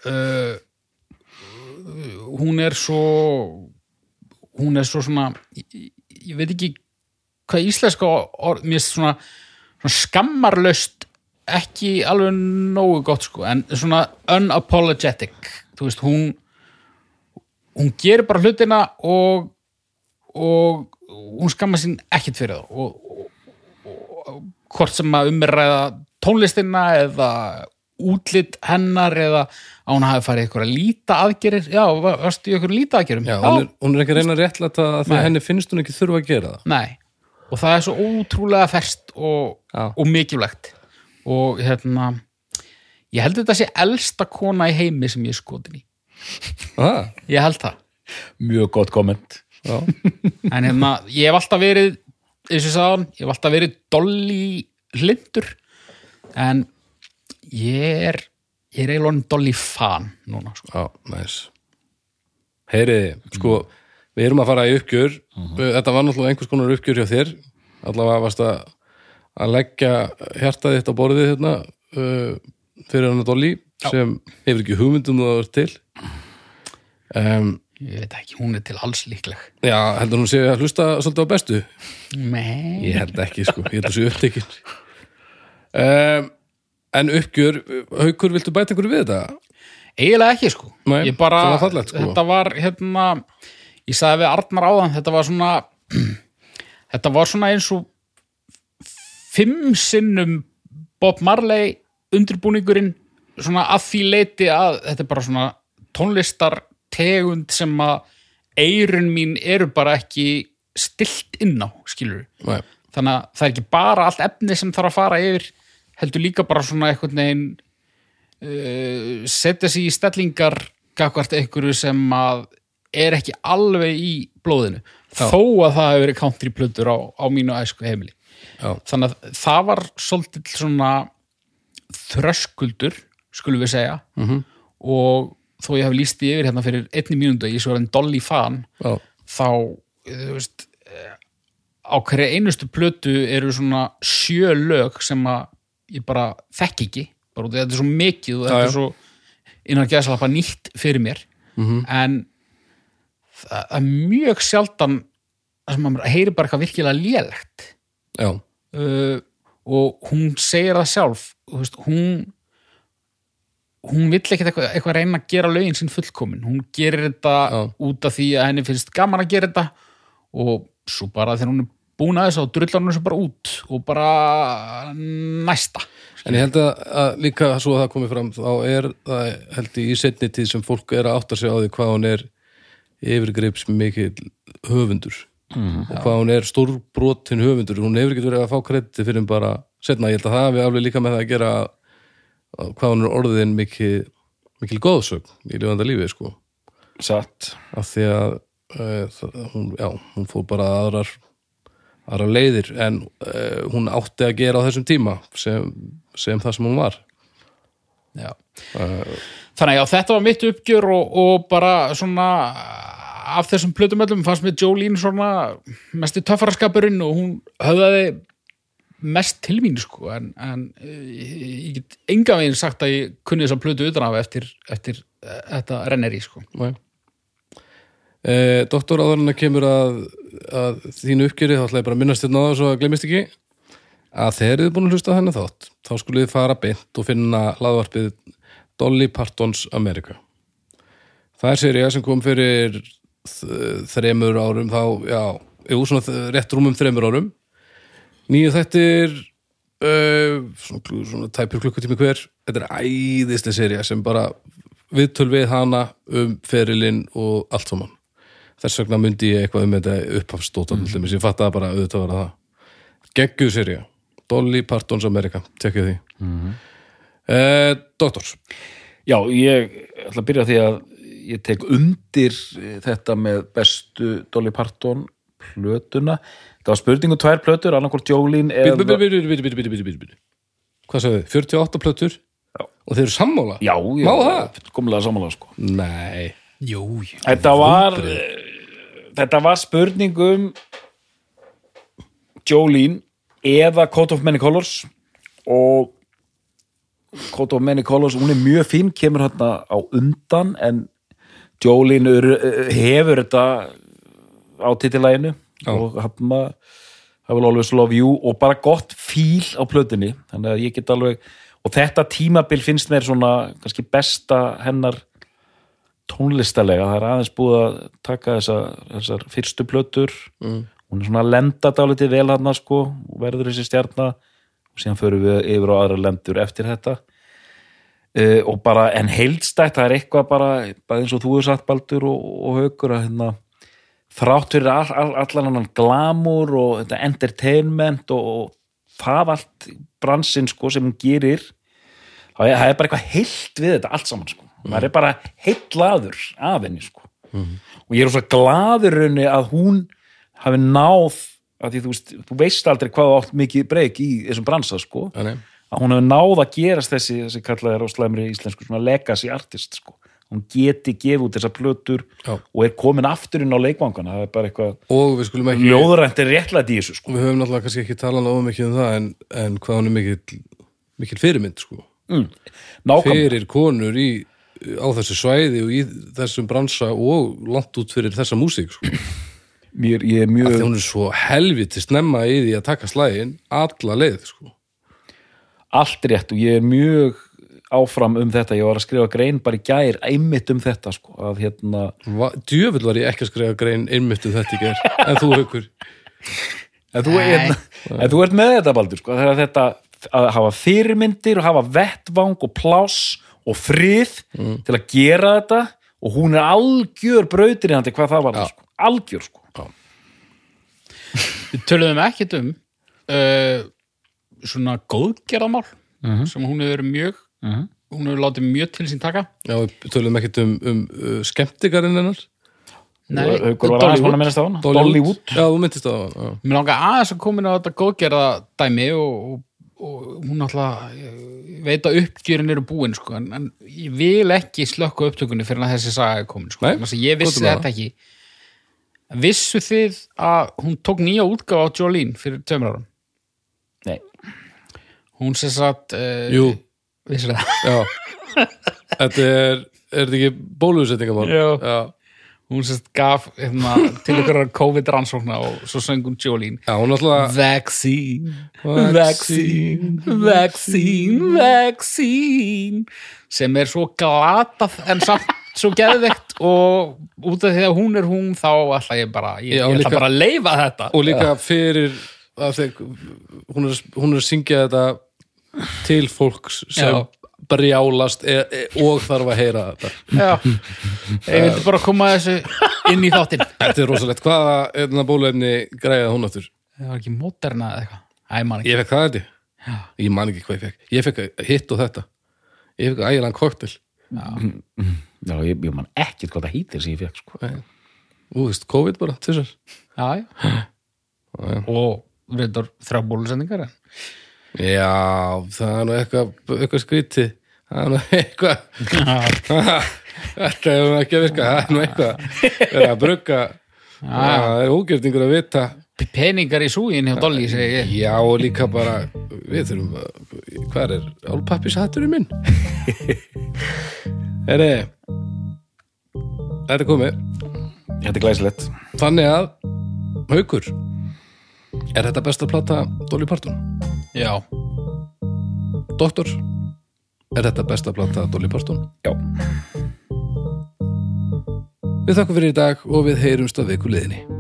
S3: uh, hún er svo hún er svo svona ég, ég veit ekki hvað íslenska orð, mér finnst svona, svona skammarlaust ekki alveg nógu gott sko en svona unapologetic þú veist, hún hún gerir bara hlutina og og hún skammar sín ekkit fyrir það og, hvort sem að umræða tónlistina eða útlitt hennar eða að hún hafi farið eitthvað að líta aðgerir já, va- varstu í eitthvað líta aðgerum
S1: Já, hún er, hún er ekki að reyna að réttlæta það því að henni finnst hún ekki þurfa að gera það.
S3: nei og það er svo ótrúlega ferst og,
S1: Já.
S3: og mikilvægt og hérna ég held að þetta sé elsta kona í heimi sem ég er skotin í,
S1: Ah,
S3: ég held það
S2: mjög gott komment
S1: já,
S3: en hérna, ég hef alltaf verið eins og sagðan, ég hef alltaf verið dolli hlindur en ég er ég er eiginlega dolli fan núna sko.
S1: já, næs. Heyriði, sko, við erum að fara í uppgjör. Þetta var náttúrulega einhvers konar uppgjör hjá þér. Allavega varst að, að leggja hjartað þitt á borðið hérna uh, fyrir hann að Dolly sem hefur ekki hugmyndum það verið til. Um,
S3: ég veit ekki, hún er til alls líkleg
S1: já, heldur hún sé að hlusta svolítið á bestu.
S3: Nei.
S1: Ég held ekki sko, ég held þessu upptekinn um, En uppgjör Haukur, viltu bæta einhverju við þetta?
S3: eiginlega ekki sko
S1: Nei,
S3: ég bara,
S1: það var fallegt, sko.
S3: þetta var hérna, ég sagði við Arnar áðan þetta var svona þetta var svona eins og fimm sinnum Bob Marley undirbúningurinn svona að því leiti að þetta er bara svona tónlistar tegund sem að eirun mín eru bara ekki stilt inn á, skilur
S1: Nei,
S3: þannig að það er ekki bara allt efni sem þarf að fara yfir heldur líka bara svona eitthvað negin uh, setja sig í stellingar gagvart einhverju sem að er ekki alveg í blóðinu þó að það hefur verið countryplötur á, á mínu æsku heimili
S1: Já.
S3: þannig að það var svolítið svona þröskuldur skulum við segja -hmm. og þó ég hef líst því yfir hérna fyrir einni mínúndu að ég svo er en dolly fan
S1: já,
S3: þá þú veist, eh, á hverja einustu plötu eru svona sjö lög sem að ég bara þekki ekki bara út af því að þetta er svo mikið og þetta
S1: Já,
S3: er
S1: já.
S3: svo innan geðslappa nýtt fyrir mér
S1: Mhm.
S3: -hmm. en það það er mjög sjaldan það sem maður heyri bara eitthvað virkilega lélegt
S1: já,
S3: uh, og hún segir það sjálf þú veist, hún hún vill ekkert eitthvað, eitthvað reyna að gera lögin sín fullkomin, hún gerir þetta
S1: Já.
S3: út af því að henni finnst gaman að gera þetta og svo bara þegar hún er búin aðeins og drullar hann þessu bara út og bara næsta
S1: En ég held að, að líka svo að það komið fram þá er það held ég í setni tíð sem fólk er að átta sig á því hvað hún er yfirgrips mikil höfundur og hvað hún er stórbrotin höfundur hún hefur ekki verið að fá krediti fyrir bara setna, ég held að það hafi alveg líka með það að gera að hvað hún er orðin mikil, mikil góðsögn í lifanda lífið sko
S2: satt
S1: af því að uh, það, hún, já, hún fór bara aðrar aðrar leiðir en uh, hún átti að gera á þessum tíma sem, sem það sem hún var
S3: Já. Eh, Þannig að já, þetta var mitt uppgjör og, og bara svona eh, af þessum plötumöllum fannst mér Jolene svona mesti töffaraskapurinn og hún höfðaði mest til mín sko en, en eh, ég, ég get enga veginn sagt að ég kunni þessa plötu utan af eftir, eftir eh, þetta renneri sko
S1: Nei. Eh, doktor áðurinn að kemur að, að þínu uppgjöri þá ætla ég bara að minnast þetta á það svo að glemist ekki að þegar þið búin að hlusta á henni þátt þá skulle þið fara beint og finna hlaðvarpið Dolly Partons America það er serið sem kom fyrir þ- þremur árum þá, já, jú, svona þ- rétt rúmum þremur árum nýju þættir uh, svona, klu- svona tæpur klukkutími hver þetta er æðislega serið sem bara viðtöl við hana um ferilinn og allt saman þess vegna myndi ég eitthvað um þetta upphafstóta mm. ég fatt að bara auðvitað var það gegguð serið, Dolly Partons America tekja því Eh, mm Doktors
S2: Já, ég ætla að byrja á því að ég tek undir eh, þetta með bestu Dolly Parton plötuna. Það var spurning um tvær plötur, annarkvort Jolín eða...
S1: Bítu, bítu, bítu, bítu, bítu, bítu, bítu, bítu. Hvað sagði þið? 48 plötur? Já. Og þeir eru sammála?
S2: Já, já,
S1: Má það?
S2: Komlega samanlega, sko.
S1: Nei.
S3: Jú,
S2: Þetta var, eh, þetta var spurning um Jolín eða Code of Many Colors og Code of Many Colors, hún er mjög fín, kemur hérna á undan en Jolín hefur þetta á titilæginu
S1: Já.
S2: og hafna I will always love you og bara gott fíl á plötunni þannig að ég get alveg og þetta tímabil finnst mér svona kannski besta hennar tónlistalega, það er aðeins búið að taka þessa, þessar fyrstu plötur mm. hún er svona að lenda dálítið vel hann sko, og verður þessi stjarnar og síðan förum við yfir á aðra lendur eftir þetta uh, og bara, en heildstætt, það er eitthvað bara, bara eins og þú er satt baldur og, og haukur að hérna þrátt fyrir all, all, allan annan glamour og þetta entertainment og, og það allt bransinn sko sem hún gerir það er, það er bara eitthvað heilt við þetta allt saman sko maður er bara heitlaður af henni sko og ég er svo glaður henni að hún hafi náð að því þú veist, þú veist aldrei hvað þú átt mikið breyk í þessum bransa sko
S1: Nei, nei.
S2: að hún hefur náð að gerast þessi þessi kallaði á slæmri íslensku svona legacy artist sko. hún geti gefið út þessar plötur
S1: Já.
S2: og er komin aftur inn á leikvangana það er bara eitthvað
S1: Og við skulum ekki...
S2: ljóðurænt er réttlega í þessu sko.
S1: Við höfum náttúrulega kannski ekki talað nógu mikið um það en, en hvað hún er mikil, mikil fyrirmynd, sko.
S2: nákvæm,
S1: Fyrir konur í, á þessu svæði og í þessum bransa og langt út fyrir þessa músík, sko.
S2: mér, ég er
S1: Af
S2: mjög
S1: því hún er svo helviti snemma í því að taka slægin alla leið, sko.
S2: allt rétt og ég er mjög áfram um þetta, ég var að skrifa grein bara í gær, einmitt um þetta sko, að hérna,
S1: Va, djöfull var ég ekki að skrifa grein einmitt um þetta í ger, en þú haukur.
S2: En þú, en, en þú ert með þetta, Baldur, sko, þegar þetta að hafa fyrirmyndir og hafa vettvang og pláss og frið til að gera þetta og hún er algjör brautir í handi hvað það var,
S1: Já.
S2: sko, algjör, sko.
S3: við töluðum ekkert um uh, svona góðgerðamál
S2: Mhm.
S3: sem hún hefur verið mjög hún hefur látið mjög til sín taka
S1: Já, við tölum ekkert um, um uh, skemmtikarinn hennar.
S3: Nei,
S2: Og Haukur var aðeins búin að
S3: Dollywood.
S2: minnast á hana. Dollywood.
S1: Já, þú myndist á það. já.
S3: Mér langar aðeins að koma inn á þetta góðgerða dæmi og, og, og hún alltaf ég veit að uppgjörin eru búin sko, en, en ég vil ekki slökka á upptökunni fyrir að þessi saga er komin sko.
S1: Nei,
S3: Þannig að ég vissi
S1: gott um
S3: þetta ekki Vissu þið að hún tók nýja útgáfa á Jolene fyrir tveimur árum
S2: Nei,
S3: Hún sem sagt uh,
S1: Jú,
S3: Vissir það
S1: já. Þetta er, er þetta ekki bólusetningamál?
S3: Já.
S1: Já,
S3: Hún sem sagt gaf hérna, til ykkur COVID-rannsókna og svo söng hún Jolene
S1: já hún alltaf...
S3: Vaccine Vaccine, vaccine, vaccine sem er svo glatað en samt svo geðveikt og út af því að hún er hún þá ætla ég bara, ég,
S1: Já,
S3: ég ætla
S1: líka-
S3: bara að leifa þetta
S1: og líka fyrir að þeir, hún, er, hún er að syngja þetta til fólks sem
S3: Já.
S1: brjálast e, e, og þarf að heyra þetta
S3: Já, ég vildi bara koma þessu inn í þáttinn
S1: þetta er rosalegt, hvaða einna bólefni græða hún áttur?
S3: Það var ekki móterna eða eitthvað Æ, man ekki
S1: Ég fekk það held ég, ég man ekki hvað ég fekk ég fekk hitt og þetta ég fekk ægilegan koktel
S2: Já, ég, ég man ekkert hvað það heitir sem ég fekk sko.
S1: Ú, þú veist, COVID bara, tvisar
S3: Já, já Og reyndar þrjá bólusendingar en
S1: Já, það er nú eitthvað eitthvað skrítið það er nú eitthvað þetta hefur nú ekki að virka, það er nú eitthvað það er að brugga það er ógjörningur að vita
S3: Peningar í súgin hjá Dolly, segi ég
S1: Já, og líka bara við þurfum að, hvað er álpappishatturinn minn? Heri Þetta er komið
S2: Þetta er glæsilegt
S1: Þannig að, haukur er þetta besta plata Dolly Parton?
S3: Já,
S1: Doktor, er þetta besta plata Dolly Parton?
S2: Já,
S1: Við þakkum fyrir í dag og við heyrumst að viku liðinni.